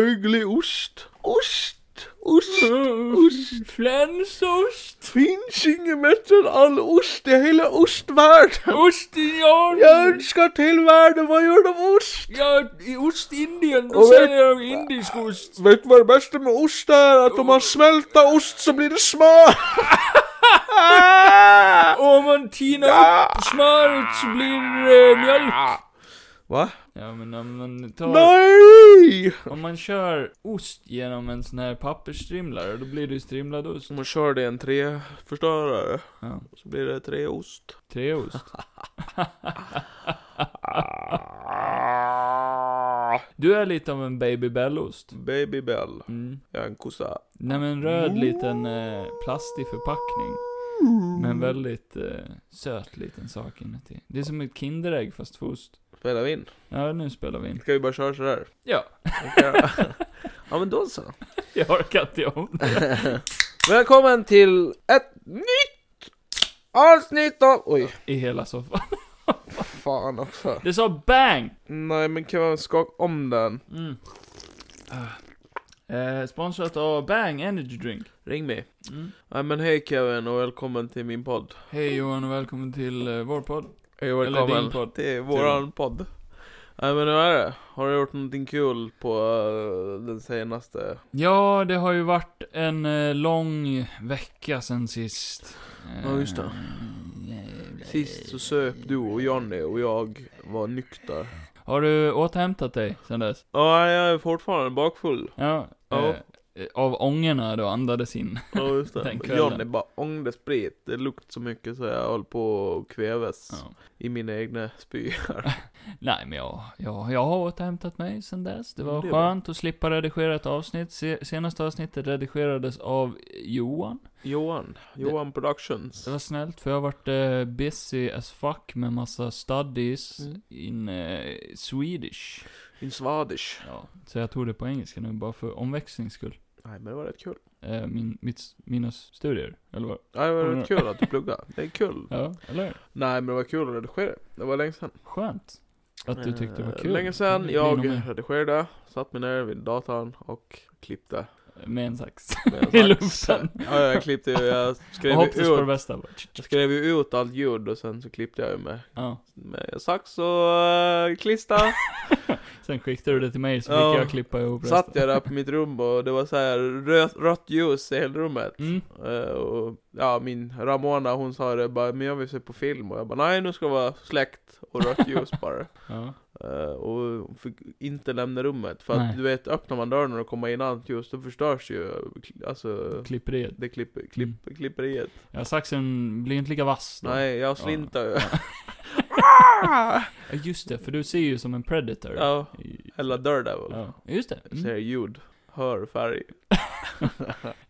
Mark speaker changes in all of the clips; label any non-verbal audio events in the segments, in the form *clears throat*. Speaker 1: möglig ost. Ost, ost, ost. *laughs*
Speaker 2: Flänsost,
Speaker 1: Finns inget bättre än all ost i hela ostvärlden.
Speaker 2: ostindian.
Speaker 1: Jag önskar till världen, vad gör de av ost?
Speaker 2: Ja, i Ostindien, då
Speaker 1: Och vet-
Speaker 2: säljer de indisk ost.
Speaker 1: Vet du vad det bästa med ost är? Att om man smälter ost så blir det smör. *laughs*
Speaker 2: Och om man tinar upp smöret så blir det eh, mjölk.
Speaker 1: Va?
Speaker 2: Ja men om man tar,
Speaker 1: Nej!
Speaker 2: om man kör ost genom en sån här pappersstrimlare, då blir det ju strimlad ost.
Speaker 1: Om man kör det i en treförstörare
Speaker 2: Ja,
Speaker 1: så blir det treost.
Speaker 2: treost.
Speaker 1: Ah.
Speaker 2: Du är lite av en babybellost.
Speaker 1: Baby Bell,
Speaker 2: Mm.
Speaker 1: jag är en kossa.
Speaker 2: Nej men en röd liten eh, plastig förpackning. Men väldigt eh, söt liten sak inuti. Det är som ett Kinderägg fast för ost.
Speaker 1: Spelar vi in?
Speaker 2: Ja, nu spelar vi in.
Speaker 1: Ska vi bara köra sådär?
Speaker 2: Ja,
Speaker 1: Okej. ja men då så.
Speaker 2: jag orkar inte om det.
Speaker 1: Välkommen till ett nytt avsnitt av... Oj,
Speaker 2: I hela soffan.
Speaker 1: fan också.
Speaker 2: Det sa bang!
Speaker 1: Nej men kan man skaka om den?
Speaker 2: Mm. Eh, sponsrat av Bang Energy Drink.
Speaker 1: Ring mig.
Speaker 2: Mm.
Speaker 1: Nej men hej Kevin och välkommen till min podd.
Speaker 2: Hej Johan och välkommen till eh, vår podd.
Speaker 1: Hej och
Speaker 2: Eller din
Speaker 1: välkommen
Speaker 2: podd.
Speaker 1: till våran podd. Nej men hur är det? Har du gjort någonting kul på eh, den senaste?
Speaker 2: Ja, det har ju varit en eh, lång vecka sen sist.
Speaker 1: Ja, just det.
Speaker 2: Eh,
Speaker 1: Sist så söp du och Johnny och jag var nykter.
Speaker 2: Har du återhämtat dig sen dess?
Speaker 1: Ja, jag är fortfarande bakfull.
Speaker 2: Ja.
Speaker 1: Ja.
Speaker 2: Eh, av ångorna då andades in.
Speaker 1: Ja just det.
Speaker 2: Den kvällen.
Speaker 1: Johnny bara ångde sprit. Det luktade så mycket så jag höll på att kväves
Speaker 2: Ja.
Speaker 1: i mina egna spyor.
Speaker 2: *laughs* Nej, men jag, jag, jag har återhämtat mig sen dess. Det var
Speaker 1: Mm, Det är bra.
Speaker 2: skönt att slippa redigera ett avsnitt. Se, senaste avsnittet redigerades av Johan.
Speaker 1: Johan, Johan Productions.
Speaker 2: Det var snällt, för jag har varit eh, busy as fuck med massa studies
Speaker 1: Mm.
Speaker 2: in eh, Swedish.
Speaker 1: In Swedish.
Speaker 2: Ja, så jag tog det på engelska nu bara för omväxlings skull.
Speaker 1: Nej men det var rätt kul.
Speaker 2: Eh, min, mitt, mina studier, eller vad?
Speaker 1: Ja, det var
Speaker 2: Mm.
Speaker 1: rätt kul att du pluggade. Det är kul.
Speaker 2: Ja, eller hur?
Speaker 1: Nej men det var kul att redigera. Det var länge sedan.
Speaker 2: Skönt. Att du tyckte det var
Speaker 1: Eh,
Speaker 2: kul.
Speaker 1: Länge
Speaker 2: Det
Speaker 1: sedan.
Speaker 2: blir
Speaker 1: Jag
Speaker 2: nog mer.
Speaker 1: redigerade, satt mig ner vid datorn och klippte.
Speaker 2: Med en
Speaker 1: *laughs*
Speaker 2: sax. *laughs*
Speaker 1: med en
Speaker 2: I
Speaker 1: sax.
Speaker 2: luften.
Speaker 1: Ja, jag klippte ju. Jag
Speaker 2: Och
Speaker 1: skrev
Speaker 2: hoppades
Speaker 1: ju
Speaker 2: på det
Speaker 1: ut.
Speaker 2: bästa. Bara, tsch, tsch,
Speaker 1: Jag
Speaker 2: tsch.
Speaker 1: skrev ju ut allt ljud och sen så klippte jag ju med,
Speaker 2: Ja.
Speaker 1: med sax och eh, klista.
Speaker 2: Sen skickade du det till mig så fick
Speaker 1: Ja.
Speaker 2: jag klippa ihop resten.
Speaker 1: Satt jag där på mitt rum och det var så här rött, rött ljus i hela rummet.
Speaker 2: Mm.
Speaker 1: Eh, och, ja, min Ramona hon sa det bara, men jag vill se på film. Och jag bara, nej nu ska det vara släckt och
Speaker 2: *laughs*
Speaker 1: rött ljus bara.
Speaker 2: Ja.
Speaker 1: Eh, och hon fick inte lämna rummet. För att
Speaker 2: Nej.
Speaker 1: du vet, öppnar man dörren och kommer in annat ljus, då förstörs ju, alltså,
Speaker 2: Klipper det.
Speaker 1: det klipper, klipp,
Speaker 2: Mm.
Speaker 1: klipperiet.
Speaker 2: Ja, saxen blir inte lika vass då.
Speaker 1: Nej, jag slintar ju.
Speaker 2: Ja, just det, för du ser ju som en predator.
Speaker 1: ja,
Speaker 2: I-
Speaker 1: eller Daredevil.
Speaker 2: ja. Just det.
Speaker 1: Ser
Speaker 2: Mm.
Speaker 1: ljud, hör färg.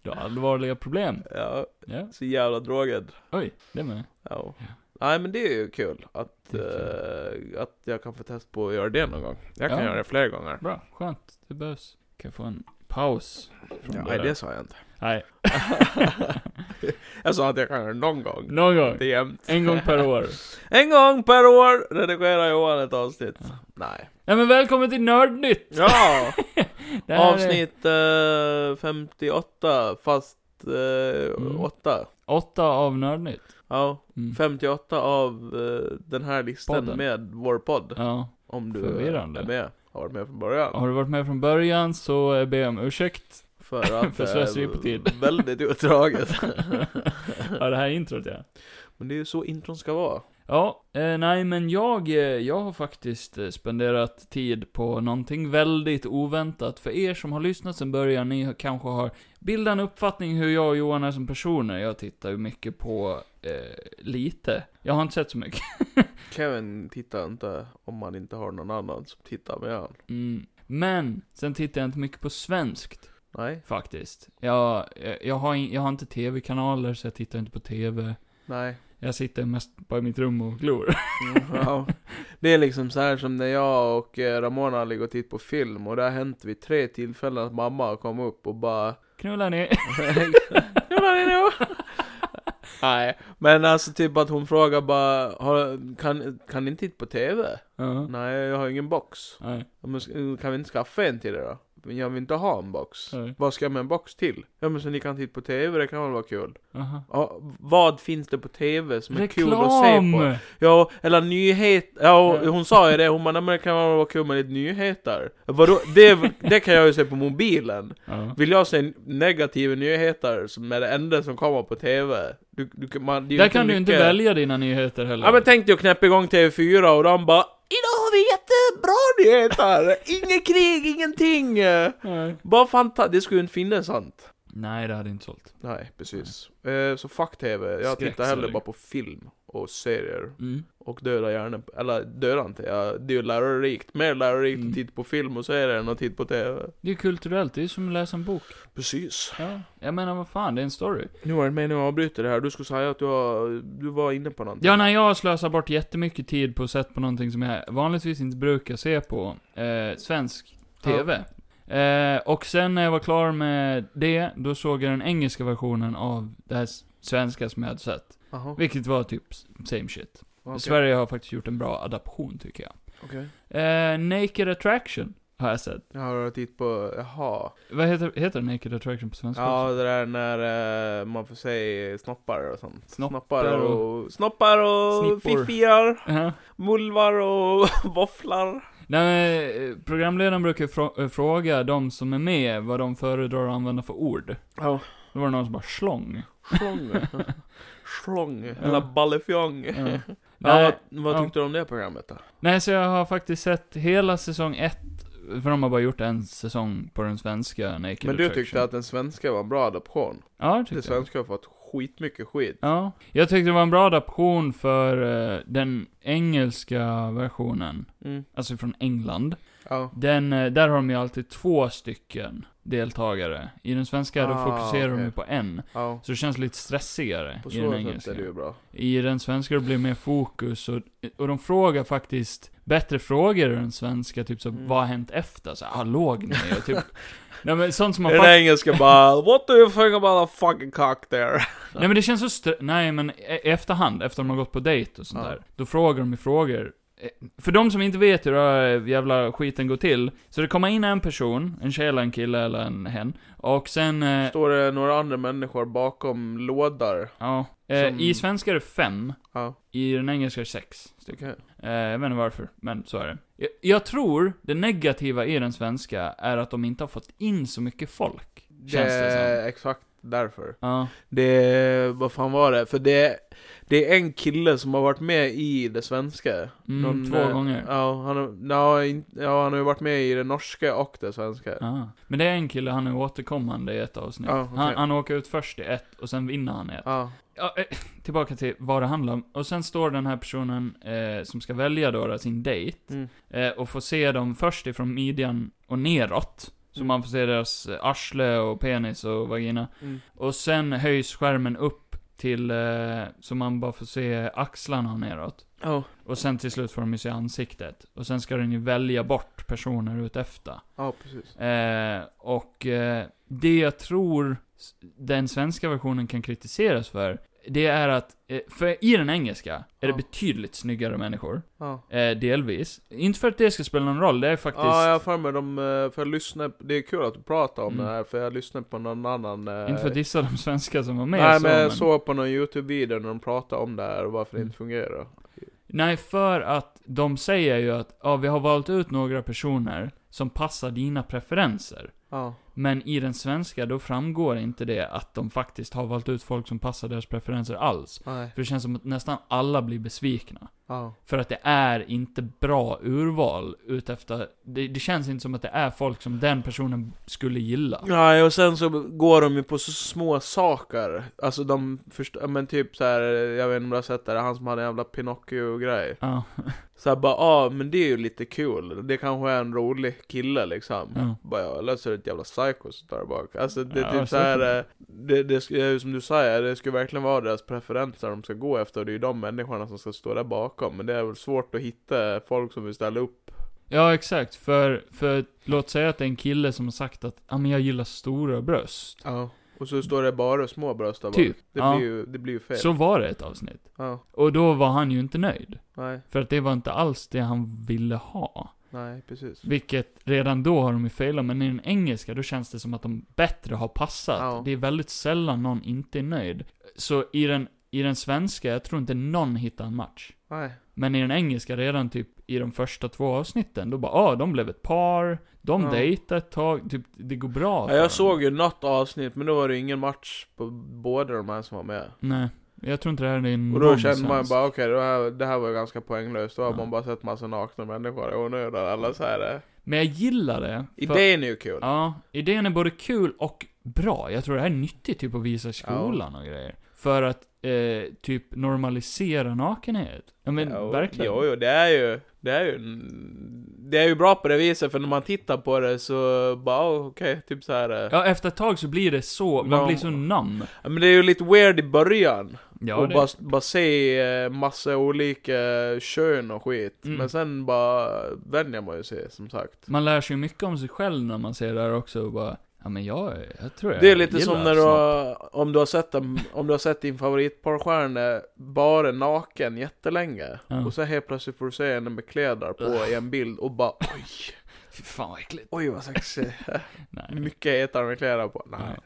Speaker 2: Du har allvarliga problem.
Speaker 1: Ja,
Speaker 2: Ja.
Speaker 1: så jävla drogad.
Speaker 2: Oj, det med.
Speaker 1: Ja.
Speaker 2: Ja.
Speaker 1: Nej men det är ju kul att,
Speaker 2: Det
Speaker 1: eh, att jag kan få testa på att göra det någon gång. Jag kan
Speaker 2: Ja.
Speaker 1: göra det flera gånger.
Speaker 2: Bra, skönt. Det behövs. Kan jag få en paus? från
Speaker 1: Ja,
Speaker 2: det
Speaker 1: nej
Speaker 2: där?
Speaker 1: det sa jag inte.
Speaker 2: Nej.
Speaker 1: jag sa att jag kan göra det någon gång.
Speaker 2: Någon gång.
Speaker 1: Det är jämnt.
Speaker 2: En gång
Speaker 1: *laughs*
Speaker 2: per år.
Speaker 1: En gång per år redigerar Johan ett avsnitt.
Speaker 2: Ja.
Speaker 1: Nej.
Speaker 2: Ja, men välkommen till Nördnytt!
Speaker 1: Ja!
Speaker 2: *laughs* Det här är
Speaker 1: Avsnitt eh, 58 fast eh,
Speaker 2: Mm.
Speaker 1: 8.
Speaker 2: Åtta av Nördnytt.
Speaker 1: Ja,
Speaker 2: Mm.
Speaker 1: 58 av eh, den här listan
Speaker 2: Podden.
Speaker 1: med vår podd.
Speaker 2: Ja.
Speaker 1: Om du
Speaker 2: Förvirrande.
Speaker 1: är med. Har varit med från början.
Speaker 2: Har du varit med från början så eh, ber jag om ursäkt.
Speaker 1: För att
Speaker 2: *laughs* För
Speaker 1: det
Speaker 2: slöseri
Speaker 1: är
Speaker 2: på tid.
Speaker 1: Väldigt utdraget.
Speaker 2: Ja, det här introt ja.
Speaker 1: Men det är ju så intron ska vara.
Speaker 2: Ja, eh, nej men jag, eh, jag har faktiskt eh, spenderat tid på någonting väldigt oväntat. För er som har lyssnat sedan början, ni har- kanske har bildat en uppfattning hur jag och Johan är som personer. Jag tittar ju mycket på, eh, lite. Jag har inte sett så mycket. *laughs*
Speaker 1: Kevin tittar inte om han inte har någon annan som tittar med han.
Speaker 2: Mm. Men, sen tittar jag inte mycket på svenskt,
Speaker 1: Nej,
Speaker 2: faktiskt. Jag, jag, jag, har, in, jag har inte tv-kanaler, så jag tittar inte på tv.
Speaker 1: nej. Mm,
Speaker 2: Jag sitter mest bara i mitt rum och glor.
Speaker 1: *laughs* Ja. Det är liksom så här som när jag och eh, Ramona ligger och tittar på film och det har hänt vid tre tillfällen att mamma kom upp och bara
Speaker 2: Knulla *laughs* ner.
Speaker 1: Knulla dig nu! Nej, men alltså typ att hon frågar bara "Har- kan, kan ni inte titta på TV?
Speaker 2: Ja.
Speaker 1: Nej, jag har ingen box.
Speaker 2: Nej.
Speaker 1: Men ska- Kan vi inte skaffa en till det då? Men jag vill inte ha en box.
Speaker 2: Nej.
Speaker 1: Vad ska jag med en box till? Ja men så ni kan titta på TV, det kan väl vara kul.
Speaker 2: Aha.
Speaker 1: Ja, vad finns det på TV som är
Speaker 2: Reklam!
Speaker 1: kul att se på? Ja, eller nyhet. Ja,
Speaker 2: Ja.
Speaker 1: hon sa ju det, hon bara, "Nej, men det kan väl vara kul med lite nyheter. Vadå? Det, det kan jag ju se på mobilen.
Speaker 2: Ja.
Speaker 1: Vill jag se negativa nyheter som är det enda som kommer på TV? Du, du, kan- man, det är ju
Speaker 2: Där kan du ju inte
Speaker 1: mycket-
Speaker 2: välja dina nyheter heller.
Speaker 1: Ja men tänk dig att knäppa igång TV4 och de bara Idag har vi jättebra nyheter! Inget krig, ingenting!
Speaker 2: Nej.
Speaker 1: Bara fanta... Det skulle ju inte finnas sånt.
Speaker 2: Nej, det hade inte sålt.
Speaker 1: Nej, precis. Eh, så fuck TV. Jag tittar
Speaker 2: Skräckserier.
Speaker 1: hellre bara på film och serier.
Speaker 2: Mm.
Speaker 1: Och döda hjärnan. Eller döda inte. Jag, det är ju lärorikt. Mer lärorikt
Speaker 2: Mm.
Speaker 1: att titta på film och serier än att titta på TV.
Speaker 2: Det är ju kulturellt, det är ju som att läsa en bok.
Speaker 1: Precis.
Speaker 2: Ja. Jag menar, vad fan, det är en story.
Speaker 1: Nu var det meningen att avbryta det här. Du skulle säga att du, har, du var inne på någonting.
Speaker 2: Ja, när jag slösar bort jättemycket tid på att sätta på någonting som jag vanligtvis inte brukar se på eh, svensk TV. Eh, och sen när jag var klar med det, då såg jag den engelska versionen av det här s- svenska som jag hade sett.
Speaker 1: Jaha.
Speaker 2: Vilket var typ s- same shit.
Speaker 1: okej.
Speaker 2: Sverige har faktiskt gjort en bra adaption, tycker jag.
Speaker 1: Okej.
Speaker 2: Eh, Naked Attraction har jag sett.
Speaker 1: Jag har tittat på, jaha.
Speaker 2: Vad heter, heter Naked Attraction på svenska
Speaker 1: Ja,
Speaker 2: också?
Speaker 1: det där när eh, man får se snoppar och sånt.
Speaker 2: Snoppar
Speaker 1: snoppar och... Snoppar och
Speaker 2: Snippor.
Speaker 1: fiffiar,
Speaker 2: *laughs* Ja.
Speaker 1: mulvar och *laughs* våfflar.
Speaker 2: Nej, men, eh, programledaren brukar ju frå- eh, fråga de som är med vad de föredrar att använda för ord.
Speaker 1: Ja.
Speaker 2: Då var det någon som
Speaker 1: *laughs*
Speaker 2: bara slång.
Speaker 1: Schlong. Schlong. Eller ballefjong.
Speaker 2: Ja.
Speaker 1: Ja,
Speaker 2: Nej,
Speaker 1: vad, vad
Speaker 2: ja.
Speaker 1: tyckte du om det programmet då?
Speaker 2: nej, så jag har faktiskt sett hela säsong ett. För de har bara gjort en säsong på den svenska Naked
Speaker 1: Men du
Speaker 2: Attraction.
Speaker 1: tyckte att den svenska var en bra adaption?
Speaker 2: Ja, det
Speaker 1: Den
Speaker 2: tyckte jag.
Speaker 1: svenska har fått skitmycket skit.
Speaker 2: Ja. Jag tyckte det var en bra adaption för eh, den engelska versionen.
Speaker 1: Mm.
Speaker 2: Alltså från England.
Speaker 1: Ja.
Speaker 2: Den, eh, där har de ju alltid två stycken deltagare. I den svenska då
Speaker 1: Ah,
Speaker 2: fokuserar de
Speaker 1: okej.
Speaker 2: ju på en.
Speaker 1: ja.
Speaker 2: Så det känns lite stressigare
Speaker 1: På
Speaker 2: i den
Speaker 1: så sätt
Speaker 2: engelska.
Speaker 1: är det ju bra.
Speaker 2: I den svenska det blir mer fokus och, och de frågar faktiskt bättre frågor än den svenska. Typ så
Speaker 1: Mm.
Speaker 2: vad har hänt efter? Så, ah, låg ni? Och
Speaker 1: *laughs*
Speaker 2: typ, nej men sånt som man
Speaker 1: Den
Speaker 2: faktiskt...
Speaker 1: engelska bara, what do you think about a fucking cock
Speaker 2: *laughs*
Speaker 1: there?
Speaker 2: Nej men det känns så stre- Nej men e- i efterhand, efter de har gått på dejt och sånt
Speaker 1: Ja.
Speaker 2: där. Då frågar de ju frågor. Eh, För de som inte vet hur det här jävla skiten går till. Så det kommer in en person, en tjej eller en kille eller en hen. Och sen... Eh,
Speaker 1: Står det några andra människor bakom lådor?
Speaker 2: ja. Eh,
Speaker 1: Som-
Speaker 2: I svenska är det fem.
Speaker 1: Ja,
Speaker 2: I den engelska är det sex stycken.
Speaker 1: okej.
Speaker 2: Eh, jag vet inte varför, men så är det. Jag, jag tror det negativa i den svenska är att de inte har fått in så mycket folk. Känns det, som.
Speaker 1: är exakt därför.
Speaker 2: Ja.
Speaker 1: Det, vad fan var det? För det, det är en kille som har varit med i det svenska.
Speaker 2: Mm,
Speaker 1: Någon,
Speaker 2: två
Speaker 1: eh,
Speaker 2: gånger.
Speaker 1: Ja han, har, ja, in- ja, han har ju varit med i det norska och det svenska.
Speaker 2: Ja. Men det är en kille, han är återkommande i ett avsnitt.
Speaker 1: Ja, okej.
Speaker 2: han, han åker ut först i ett, och sen vinner han ett.
Speaker 1: Ja.
Speaker 2: Ja, eh, tillbaka till vad det handlar om. Och sen står den här personen eh, som ska välja då, då sin dejt,
Speaker 1: Mm.
Speaker 2: eh, och får se dem först ifrån midjan och neråt. Så
Speaker 1: Mm.
Speaker 2: man får se deras eh, arsle och penis och vagina.
Speaker 1: Mm.
Speaker 2: Och sen höjs skärmen upp till, eh, så man bara får se axlarna neråt.
Speaker 1: Ja.
Speaker 2: Och sen till slut får de ju se ansiktet. Och sen ska den ju välja bort personer utefter.
Speaker 1: ja, precis.
Speaker 2: Eh, och eh, det jag tror s- den svenska versionen kan kritiseras för, det är att, eh, för i den engelska är det
Speaker 1: Ja.
Speaker 2: betydligt snyggare människor.
Speaker 1: Ja.
Speaker 2: Eh, delvis. Inte för att det ska spela någon roll, det är faktiskt...
Speaker 1: Ja, jag har för mig de, eh, för jag lyssnar, det är kul att du pratar om
Speaker 2: Mm.
Speaker 1: det här, för jag lyssnade på någon annan... eh,
Speaker 2: Inte för att dissa de svenskar som var med
Speaker 1: Nej,
Speaker 2: så, Mm.
Speaker 1: men jag såg på någon YouTube-video när de pratade om det här och varför det inte fungerar.
Speaker 2: Nej, för att de säger ju att ja, vi har valt ut några personer som passar dina preferenser.
Speaker 1: Ja.
Speaker 2: Men i den svenska, då framgår inte det att de faktiskt har valt ut folk som passar deras preferenser alls.
Speaker 1: Nej.
Speaker 2: För det känns som att nästan alla blir besvikna.
Speaker 1: Ja.
Speaker 2: För att det är inte bra urval utefter... Det, det känns inte som att det är folk som den personen skulle gilla.
Speaker 1: Nej, och sen så går de ju på så små saker. Alltså de förstår, men typ så här, jag vet inte om du har sett det, det är han som hade en jävla Pinocchio-grej.
Speaker 2: Ja.
Speaker 1: Så här bara, ja ah, men det är ju lite kul, det kanske är en rolig kille liksom.
Speaker 2: Ja.
Speaker 1: Bara, ja, eller så är det ett jävla psycho som står där bak. Alltså det är
Speaker 2: Mm. Ja,
Speaker 1: typ så
Speaker 2: säkert.
Speaker 1: här, eh, det, det ska- eh, som du säger, det ska verkligen vara deras preferenser de ska gå efter. Det är ju de människorna som ska stå där bakom. Men det är väl svårt att hitta folk som vill ställa upp.
Speaker 2: Ja, exakt. För, för låt säga att det är en kille som har sagt att ja, men jag gillar stora bröst.
Speaker 1: Ja. Och så står det bara små bröst där bak.
Speaker 2: Typ,
Speaker 1: Det,
Speaker 2: ja.
Speaker 1: blir ju, det blir ju fel.
Speaker 2: Så var det ett avsnitt.
Speaker 1: Ja,
Speaker 2: Och då var han ju inte nöjd.
Speaker 1: nej.
Speaker 2: För att det var inte alls det han ville ha.
Speaker 1: Nej, precis.
Speaker 2: Vilket, redan då har de ju failat, men i den engelska, då känns det som att de bättre har passat.
Speaker 1: Ja.
Speaker 2: Det är väldigt sällan någon inte är nöjd. Så i den, i den svenska, jag tror inte någon hittar en match.
Speaker 1: Nej.
Speaker 2: Men i den engelska, redan typ i de första två avsnitten, då bara ah, de blev ett par, de
Speaker 1: Ja.
Speaker 2: dejtade ett tag, typ, det går bra
Speaker 1: Ja,
Speaker 2: för dem.
Speaker 1: jag såg ju något avsnitt, men då var det ingen match på båda de här som var med.
Speaker 2: Nej, jag tror inte det här är en
Speaker 1: Och då kände man ju bara okej, det, här, det här var ju ganska poänglöst. Då har
Speaker 2: Ja.
Speaker 1: man bara sett massa nakna människor i onödan. Alla så här. eh.
Speaker 2: Men jag gillar det. för-
Speaker 1: Idén är ju kul.
Speaker 2: Ja, idén är både kul och bra. Jag tror det här är nyttigt typ att visa i skolan och grejer. För att eh, typ normalisera nakenhet. Ja men
Speaker 1: Ja, och-
Speaker 2: verkligen.
Speaker 1: Jo, jo, det är ju, det är ju, det är ju bra på det viset för när man tittar på det så bara oh, okej, typ så här. eh.
Speaker 2: Ja, efter ett tag så blir det så, man
Speaker 1: Ja.
Speaker 2: blir så numb.
Speaker 1: Men det är ju lite weird i början.
Speaker 2: Ja,
Speaker 1: och
Speaker 2: det,
Speaker 1: bara, bara se eh, massa olika kön och skit.
Speaker 2: Mm.
Speaker 1: Men sen bara vänjer man ju sig, som sagt.
Speaker 2: man lär sig ju mycket om sig själv när man ser det här också och bara, ja men jag, jag tror jag
Speaker 1: Det är lite som
Speaker 2: gillar
Speaker 1: när du
Speaker 2: sånt.
Speaker 1: har, om du har sett, en, om du har sett din favoritporrstjärna bara naken jättelänge.
Speaker 2: Ja.
Speaker 1: Och så helt plötsligt får du se henne med kläder på i en bild och bara oj,
Speaker 2: Fy fan vad äckligt.
Speaker 1: oj vad
Speaker 2: *laughs*
Speaker 1: sexig.
Speaker 2: Nej.
Speaker 1: Mycket hetare med kläder på. Nej.
Speaker 2: Ja.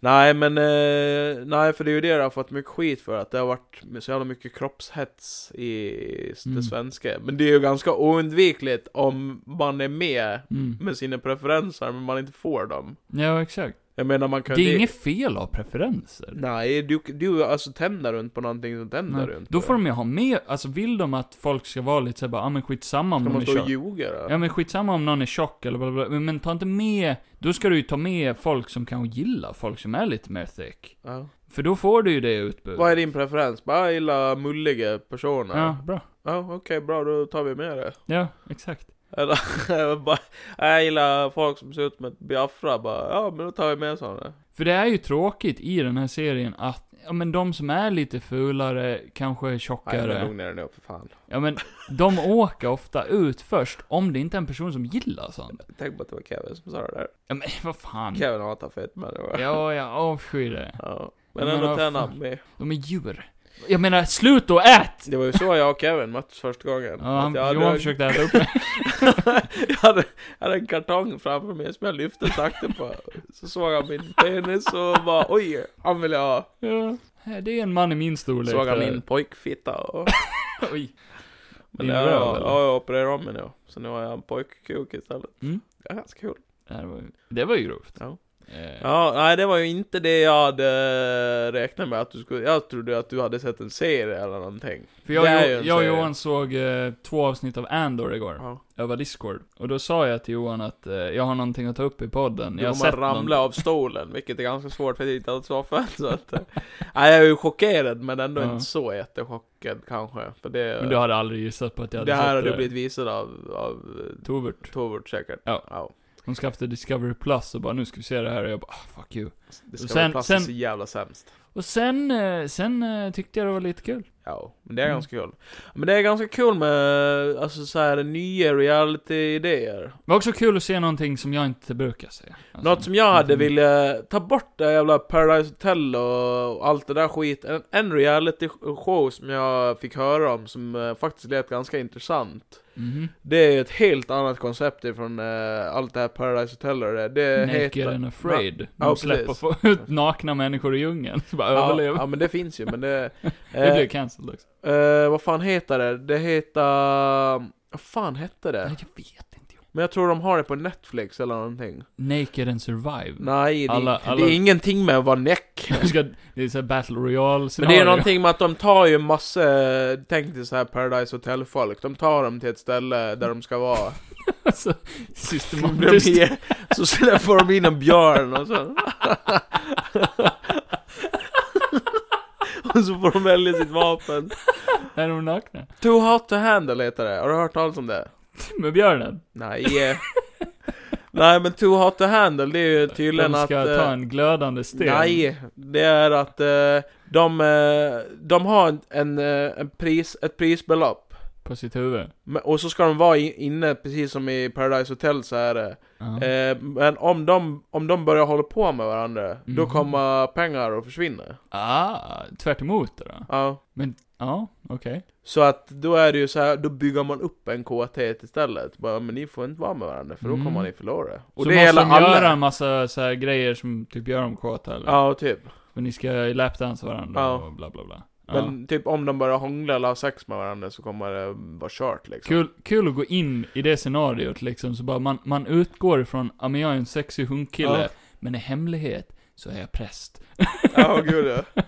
Speaker 1: Nej men, eh, nej för det är ju det jag har fått mycket skit för, att det har varit så jävla mycket kroppshets i det
Speaker 2: Mm.
Speaker 1: svenska. Men det är ju ganska oundvikligt om man är med
Speaker 2: Mm.
Speaker 1: med sina preferenser, men man inte får dem.
Speaker 2: Ja, exakt.
Speaker 1: Jag menar man kan
Speaker 2: Det är inget fel av preferenser.
Speaker 1: Nej, du, du alltså tänder runt på någonting som tänder runt
Speaker 2: Då
Speaker 1: på
Speaker 2: får
Speaker 1: det.
Speaker 2: de ju ha med, alltså vill de att folk ska vara lite såhär bara, ah, men skitsamma om
Speaker 1: Ska
Speaker 2: de
Speaker 1: man
Speaker 2: är
Speaker 1: stå och
Speaker 2: tjock.
Speaker 1: ljuga då?
Speaker 2: Ja men skitsamma om någon är tjock eller bla bla, bla, men ta inte med, då ska du ju ta med folk som kanske gillar folk som är lite mer thick.
Speaker 1: Ja.
Speaker 2: För då får du ju det utbudet.
Speaker 1: Vad är din preferens? Bara jag gillar mulliga personer.
Speaker 2: Ja,
Speaker 1: Ja,
Speaker 2: bra.
Speaker 1: okej bra då tar vi med det. *laughs*
Speaker 2: Ja, exakt.
Speaker 1: Eller bara, jag gillar folk som ser ut som ett Biafra bara, ja men då tar vi med sådana.
Speaker 2: För det är ju tråkigt i den här serien att, ja men de som är lite fulare, kanske är
Speaker 1: Nej men
Speaker 2: tjockare,
Speaker 1: lugna dig nu för fan.
Speaker 2: ja men de åker ofta ut först om det inte är en person som gillar sånt.
Speaker 1: Tänk på att det var Kevin som sa det där.
Speaker 2: Ja men vad fan.
Speaker 1: Kevin hatar fett människor.
Speaker 2: Mm. Ja, jag avskyr det.
Speaker 1: Ja.
Speaker 2: Ja,
Speaker 1: Men
Speaker 2: men
Speaker 1: ändå
Speaker 2: vad
Speaker 1: tränar
Speaker 2: fan.
Speaker 1: han med.
Speaker 2: De är djur. Jag menar, slut och ät!
Speaker 1: Det var ju så jag och Kevin möttes första gången.
Speaker 2: Ja, han,
Speaker 1: Att jag hade
Speaker 2: Johan
Speaker 1: en-
Speaker 2: försökte äta upp mig.
Speaker 1: *laughs* jag, hade, jag hade en kartong framför mig som jag lyfte sakta på. Så såg han min penis och bara oj, han ville ha.
Speaker 2: Ja. Eh, Det är en man i min storlek.
Speaker 1: Såg han
Speaker 2: där.
Speaker 1: min pojkfitta och...
Speaker 2: *laughs* Oj.
Speaker 1: Men
Speaker 2: *laughs* Din
Speaker 1: det har jag,
Speaker 2: röv, eller?
Speaker 1: ja, jag opererat om mig nu. Så nu har jag en pojkkuk istället.
Speaker 2: Mm.
Speaker 1: Det är ganska kul.
Speaker 2: Det här var ju, det var ju grovt.
Speaker 1: Ja.
Speaker 2: Eh,
Speaker 1: Ja, nej det var ju inte det jag hade räknat med att du skulle... Jag trodde att du hade sett en serie eller någonting.
Speaker 2: För jag,
Speaker 1: det är
Speaker 2: och
Speaker 1: ju
Speaker 2: Jo-
Speaker 1: en
Speaker 2: jag och
Speaker 1: serie.
Speaker 2: Johan såg eh, två avsnitt av Andor igår.
Speaker 1: Ja.
Speaker 2: Över Discord. Och då sa jag till Johan att eh, jag har någonting att ta upp i podden.
Speaker 1: Du
Speaker 2: jag har
Speaker 1: kommer
Speaker 2: sett
Speaker 1: ramla
Speaker 2: någon-
Speaker 1: av stolen, vilket är ganska svårt för *laughs* att hitta ett soffan. Så att, eh, nej, jag är ju chockerad, men ändå
Speaker 2: Ja.
Speaker 1: inte så jättechockad kanske. För det,
Speaker 2: Men du hade aldrig gissat på att jag hade
Speaker 1: det här
Speaker 2: sett eh,
Speaker 1: hade du blivit visad av, av eh,
Speaker 2: Tovert.
Speaker 1: Tovert säkert.
Speaker 2: Ja. Hon skaffade Discovery Plus och bara nu ska vi se det här och jag bara ah, fuck you.
Speaker 1: Det ska
Speaker 2: Sen-
Speaker 1: vara platsen
Speaker 2: sen-
Speaker 1: så jävla sämst.
Speaker 2: Och sen, eh, sen eh, tyckte jag det var lite kul.
Speaker 1: Ja, men det är
Speaker 2: Mm.
Speaker 1: ganska kul. Men det är ganska kul med, alltså så här nya reality-idéer.
Speaker 2: Det var också kul att se någonting som jag inte brukar se. Alltså,
Speaker 1: Något som jag hade
Speaker 2: någonting-
Speaker 1: ville ta bort det jävla Paradise Hotel och och allt det där skit. En, en reality-show som jag fick höra om som eh, faktiskt lät ganska intressant.
Speaker 2: Mhm.
Speaker 1: Det är ett helt annat koncept ifrån eh, allt det här Paradise Hotel och det. det
Speaker 2: Naked
Speaker 1: Eh, heter...
Speaker 2: and afraid. De
Speaker 1: Ja,
Speaker 2: släpper
Speaker 1: precis.
Speaker 2: få ut nakna människor i djungeln. Så bara
Speaker 1: Ja,
Speaker 2: överlever.
Speaker 1: ja men det finns ju men
Speaker 2: *laughs*
Speaker 1: det...
Speaker 2: det blir
Speaker 1: Eh,
Speaker 2: cancelled också.
Speaker 1: eh, vad fan heter det? Det heter... Vad fan hette det?
Speaker 2: Nej, jag vet inte.
Speaker 1: Men jag tror de har det på Netflix eller någonting.
Speaker 2: Naked and survive. *laughs*
Speaker 1: Nej, det,
Speaker 2: Alla- alla-
Speaker 1: det är ingenting med att vara näck.
Speaker 2: Du ska, det är såhär battle royale
Speaker 1: Men det är
Speaker 2: scenario.
Speaker 1: ju
Speaker 2: *laughs*
Speaker 1: någonting med att de tar ju massa, tänk dig så här Paradise Hotel-folk, de tar dem till ett ställe där de ska vara. *laughs*
Speaker 2: alltså,
Speaker 1: Får de
Speaker 2: systematiskt.
Speaker 1: ge- Så sen får de in en björn och så... och så får de välja sitt vapen.
Speaker 2: Är de nakna?
Speaker 1: Too hot to handle heter det, har du hört talas om det?
Speaker 2: Med björnen?
Speaker 1: Nej. *laughs* eh. nej men too hot to handle det är ju tydligen
Speaker 2: de
Speaker 1: att...
Speaker 2: ska
Speaker 1: eh,
Speaker 2: ta en glödande sten.
Speaker 1: Nej, det är att eh, de, eh, de har en, en, eh, en pris, ett prisbelopp.
Speaker 2: på sitt huvud.
Speaker 1: Men, och så ska de vara i- inne, precis som i Paradise Hotel så är det.
Speaker 2: Ja.
Speaker 1: Eh, men om de, om de börjar hålla på med varandra, då
Speaker 2: Mhm.
Speaker 1: kommer pengar att försvinna.
Speaker 2: Ah, tvärt emot det då?
Speaker 1: Ja.
Speaker 2: Ja, okej.
Speaker 1: Så att då är det ju så här, då bygger man upp en kåthet istället. Bara, men ni får inte vara med varandra för då
Speaker 2: Mm.
Speaker 1: kommer ni förlora.
Speaker 2: Och
Speaker 1: Och
Speaker 2: så
Speaker 1: det
Speaker 2: måste
Speaker 1: gäller
Speaker 2: de göra
Speaker 1: alla.
Speaker 2: en massa så här grejer som typ gör dem kåta eller?
Speaker 1: Ja, typ.
Speaker 2: Men ni ska lapdance varandra
Speaker 1: Ja.
Speaker 2: och bla bla bla. Ja.
Speaker 1: Men typ om de börjar hångla eller ha sex med varandra så kommer det vara kört liksom.
Speaker 2: Kul, kul att gå in i det scenariot liksom, så bara man, man utgår ifrån, ja men jag är en sexig hunkkille,
Speaker 1: Ja.
Speaker 2: men i hemlighet så är jag präst.
Speaker 1: Ja, gud
Speaker 2: *laughs*
Speaker 1: ja.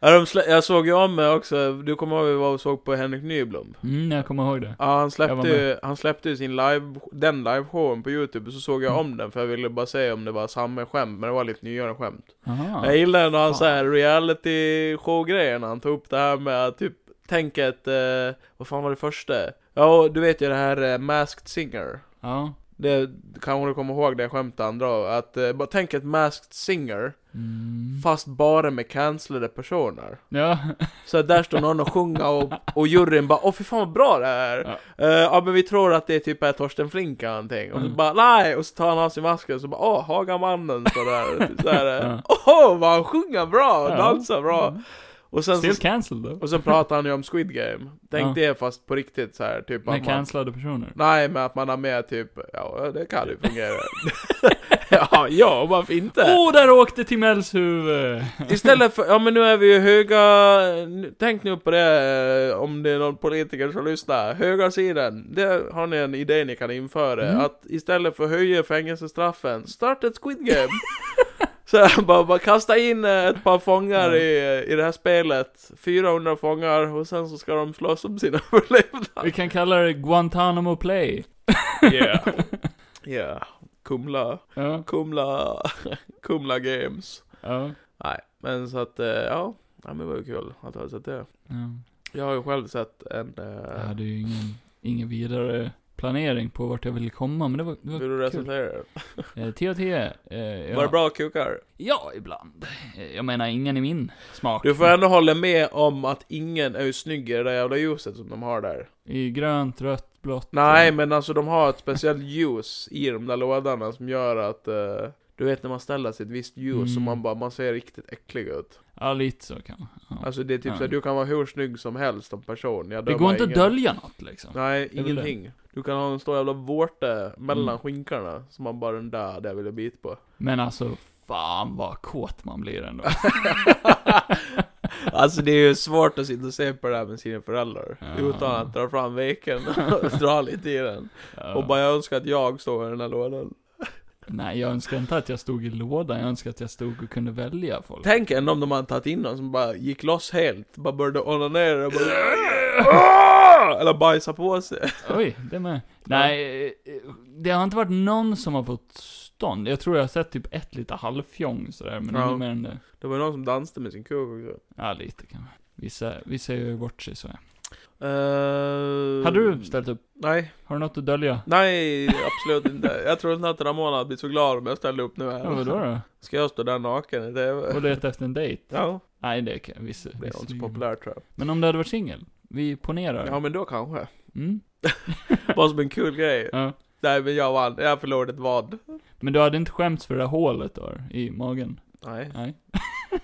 Speaker 1: ja de slä- jag såg ju om mig också, du kommer ihåg vi var och såg på Henrik Nyblom?
Speaker 2: Mm, jag kommer ihåg det.
Speaker 1: Ja, han
Speaker 2: Jag var
Speaker 1: släppte, ju, han släppte ju sin live, den liveshowen på youtube, och så såg
Speaker 2: Mm.
Speaker 1: jag om den för jag ville bara se om det var samma skämt, men det var lite nyare skämt.
Speaker 2: Aha.
Speaker 1: Jag gillar när han
Speaker 2: Fan.
Speaker 1: såhär reality show grejerna han tog upp det här med att typ Tänk ett, eh, vad fan var det första? Ja, och du vet ju det här eh, Masked Singer
Speaker 2: Ja.
Speaker 1: Det kanske du kommer ihåg det skämtet han drar, att eh, bara tänk ett Masked Singer
Speaker 2: Mm.
Speaker 1: Fast bara med cancellade personer
Speaker 2: Ja.
Speaker 1: Så att där står någon och sjunger och, och juryn bara 'Åh fy fan vad bra det här!' Eh, Ja men vi tror att det är typ är Torsten Flink eller någonting Och så
Speaker 2: Mm.
Speaker 1: bara 'Nej!' Och så tar han av sig masken och så bara 'Åh, Hagamannen' står där så här, eh,
Speaker 2: Ja.
Speaker 1: *laughs* Åh, vad han sjunger bra! Och
Speaker 2: Ja.
Speaker 1: dansar bra!
Speaker 2: Mm.
Speaker 1: Och sen,
Speaker 2: Still
Speaker 1: så,
Speaker 2: cancelled då.
Speaker 1: och sen pratar han ju om Squid Game. Tänk
Speaker 2: Ja.
Speaker 1: det fast på riktigt så här, typ
Speaker 2: Med
Speaker 1: att man,
Speaker 2: cancellade personer.
Speaker 1: Nej, men att man har med typ, ja det kan ju fungera. *laughs* ja, ja, varför inte?
Speaker 2: Åh, oh, där åkte Timells huvud!
Speaker 1: Istället för, ja men nu är vi ju höga, tänk nu på det eh, om det är någon politiker som lyssnar. Höga sidan, det har ni en idé ni kan införa.
Speaker 2: Mm.
Speaker 1: Att istället för att höja fängelsestraffen, starta ett Squid Game. *laughs* Så här, bara, bara kasta in eh, ett par fångar i, i det här spelet, 400 fångar, och sen så ska de slåss om sina *laughs* överlevnad.
Speaker 2: Vi kan kalla det Guantanamo Play.
Speaker 1: Yeah. *laughs* Yeah. Kumla,
Speaker 2: Ja,
Speaker 1: Kumla, *laughs* Kumla Games.
Speaker 2: ja.
Speaker 1: Nej, men så att, eh, ja. Ja men det var ju kul att ha sett det.
Speaker 2: ja.
Speaker 1: Jag har ju själv sett en... eh,
Speaker 2: Jag hade ju ingen, ingen vidare planering på vart jag ville komma, men det var, det var
Speaker 1: Vill du recensera den?
Speaker 2: Eh, 10 av 10. Eh, ja.
Speaker 1: Var det bra kukar?
Speaker 2: Ja, ibland. Eh, Jag menar, ingen i min smak.
Speaker 1: Du får ändå hålla med om att ingen är ju snygg i det där jävla ljuset som de har där.
Speaker 2: I grönt, rött, blått.
Speaker 1: Nej
Speaker 2: eh,
Speaker 1: men alltså de har ett speciellt ljus i de där lådorna som gör att... eh, du vet när man ställer sig ett visst ljus så
Speaker 2: Mm.
Speaker 1: man bara, man ser riktigt äcklig ut.
Speaker 2: Ja, lite så kan man. Ja.
Speaker 1: Alltså det är typ
Speaker 2: Ja.
Speaker 1: så här, du kan vara hur snygg som helst som person. Jag
Speaker 2: det går
Speaker 1: dömer
Speaker 2: inte att
Speaker 1: ingen.
Speaker 2: dölja något liksom.
Speaker 1: Nej,
Speaker 2: är väl det.
Speaker 1: ingenting. Du kan ha en stor jävla vårta mellan
Speaker 2: Mm.
Speaker 1: skinkorna, som man bara den där, där vill jag bita på.
Speaker 2: Men alltså, fan vad kåt man
Speaker 1: *laughs*
Speaker 2: blir ändå.
Speaker 1: alltså det är ju svårt att sitta och se på det här med sina föräldrar,
Speaker 2: Ja.
Speaker 1: utan att dra fram veken och *laughs* dra lite i den.
Speaker 2: Ja.
Speaker 1: Och bara jag önskar att jag stod i den här lådan.
Speaker 2: Nej, jag önskar inte att jag stod i lådan. Jag önskar att jag stod och kunde välja
Speaker 1: *laughs*
Speaker 2: folk.
Speaker 1: Tänk ändå om de hade tagit in någon som bara gick loss helt, bara började onanera
Speaker 2: *laughs*
Speaker 1: och bara... Eller bajsa på sig.
Speaker 2: Oj, det med. Nej, eh, eh, det har inte varit någon som har fått stånd. Jag tror jag har sett typ ett lite halvfjong sådär, men
Speaker 1: Ja.
Speaker 2: inget mer än det.
Speaker 1: Det var ju någon som dansade med sin kuk också.
Speaker 2: Ja, lite kan man. Vissa, vissa gör ju bort sig så. ja.
Speaker 1: Uh,
Speaker 2: Hade du ställt upp?
Speaker 1: Nej,
Speaker 2: Har du något att dölja?
Speaker 1: nej absolut inte. Jag tror inte att Ramona hade blivit så glad om jag ställde upp nu här.
Speaker 2: Ja, vadå då?
Speaker 1: Ska jag stå där naken i
Speaker 2: Och
Speaker 1: TV?
Speaker 2: leta efter en dejt?
Speaker 1: Ja,
Speaker 2: Nej, det kan visst,
Speaker 1: det är inte så
Speaker 2: visserligen.
Speaker 1: populärt tror jag.
Speaker 2: Men om du hade varit singel? Vi ponerar.
Speaker 1: Ja men då kanske.
Speaker 2: Mm?
Speaker 1: Bara som en kul grej.
Speaker 2: Ja.
Speaker 1: Nej men jag vann, jag förlorade ett vad.
Speaker 2: Men du hade inte skämts för det där hålet då? I magen?
Speaker 1: Nej,
Speaker 2: Nej.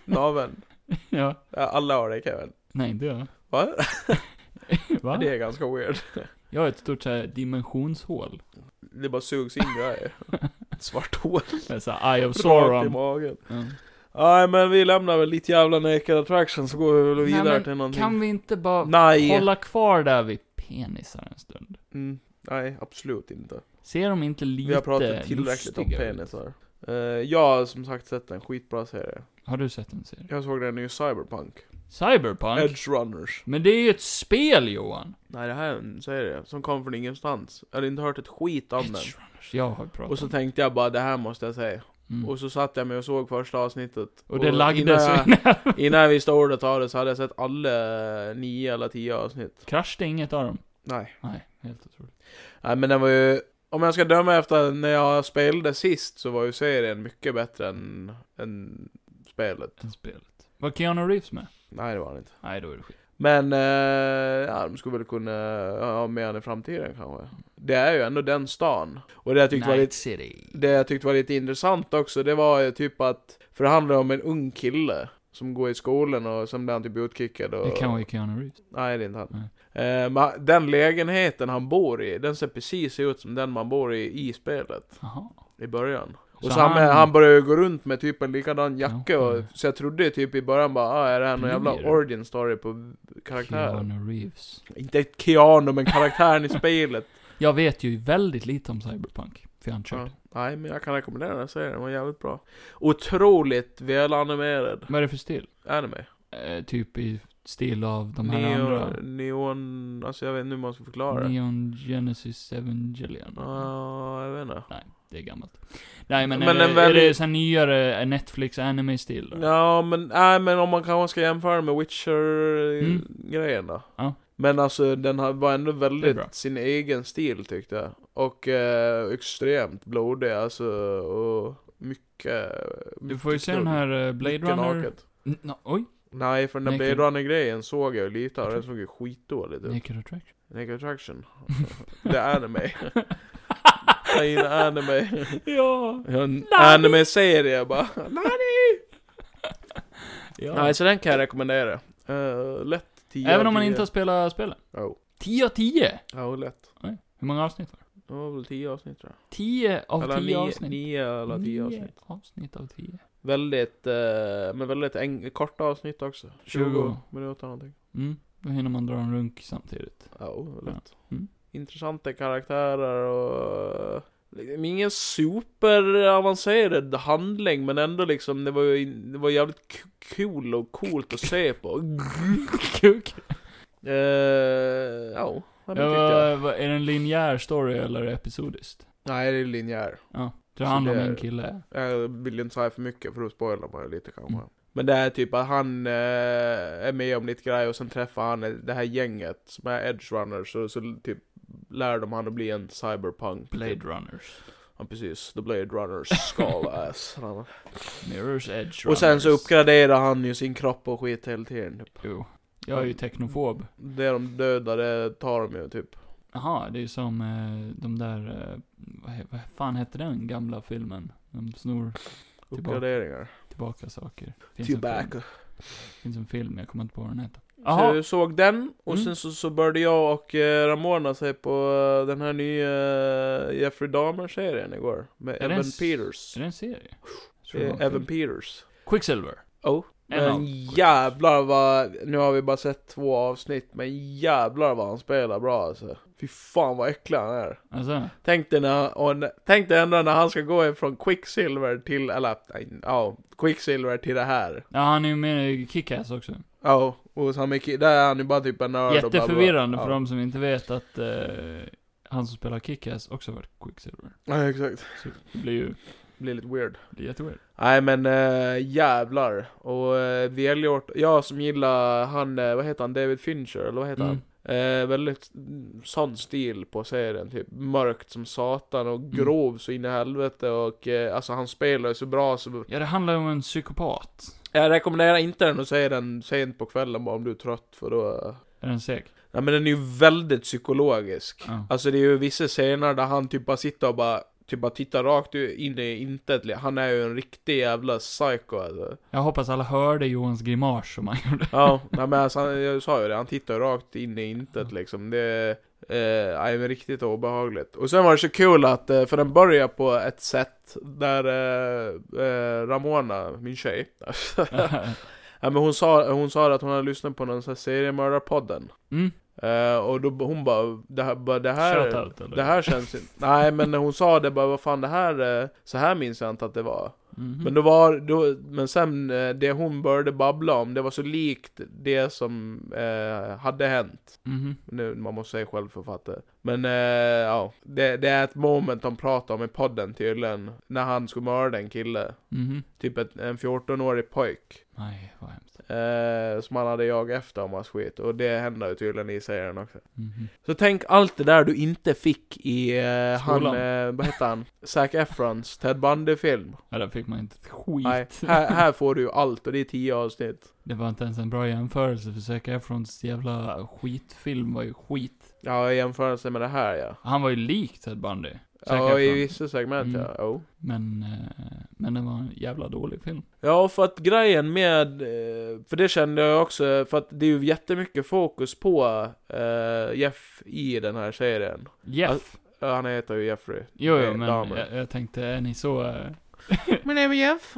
Speaker 1: naveln.
Speaker 2: Ja.
Speaker 1: Ja, Alla har det Kevin.
Speaker 2: Nej, inte jag.
Speaker 1: Va?
Speaker 2: Va?
Speaker 1: Det är ganska weird.
Speaker 2: Jag har ett stort så här dimensionshål.
Speaker 1: Det bara sugs in
Speaker 2: *laughs*
Speaker 1: grejer. Ett Svart hål.
Speaker 2: Det är så här, Eye of
Speaker 1: Rakt i
Speaker 2: Sauron.
Speaker 1: magen.
Speaker 2: Ja.
Speaker 1: Nej men vi lämnar väl lite jävla naked attraction så går vi väl
Speaker 2: Nej,
Speaker 1: vidare
Speaker 2: men
Speaker 1: till någonting.
Speaker 2: Kan vi inte bara
Speaker 1: Nej.
Speaker 2: hålla kvar där vid penisar en stund?
Speaker 1: Mm, nej, absolut inte.
Speaker 2: Ser de inte lite
Speaker 1: Vi har pratat tillräckligt om
Speaker 2: lustiga ut?
Speaker 1: penisar. Uh, jag har som sagt sett en skitbra serie.
Speaker 2: Har du sett en serie?
Speaker 1: Jag såg den i Cyberpunk.
Speaker 2: Cyberpunk?
Speaker 1: Edge Runners.
Speaker 2: Men det är ju ett spel Johan!
Speaker 1: Nej det här är en serie som kom från ingenstans. Jag hade inte hört ett skit om den.
Speaker 2: Edge Runners. Jag har pratat
Speaker 1: Och så
Speaker 2: om
Speaker 1: tänkte jag bara det här måste jag säga.
Speaker 2: det. mm.
Speaker 1: Och så satt jag mig och såg första avsnittet.
Speaker 2: Och det lagde
Speaker 1: innan
Speaker 2: så
Speaker 1: jag, *laughs* innan jag visste ordet av det så hade jag sett alla nio eller tio avsnitt.
Speaker 2: *laughs* Kraschade inget av dem?
Speaker 1: Nej.
Speaker 2: Nej, helt otroligt.
Speaker 1: Nej men den var ju... Om jag ska döma efter när jag spelade sist så var ju serien mycket bättre än, än spelet.
Speaker 2: En spelet. Var Keanu Reeves med?
Speaker 1: Nej det var den inte.
Speaker 2: Nej, då är det skit.
Speaker 1: Men eh, ja, de skulle väl kunna ha med han i framtiden kanske. Det är ju ändå den stan. Och det jag tyckte var
Speaker 2: Night
Speaker 1: lite
Speaker 2: City.
Speaker 1: det jag tyckte var lite intressant också, det var ju typ att, för det handlar om en ung kille som går i skolan och sen blir han typ utkickad och...
Speaker 2: Det kan vara ju Keanu Reeves.
Speaker 1: Nej, det är inte han. Eh, men den lägenheten han bor i, den ser precis ut som den man bor i i spelet,
Speaker 2: Jaha.
Speaker 1: i början. Och
Speaker 2: Så
Speaker 1: så, han,
Speaker 2: han-
Speaker 1: han börjar ju gå runt med typ en likadan jacka och,
Speaker 2: Okej.
Speaker 1: så jag trodde ju typ i början bara, ah, är det här någon jävla
Speaker 2: Blir det?
Speaker 1: origin story på karaktären?
Speaker 2: Keanu Reeves.
Speaker 1: Inte Keanu, men karaktären i spelet.
Speaker 2: Jag vet ju väldigt lite om Cyberpunk, för jag har inte kört.
Speaker 1: Ja. Nej, men jag kan rekommendera den här serien, den var jävligt bra. Otroligt välanimerad
Speaker 2: Vad är det för stil?
Speaker 1: anime.
Speaker 2: Eh, typ i stil av de här andra.
Speaker 1: Neon, neon, alltså jag vet inte hur man ska förklara det.
Speaker 2: Neon Genesis Evangelion.
Speaker 1: Ja, jag vet inte.
Speaker 2: Det är gammalt. Nej men,
Speaker 1: Men
Speaker 2: är, det,
Speaker 1: en väldigt-
Speaker 2: är det sån nyare eh, Netflix anime-stil då?
Speaker 1: Ja, men, nej men om man kanske ska jämföra med
Speaker 2: Mm.
Speaker 1: Witcher-grejen då.
Speaker 2: Ja.
Speaker 1: Men alltså den har- var ändå
Speaker 2: Det är bra.
Speaker 1: väldigt sin egen stil tyckte jag. Och eh, extremt blodig alltså, och mycket...
Speaker 2: Du får ju
Speaker 1: mycket
Speaker 2: se den
Speaker 1: knull.
Speaker 2: här eh, Blade
Speaker 1: Mycket
Speaker 2: Runner...
Speaker 1: naket.
Speaker 2: N- no, oj!
Speaker 1: Nej, för den där
Speaker 2: Naked.
Speaker 1: Blade Runner-grejen såg jag ju lite av,
Speaker 2: Jag
Speaker 1: den såg ju skitdåligt ut.
Speaker 2: Naked Attraction.
Speaker 1: Naked Attraction.
Speaker 2: *laughs*
Speaker 1: Det är anime. Jag gillar anime.
Speaker 2: ja!
Speaker 1: Jag har en
Speaker 2: Nani!
Speaker 1: anime-serie bara. *laughs* Nani!
Speaker 2: ja.
Speaker 1: Nej, så den kan jag rekommendera. Eh, lätt 10
Speaker 2: Även om man inte har spelat spelet.
Speaker 1: Ja, oh.
Speaker 2: 10 av 10!
Speaker 1: lätt.
Speaker 2: Oj, Hur många avsnitt var det?
Speaker 1: Det var väl 10 avsnitt tror jag.
Speaker 2: 10 av
Speaker 1: eller
Speaker 2: 10
Speaker 1: nio,
Speaker 2: avsnitt.
Speaker 1: nio eller 10
Speaker 2: Nio
Speaker 1: avsnitt.
Speaker 2: avsnitt av 10.
Speaker 1: Väldigt, eh, men väldigt eng- korta avsnitt också. 20,
Speaker 2: Tjugo.
Speaker 1: minuter någonting.
Speaker 2: Mm, då hinner man dra en runk
Speaker 1: *laughs*
Speaker 2: samtidigt.
Speaker 1: Ja, oh, lätt.
Speaker 2: Ja. Mm.
Speaker 1: Intressanta karaktärer och... liksom Ingen superavancerad handling men ändå liksom, det var ju in- det var jävligt k- kul och coolt att se
Speaker 2: *clears throat*
Speaker 1: på.
Speaker 2: Kuk.
Speaker 1: Eh, ja, det
Speaker 2: Ja,
Speaker 1: tyckte jag.
Speaker 2: vad- vad- är det en linjär story eller är det episodiskt?
Speaker 1: Nej, det är linjär.
Speaker 2: Ja. Det
Speaker 1: Så
Speaker 2: handlar om
Speaker 1: det är-
Speaker 2: en kille.
Speaker 1: Jag vill inte säga för mycket för då spoilar man ju lite kanske.
Speaker 2: Mm.
Speaker 1: Men det är typ att han eh, är med om lite grejer och sen träffar han det här gänget som är Edge Runners och så typ lär de han att bli en cyberpunk.
Speaker 2: Blade
Speaker 1: Typ.
Speaker 2: Runners.
Speaker 1: Ja precis, The Blade Runners
Speaker 2: *laughs*
Speaker 1: skull ass.
Speaker 2: Mirror's Edge Runners.
Speaker 1: och sen så uppgraderar han ju sin kropp och skit hela tiden. Typ.
Speaker 2: Jo. Jag är ju teknofob.
Speaker 1: Det de dödar det tar de ju typ.
Speaker 2: Jaha, det är som eh, de där, eh, vad, he- vad fan hette den gamla filmen? De snor
Speaker 1: Uppgraderingar.
Speaker 2: tillbaka saker. Finns en, film,
Speaker 1: Tillbaka.
Speaker 2: finns en film, jag kommer inte på vad den heter.
Speaker 1: Så
Speaker 2: Jaha,
Speaker 1: jag såg den, och
Speaker 2: Mm.
Speaker 1: sen så, så började jag och eh, Ramona se på eh, den här nya eh, Jeffrey Dahmer-serien igår. Med
Speaker 2: det en
Speaker 1: Evan
Speaker 2: s-
Speaker 1: Peters.
Speaker 2: är det en serie? Jag tror det
Speaker 1: Eh,
Speaker 2: var en
Speaker 1: Evan
Speaker 2: film.
Speaker 1: Peters.
Speaker 2: Quicksilver.
Speaker 1: Oh.
Speaker 2: En av
Speaker 1: Men
Speaker 2: Quicksilver.
Speaker 1: jävlar vad, nu har vi bara sett två avsnitt, men jävlar vad han spelar bra alltså. Fy fan vad äcklig han är.
Speaker 2: Alltså,
Speaker 1: Tänk dig, när, och, n- tänk dig ändå när han ska gå från Quicksilver till, eller nej, ja, Quicksilver till det här.
Speaker 2: ja han är ju med i Kick-Ass också.
Speaker 1: Ja, och så mycket, där är han ju bara typ en nörd och bla, bla, bla.
Speaker 2: Jätteförvirrande för
Speaker 1: Ja.
Speaker 2: de som inte vet att eh, han som spelar Kick-Ass också varit Quicksilver.
Speaker 1: Ja, exakt.
Speaker 2: Så det blir ju,
Speaker 1: Blir lite weird.
Speaker 2: det blir jätteweird.
Speaker 1: Nej men äh, jävlar. Och äh, välgjort. Jag som gillar han, eh, vad heter han, David Fincher, eller vad heter
Speaker 2: Mm.
Speaker 1: han? Eh, väldigt mm, sån stil på serien, typ mörkt som satan
Speaker 2: Mm.
Speaker 1: och grov så in i helvete och eh, alltså han spelar ju så bra så
Speaker 2: Ja, det handlar ju om en psykopat.
Speaker 1: Jag rekommenderar inte den att se den sent på kvällen bara om du är trött för då eh,
Speaker 2: Är den seg?
Speaker 1: Nej men den är ju väldigt psykologisk.
Speaker 2: Ja.
Speaker 1: Alltså det är ju vissa scener där han typ bara sitter och bara Typ bara tittar rakt in i intet. Han är ju en riktig jävla psycho alltså.
Speaker 2: Jag hoppas alla hörde Johans grimas som han
Speaker 1: *laughs*
Speaker 2: gjorde.
Speaker 1: Ja, nej, men alltså, han- jag sa ju det, han tittar ju rakt in i intet liksom. Det eh, är men riktigt obehagligt. Och sen var det så kul att, eh, för den börjar på ett sätt där eh, eh, Ramona, min tjej, ja, men hon, sa, hon sa att hon hade lyssnat på någon sån här seriemördarpodden.
Speaker 2: Mm.
Speaker 1: Eh, och då hon bara, det här, bara, det här,
Speaker 2: Shoutout, eller?
Speaker 1: det här känns inte... Nej men hon sa det bara, vad fan det här, eh, så här minns jag inte att det var.
Speaker 2: Mhm.
Speaker 1: Men då var, då, men sen eh, det hon började babbla om, det var så likt det som eh, hade hänt.
Speaker 2: Mhm.
Speaker 1: Nu, man måste säga självförfattare. Men eh, ja, det, det är ett moment de pratar om i podden tydligen. När han skulle mörda en kille.
Speaker 2: Mhm.
Speaker 1: Typ ett, en 14-årig pojk.
Speaker 2: Nej, vad hemskt.
Speaker 1: Eh, som han hade jagat efter och massa skit. Och det händer ju tydligen i serien också.
Speaker 2: Mhm.
Speaker 1: Så tänk allt det där du inte fick i eh, han,
Speaker 2: Skolan.
Speaker 1: eh, vad heter han? Zac Efrons Ted Bundy-film.
Speaker 2: Ja, där fick man inte ett skit.
Speaker 1: Nej, här, här får du ju allt och det är tio avsnitt.
Speaker 2: Det var inte ens en bra jämförelse, för Zac Efrons jävla skitfilm var ju skit.
Speaker 1: Ja, i jämförelse med det här ja.
Speaker 2: Han var ju lik Ted Bundy. Zac
Speaker 1: Ja, i
Speaker 2: Efron.
Speaker 1: vissa segment
Speaker 2: Mm.
Speaker 1: ja. Jo.
Speaker 2: Men, eh, men det var en jävla dålig film.
Speaker 1: Ja, för att grejen med, eh, för det kände jag också, för att det är ju jättemycket fokus på eh, Jeff i den här serien.
Speaker 2: Jeff.
Speaker 1: Ja, Han heter ju Jeffrey.
Speaker 2: Alltså, Jo,
Speaker 1: eh,
Speaker 2: jo, men
Speaker 1: damen.
Speaker 2: jag, jag tänkte, är ni så... eh,
Speaker 1: Men det är väl Jeff?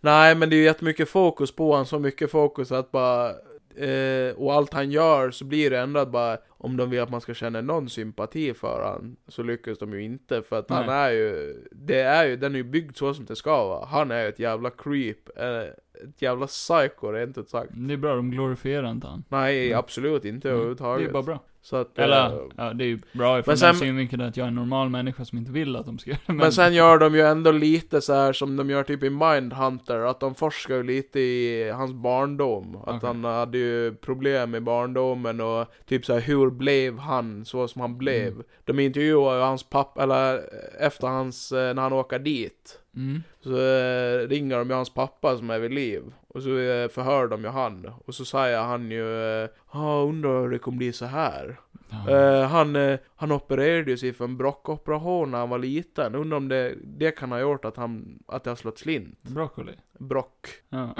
Speaker 1: Nej, men det är ju jättemycket fokus på honom, så mycket fokus att bara... Eh, och allt han gör så blir det ändå att bara... Om de vill att man ska känna någon sympati för han så lyckas de ju inte för att han
Speaker 2: Nej.
Speaker 1: är ju... Det är ju, den är ju byggd så som det ska vara. Han är ju ett jävla creep, eh, ett jävla psycho rent ut sagt.
Speaker 2: Det är bra, de glorifierar inte han.
Speaker 1: Nej,
Speaker 2: Mm.
Speaker 1: absolut inte
Speaker 2: Mm.
Speaker 1: överhuvudtaget.
Speaker 2: Det är bara bra.
Speaker 1: Så att, eh,
Speaker 2: Eller, ja, det är ju bra ifrån
Speaker 1: Men sen-
Speaker 2: den synvinkeln att jag är en normal människa som inte vill att de ska göra det.
Speaker 1: Men sen gör de ju ändå lite så här som de gör typ i Mindhunter, att de forskar ju lite i hans barndom. Att
Speaker 2: Okej.
Speaker 1: han hade ju problem i barndomen och typ så här, hur blev han så som han blev?
Speaker 2: Mm.
Speaker 1: De intervjuar ju hans pappa, eller eh, efter hans, eh, när han åker dit.
Speaker 2: Mm.
Speaker 1: Så eh, ringer de ju hans pappa som är vid liv. Och så eh, förhör de ju han. Och så säger han ju, ja ah, undrar hur det kommer bli så här.
Speaker 2: Ja.
Speaker 1: Eh, han, eh, han opererade ju sig för en brockoperation när han var liten. Undrar om det, det kan ha gjort att han, att det har slått slint.
Speaker 2: Broccoli.
Speaker 1: Brock.
Speaker 2: Ja.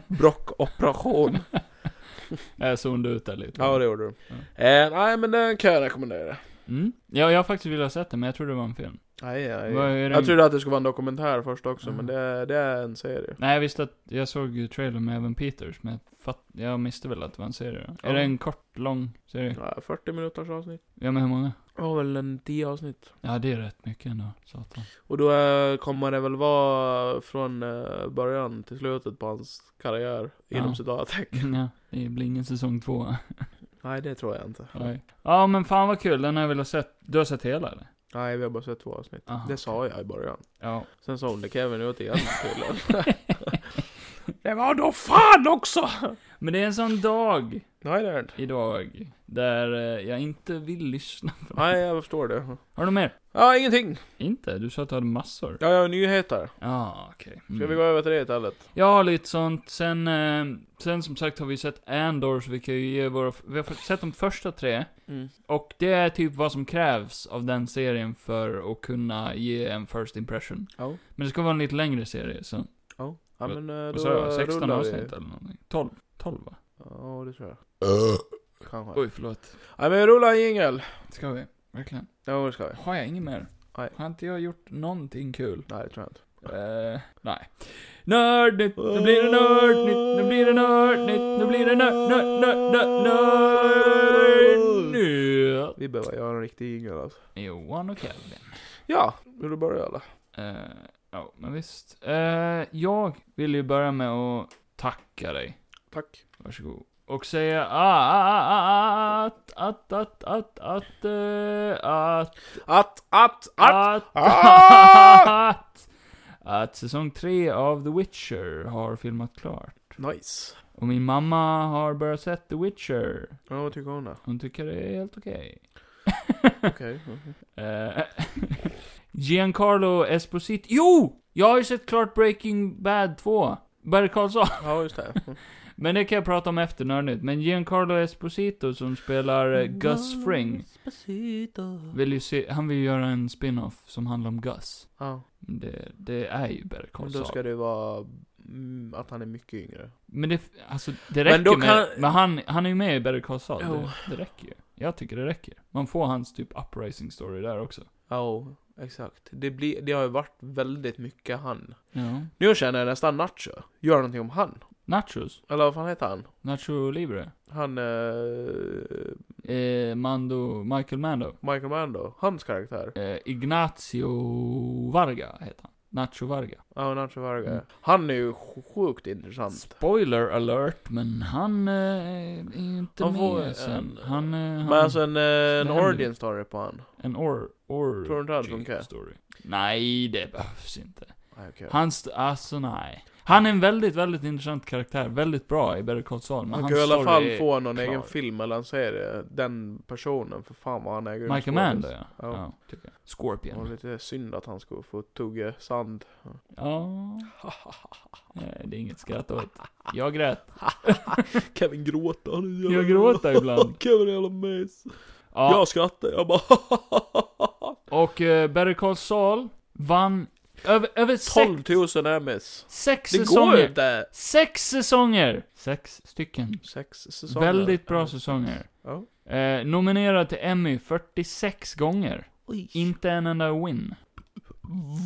Speaker 2: *laughs*
Speaker 1: Brockoperation.
Speaker 2: Jag zonade ut där lite.
Speaker 1: ja, det gjorde du. Eh, nej, men den kan jag rekommendera.
Speaker 2: Mm. Ja, jag har faktiskt velat ha sett den, men jag trodde det var en film.
Speaker 1: Aj, aj.
Speaker 2: Vad är det- Mm.
Speaker 1: Jag trodde att det skulle vara en dokumentär först också,
Speaker 2: Ja.
Speaker 1: men det, det är en serie.
Speaker 2: Nej, jag visste att, jag såg ju trailern med Evan Peters, men jag, fatt, jag misste väl att det var en serie då.
Speaker 1: Ja.
Speaker 2: Är det en kort, lång serie?
Speaker 1: Ja, 40 minuters avsnitt.
Speaker 2: Ja, men hur många?
Speaker 1: Ja, väl en 10 avsnitt.
Speaker 2: Ja, det är rätt mycket ändå. Satan.
Speaker 1: Och då eh, kommer det väl vara från eh, början till slutet på hans karriär, inom
Speaker 2: Ja.
Speaker 1: citattecken.
Speaker 2: Ja, det blir ingen säsong två.
Speaker 1: Nej, det tror jag inte.
Speaker 2: Nej. Ja, men fan vad kul. Den har jag velat sett. Du har sett hela eller?
Speaker 1: Nej, vi har bara sett två avsnitt.
Speaker 2: Aha.
Speaker 1: Det sa jag i början.
Speaker 2: Ja.
Speaker 1: Sen sa hon det Kevin ut igen
Speaker 2: *laughs*
Speaker 1: tydligen. det var då fan också!
Speaker 2: Men det är en sån dag
Speaker 1: Nej det är det inte.
Speaker 2: idag där eh, jag inte vill lyssna.
Speaker 1: Nej jag förstår det.
Speaker 2: Har du mer?
Speaker 1: Ja ingenting.
Speaker 2: Inte? Du sa att du hade massor.
Speaker 1: Ja jag har nyheter.
Speaker 2: Ja, okej.
Speaker 1: Ska
Speaker 2: Mm.
Speaker 1: vi gå över till det istället?
Speaker 2: Jag har lite sånt. Sen, eh, sen som sagt har vi sett Andor, så vi kan ju ge våra... Vi har sett de första tre.
Speaker 1: Mm.
Speaker 2: Och det är typ vad som krävs av den serien för att kunna ge en first impression.
Speaker 1: Ja.
Speaker 2: Men det ska vara en lite längre serie, så...
Speaker 1: Ja. Ja men eh, då
Speaker 2: Vad sa jag? 16
Speaker 1: rullar vi.
Speaker 2: avsnitt eller någonting? 12? 12 va?
Speaker 1: Ja det tror jag. Kanske.
Speaker 2: Oj, förlåt.
Speaker 1: Nej men vi rullar en jingel.
Speaker 2: Ska vi? Verkligen.
Speaker 1: Ja det ska vi.
Speaker 2: Har jag inget mer?
Speaker 1: Nej.
Speaker 2: Har inte jag gjort någonting kul?
Speaker 1: Nej det tror jag inte.
Speaker 2: Eh, nej. Nördnytt, nu blir det nördnytt, nu blir det nördnytt, nu blir det nörd, nörd, nörd, nörd, nördnytt.
Speaker 1: Vi behöver göra en riktig jingel alltså.
Speaker 2: Johan och Calvin.
Speaker 1: Ja. Vill du börja eller?
Speaker 2: Eh, ja, men visst. Eh, jag vill ju börja med att tacka dig.
Speaker 1: Tack.
Speaker 2: Varsågod. Och säga att, att, att, att, att, eh, att,
Speaker 1: Att, att, att!
Speaker 2: att,
Speaker 1: Ah!
Speaker 2: *laughs* att, att säsong tre av The Witcher har filmat klart.
Speaker 1: Nice.
Speaker 2: Och min mamma har börjat sett The Witcher.
Speaker 1: Ja vad tycker hon då?
Speaker 2: Hon tycker det är helt okej. *laughs*
Speaker 1: Okej. mhm.
Speaker 2: Eh, Giancarlo Esposito. Jo! Jag har ju sett klart Breaking Bad 2. Barry Karlsson.
Speaker 1: Ja just det. Mm.
Speaker 2: Men det kan jag prata om efter nördigt. Men Giancarlo Esposito som spelar eh, Gus Fring. Vill ju se, han vill ju göra en spin-off som handlar om Gus.
Speaker 1: Ja.
Speaker 2: Det, det är ju Better Call
Speaker 1: Men då
Speaker 2: Saul.
Speaker 1: ska det vara mm, att han är mycket yngre.
Speaker 2: Men det, alltså
Speaker 1: Men
Speaker 2: det räcker
Speaker 1: då
Speaker 2: med,
Speaker 1: kan-
Speaker 2: men han, han är ju med i Better Call Saul.
Speaker 1: Jo.
Speaker 2: Det, det räcker ju. Jag tycker det räcker. Man får hans typ uprising story där också.
Speaker 1: Ja, exakt. Det, blir, det har ju varit väldigt mycket han.
Speaker 2: Ja.
Speaker 1: Nu känner jag nästan Nacho. Gör någonting om han.
Speaker 2: Nachos.
Speaker 1: Eller vad fan heter han?
Speaker 2: Nacho Libre.
Speaker 1: Han, eh,
Speaker 2: Eh, Mando, Michael Mando.
Speaker 1: Michael Mando. Hans karaktär.
Speaker 2: Eh, Ignacio Varga heter han. Nacho Varga.
Speaker 1: Ja, Nacho Varga.
Speaker 2: Mm.
Speaker 1: Han är ju sjukt intressant.
Speaker 2: Spoiler alert, men han eh, är ju inte
Speaker 1: Han får en-
Speaker 2: med sen. Han, eh, han,
Speaker 1: Men alltså en, eh, en
Speaker 2: händer.
Speaker 1: origin story på han.
Speaker 2: en or,
Speaker 1: Tror du inte det hade
Speaker 2: orgy
Speaker 1: funkat?
Speaker 2: story. Nej, det behövs inte.
Speaker 1: Nej, okej.
Speaker 2: Hans, alltså nej. Han är en väldigt, väldigt intressant karaktär. Väldigt bra i Better Call Saul. Men
Speaker 1: Han
Speaker 2: hans
Speaker 1: kan i alla
Speaker 2: story
Speaker 1: fall
Speaker 2: är
Speaker 1: få någon
Speaker 2: klar.
Speaker 1: egen film eller en serie. Den personen, för fan vad han äger ut
Speaker 2: Michael
Speaker 1: skådis.
Speaker 2: Mann ja.
Speaker 1: Ja.
Speaker 2: ja tycker
Speaker 1: Det
Speaker 2: jag.
Speaker 1: var
Speaker 2: Scorpion.
Speaker 1: lite synd att han skulle få tugga sand. *laughs*
Speaker 2: Ja. Nej, det är inget
Speaker 1: *laughs*
Speaker 2: skratt åt. Jag grät.
Speaker 1: Kevin gråta, han är en jävla-
Speaker 2: Jag gråter ibland.
Speaker 1: *laughs* Kevin är jävla mes.
Speaker 2: Ja,
Speaker 1: Jag skrattar, jag bara *laughs*
Speaker 2: och eh, Better Call Saul vann över, över sex,
Speaker 1: 12 000 Emmys.
Speaker 2: sex
Speaker 1: Det går ju
Speaker 2: säsonger.
Speaker 1: inte.
Speaker 2: Sex säsonger! Sex stycken.
Speaker 1: Sex säsonger.
Speaker 2: Väldigt bra säsonger.
Speaker 1: Ja.
Speaker 2: Eh, nominerad till Emmy 46 gånger.
Speaker 1: Oj.
Speaker 2: Inte en enda win.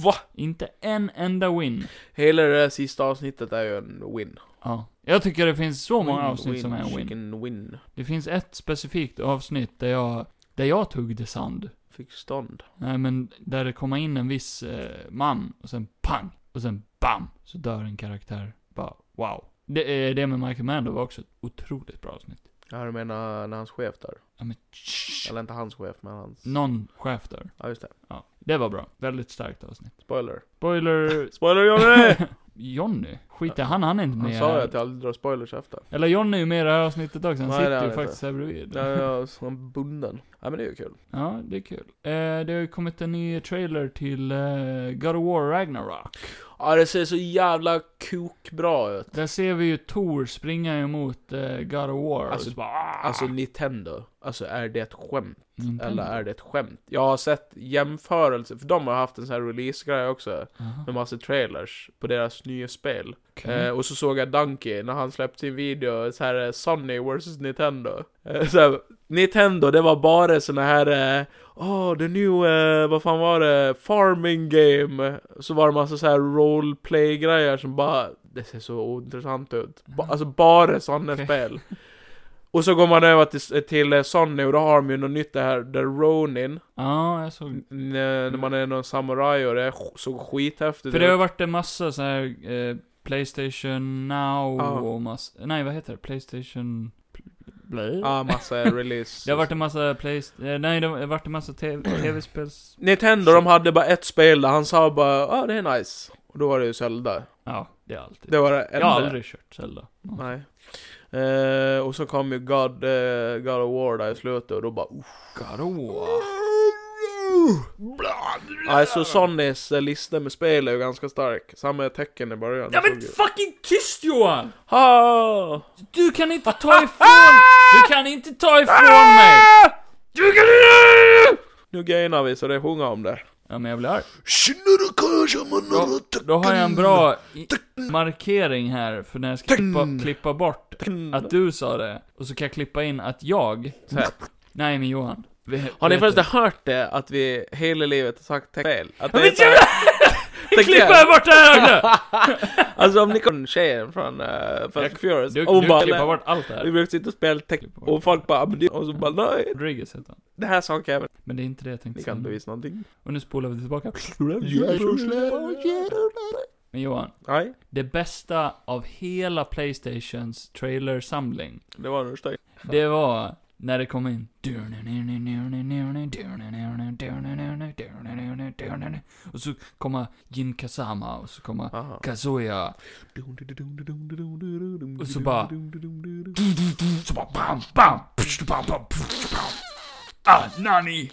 Speaker 1: Va?
Speaker 2: Inte en enda win.
Speaker 1: Hela det här sista avsnittet är ju en win.
Speaker 2: Ja. Jag tycker det finns så många
Speaker 1: Win,
Speaker 2: avsnitt som är en win.
Speaker 1: Chicken win.
Speaker 2: Det finns ett specifikt avsnitt där jag, där jag tuggde sand.
Speaker 1: Fick stånd.
Speaker 2: Nej men, där det kommer in en viss eh, man, och sen pang, och sen bam, så dör en karaktär. Bara, wow. Det, eh, det med Michael Mann, det var också ett otroligt bra avsnitt.
Speaker 1: Ja, du menar när hans chef där?
Speaker 2: Ja men, shh.
Speaker 1: Eller inte hans chef, men hans...
Speaker 2: Någon chef där.
Speaker 1: Ja, just det.
Speaker 2: Ja. Det var bra. Väldigt starkt avsnitt.
Speaker 1: Spoiler.
Speaker 2: Spoiler...
Speaker 1: Spoiler Johnny!
Speaker 2: Jonny? Skit i han, han är
Speaker 1: *laughs*
Speaker 2: inte
Speaker 1: Han
Speaker 2: med
Speaker 1: sa ju
Speaker 2: här.
Speaker 1: att jag aldrig drar spoilers efter.
Speaker 2: Eller Jonny är ju med i det här avsnittet också, han
Speaker 1: Nej, det är
Speaker 2: sitter
Speaker 1: han
Speaker 2: ju
Speaker 1: inte.
Speaker 2: faktiskt här bredvid.
Speaker 1: Jag är som bunden. Ja men det är ju kul.
Speaker 2: Ja, det är kul. Eh, det har ju kommit en ny trailer till eh, God of War Ragnarok.
Speaker 1: Ja det ser så jävla kokbra ut.
Speaker 2: Där ser vi ju Thor springa emot eh, God of War.
Speaker 1: Alltså,
Speaker 2: Och så bara, "Ah!"
Speaker 1: Alltså Nintendo. Alltså är det ett skämt? Eller
Speaker 2: Nintendo.
Speaker 1: är det ett skämt? Jag har sett jämförelser, för de har haft en sån här release-grej också.
Speaker 2: Aha,
Speaker 1: Med massa trailers på deras nya spel.
Speaker 2: okej.
Speaker 1: Eh, och så såg jag Donkey när han släppte sin video, så här eh, Sony vs Nintendo. Eh, så här, Nintendo, det var bara såna här, eh, åh, oh, the new, eh, vad fan var det, farming game. Så var det massa så här roleplay-grejer som bara, det ser så ointressant ut. Ba, alltså bara såna
Speaker 2: Mm. Okej.
Speaker 1: spel. Och så går man över till, till eh, Sony och då har de ju något nytt det här, The Ronin.
Speaker 2: Ja, jag såg.
Speaker 1: N- när man är någon samuraj och det sk- såg skithäftigt
Speaker 2: Mm. För det har varit en massa så här eh, Playstation Now
Speaker 1: Ja.
Speaker 2: och massa... Nej, vad heter det? Playstation... Play?
Speaker 1: Ja,
Speaker 2: *laughs*
Speaker 1: massa release.
Speaker 2: Det har varit en massa Playstation... Eh, nej, det har varit en
Speaker 1: *clears throat*
Speaker 2: massa te- tv-spels...
Speaker 1: Nintendo, de hade bara ett spel där han sa bara ja ah, det är nice. Och då var det ju Zelda.
Speaker 2: Ja, det är alltid.
Speaker 1: Det var det enda.
Speaker 2: jag har aldrig kört Zelda.
Speaker 1: Nej. Eh, och så kom ju God, eh, God of War där i slutet och då bara uff.
Speaker 2: God of War.
Speaker 1: Alltså Sonys eh, lista med spel är ju ganska stark. Samma tecken i början.
Speaker 2: Ja men fucking tyst Johan!
Speaker 1: ha!
Speaker 2: Du kan inte ta ifrån...
Speaker 1: *laughs*
Speaker 2: Du kan inte ta ifrån mig!
Speaker 1: Du kan Nu gainar vi så det sjunger om det.
Speaker 2: Ja men jag blir arg.
Speaker 1: Då-
Speaker 2: Då har jag en bra i- markering här för när jag ska klippa, klippa bort att du sa det. Och så kan jag klippa in att jag... Så här. Nej men Johan. vi-
Speaker 1: Har ni
Speaker 2: vet
Speaker 1: förresten
Speaker 2: du.
Speaker 1: hört det? Att vi hela livet har sagt teck- fel? Att
Speaker 2: Ja,
Speaker 1: det
Speaker 2: men
Speaker 1: är så här- Tänk
Speaker 2: Klippa
Speaker 1: igen.
Speaker 2: bort det
Speaker 1: *laughs*
Speaker 2: här nu!
Speaker 1: Alltså om ni kom tjejen från uh, Fast and Furious
Speaker 2: Du,
Speaker 1: och hon
Speaker 2: du
Speaker 1: bara
Speaker 2: klippa
Speaker 1: "Nej,
Speaker 2: bort allt det
Speaker 1: Vi
Speaker 2: här.
Speaker 1: brukar sitta och spela tech
Speaker 2: Klippa bort.
Speaker 1: och folk bara "Ah, men det-" och så bara nej,
Speaker 2: Rodriguez heter han.
Speaker 1: det här sa Kevin.
Speaker 2: Men det är inte det jag tänkte
Speaker 1: Ni kan inte
Speaker 2: säga.
Speaker 1: bevisa någonting.
Speaker 2: Och nu spolar vi tillbaka. Men Johan,
Speaker 1: Nej,
Speaker 2: det bästa av hela Playstations trailersamling,
Speaker 1: det var en ursäkt.
Speaker 2: det var när det kom in. Och så kommer Jin Kazama och så kommer
Speaker 1: Aha.
Speaker 2: Kazuya. Och så bara- Så bara bam, bam, psh, bam, bam, psh, bam. Ah, nani!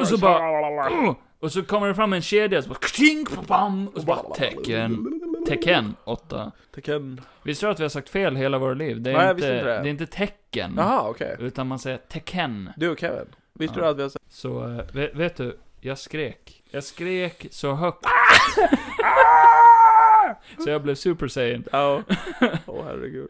Speaker 2: Och så bara... Uh, och så kommer det fram en kedja så bara... Kting, bam, och så bara tecken. Tecken 8.
Speaker 1: Tecken.
Speaker 2: Visst tror du att vi har sagt fel hela våra liv? Det är,
Speaker 1: Nej, jag
Speaker 2: inte,
Speaker 1: visste inte det.
Speaker 2: det. är inte tecken.
Speaker 1: Jaha, okej.
Speaker 2: Utan man säger tecken.
Speaker 1: Du och Kevin. Visste
Speaker 2: Ja.
Speaker 1: du att vi har sagt...
Speaker 2: Så, eh, vet, vet du? Jag skrek. Jag skrek så högt. så jag blev super saiyan.
Speaker 1: Ja. Åh herregud.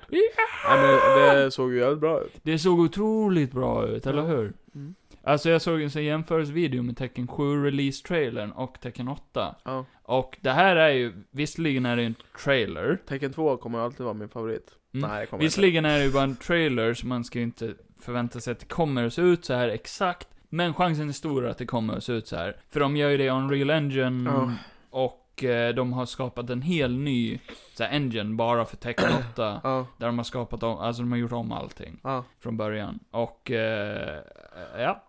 Speaker 1: Ja, men det såg ju jävligt bra ut.
Speaker 2: Det såg otroligt bra ut, eller
Speaker 1: Ja.
Speaker 2: hur?
Speaker 1: Mm.
Speaker 2: Alltså jag såg en sån jämförelsevideo med Tekken 7 release-trailern och Tekken 8.
Speaker 1: Ja.
Speaker 2: Och det här är ju, visserligen är det en trailer.
Speaker 1: Tecken 2 kommer alltid vara min favorit.
Speaker 2: Mm.
Speaker 1: Nej, det kommer inte.
Speaker 2: Visserligen är det ju bara en trailer, så man ska ju inte förvänta sig att det kommer att se ut så här exakt. Men chansen är stor att det kommer att se ut så här. För de gör ju det i Unreal Engine,
Speaker 1: Ja.
Speaker 2: och eh, de har skapat en hel ny så här, engine bara för Tekken 8.
Speaker 1: Ja.
Speaker 2: Där de har skapat om, alltså de har gjort om allting
Speaker 1: Ja.
Speaker 2: från början. Och, eh, ja,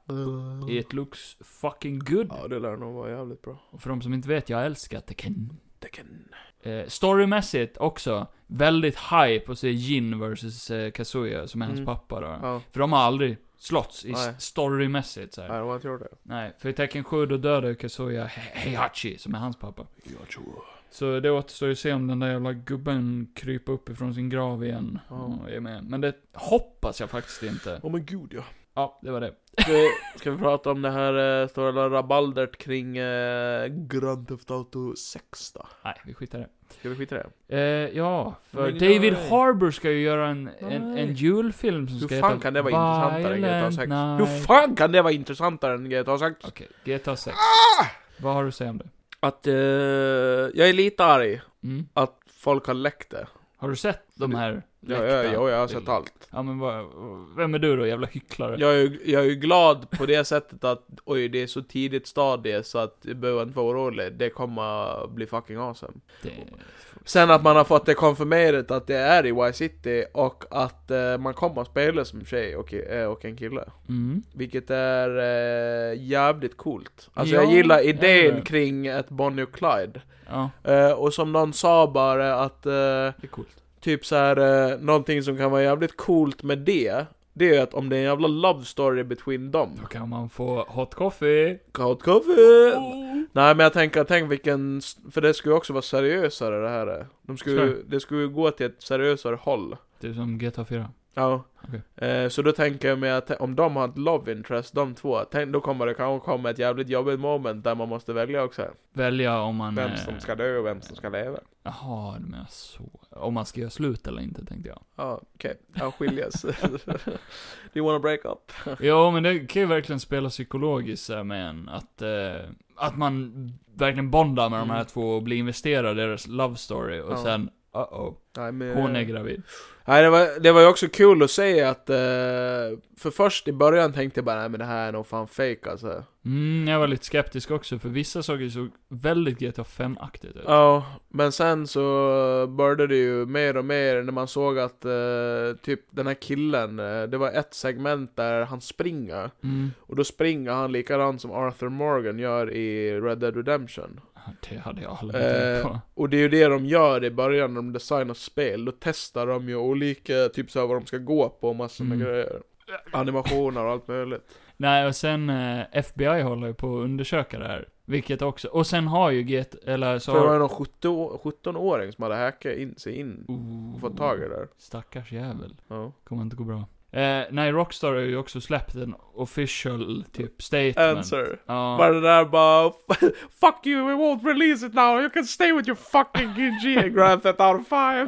Speaker 2: it looks fucking good.
Speaker 1: Ja, det lär nog vara jävligt bra.
Speaker 2: Och för de som inte vet, jag älskar Tekken.
Speaker 1: Tecken.
Speaker 2: eh, storymässigt också väldigt high på att se Jin vs eh, Kazuya, som är hans
Speaker 1: Mm.
Speaker 2: pappa då.
Speaker 1: Ja,
Speaker 2: För de har aldrig slåtts i s-
Speaker 1: Nej.
Speaker 2: storymässigt så här.
Speaker 1: nej, de har inte gjort det.
Speaker 2: Nej, för i Tekken 7 då dödar ju Kazuya He- Heihachi, som är hans pappa.
Speaker 1: Jag tror.
Speaker 2: Så det återstår ju att se om den där jävla gubben kryper upp ifrån sin grav igen.
Speaker 1: Ja.
Speaker 2: Och är med. Men det hoppas jag faktiskt inte.
Speaker 1: Åh men gud ja.
Speaker 2: Ja, det var det.
Speaker 1: Ska vi, ska vi prata om det här eh, stora rabaldert kring eh, Grand Theft Auto 6 då?
Speaker 2: Nej, vi skitar i det.
Speaker 1: Ska vi skita i det?
Speaker 2: Eh, ja, för
Speaker 1: Men
Speaker 2: David
Speaker 1: nej.
Speaker 2: Harbour ska ju göra en, en, en
Speaker 1: Nej.
Speaker 2: julfilm som
Speaker 1: Hur
Speaker 2: ska
Speaker 1: fan
Speaker 2: heta
Speaker 1: kan det vara intressantare än GTA 6?
Speaker 2: Violent
Speaker 1: Hur
Speaker 2: Night.
Speaker 1: fan kan det vara intressantare än GTA 6?
Speaker 2: Okej, GTA 6. Vad har du att säga om det?
Speaker 1: Ah! Att eh, jag är lite arg
Speaker 2: Mm.
Speaker 1: att folk har läckt det.
Speaker 2: Har du sett de här
Speaker 1: Ja,
Speaker 2: läckta
Speaker 1: ja, ja, jag har sett
Speaker 2: bilderna?
Speaker 1: allt.
Speaker 2: Ja, men vad, vem är du då, jävla hycklare?
Speaker 1: *laughs* Jag är, ju- jag är ju glad på det sättet att oj, det är så tidigt stadie så att du behöver inte vara orolig. Det kommer bli fucking awesome.
Speaker 2: Det-
Speaker 1: Sen att man har fått det konfirmerat att det är i Y-City och att eh, man kommer att spela som tjej och, eh, och en kille.
Speaker 2: Mm.
Speaker 1: Vilket är eh, jävligt coolt. Alltså
Speaker 2: Ja,
Speaker 1: jag gillar
Speaker 2: eller?
Speaker 1: idén kring ett Bonnie och Clyde.
Speaker 2: Ja,
Speaker 1: Eh, och som någon sa bara att eh,
Speaker 2: det är coolt.
Speaker 1: typ så här eh, någonting som kan vara jävligt coolt med det. Det är ju att om det är en jävla love story between dem.
Speaker 2: Då kan man få hot coffee.
Speaker 1: Hot coffee!
Speaker 2: Oh.
Speaker 1: Nej men jag tänker, tänk vilken, s- för det skulle ju också vara seriösare det här. är. De skulle,
Speaker 2: Sure.
Speaker 1: ju- det skulle ju gå till ett seriösare håll.
Speaker 2: Typ som GTA 4.
Speaker 1: Ja.
Speaker 2: Okej.
Speaker 1: Eh, så då tänker jag mig att te- om de har ett love interest, de två, tänk, då kommer det kanske komma ett jävligt jobbigt moment där man måste välja också.
Speaker 2: Välja om man...
Speaker 1: Vem
Speaker 2: eh,
Speaker 1: som ska dö och vem som ska leva.
Speaker 2: Jaha, du menar så. Om man ska göra slut eller inte, tänkte jag.
Speaker 1: Ja, okej. Ja, *laughs* skiljas. Do you wanna break up?
Speaker 2: Ja, men det kan ju verkligen spela psykologiskt så här med en. Att, eh, att man verkligen bondar med de här
Speaker 1: Mm.
Speaker 2: två och blir investerad i deras love story. Och
Speaker 1: Ja. Eh.
Speaker 2: sen, uh-oh,
Speaker 1: Nej, men,
Speaker 2: hon är gravid.
Speaker 1: Nej, det var, det var ju också kul att se att, eh, för först i början tänkte jag bara, nej men det här är nog fan fake alltså.
Speaker 2: Mm, jag var lite skeptisk också, för vissa saker såg väldigt GTA 5-aktigt ut.
Speaker 1: Ja, men sen så började det ju mer och mer när man såg att eh, typ den här killen, eh, det var ett segment där han springer.
Speaker 2: Mm.
Speaker 1: Och då springer han likadant som Arthur Morgan gör i Red Dead Redemption.
Speaker 2: Det hade jag aldrig tänkt
Speaker 1: Eh,
Speaker 2: på.
Speaker 1: Och det är ju det de gör i början när de designar spel. Då testar de ju olika, typ såhär vad de ska gå på och massor med
Speaker 2: Mm.
Speaker 1: grejer. Animationer och allt möjligt.
Speaker 2: Nej, och sen eh, FBI håller ju på att undersöka det här. Vilket också, och sen har ju GT, eller så
Speaker 1: För det var
Speaker 2: har...
Speaker 1: ju någon 17 17-åring som hade hackat in sig in
Speaker 2: Oh,
Speaker 1: och fått tag i det där.
Speaker 2: Stackars jävel.
Speaker 1: Ja.
Speaker 2: Kommer inte gå bra. Eh, nej, Rockstar har ju också släppt en official typ statement.
Speaker 1: Answer. Bara
Speaker 2: Ja.
Speaker 1: det där bara, *laughs* fuck you, we won't release it now, you can stay with your fucking GG Grand Theft Auto 5.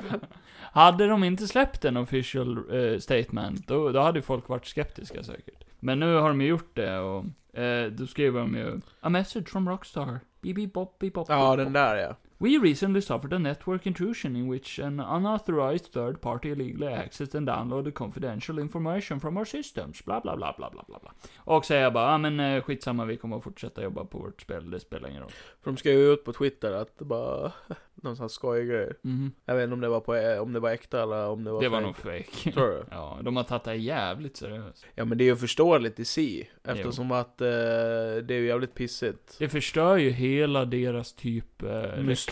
Speaker 2: Hade de inte släppt en official eh, statement, då, då hade ju folk varit skeptiska säkert. Men nu har de ju gjort det och eh, då skriver de ju A message from Rockstar. Bibi bop, bip bop,
Speaker 1: Ja,
Speaker 2: bip
Speaker 1: den
Speaker 2: bop.
Speaker 1: där ja.
Speaker 2: We recently suffered a network intrusion in which an unauthorized third party illegally accessed and downloaded confidential information from our systems. Bla, bla, bla, bla, bla, bla, bla. Och säger bara, ah, men eh, skitsamma, vi kommer att fortsätta jobba på vårt spel, det spelar ingen roll.
Speaker 1: För de skrev ju ut på Twitter att det bara, *laughs* någon sån här skojig grej.
Speaker 2: Mhm.
Speaker 1: Jag vet inte om det var, på, eh, om det var äkta eller om det var
Speaker 2: Det var
Speaker 1: fake.
Speaker 2: nog fake.
Speaker 1: Tror du?
Speaker 2: *laughs* Ja, de har tagit det jävligt seriöst.
Speaker 1: Ja men det är ju förståeligt i sig. Eftersom att eh, det är ju jävligt pissigt.
Speaker 2: Det förstör ju hela deras typ eh,
Speaker 1: Myst-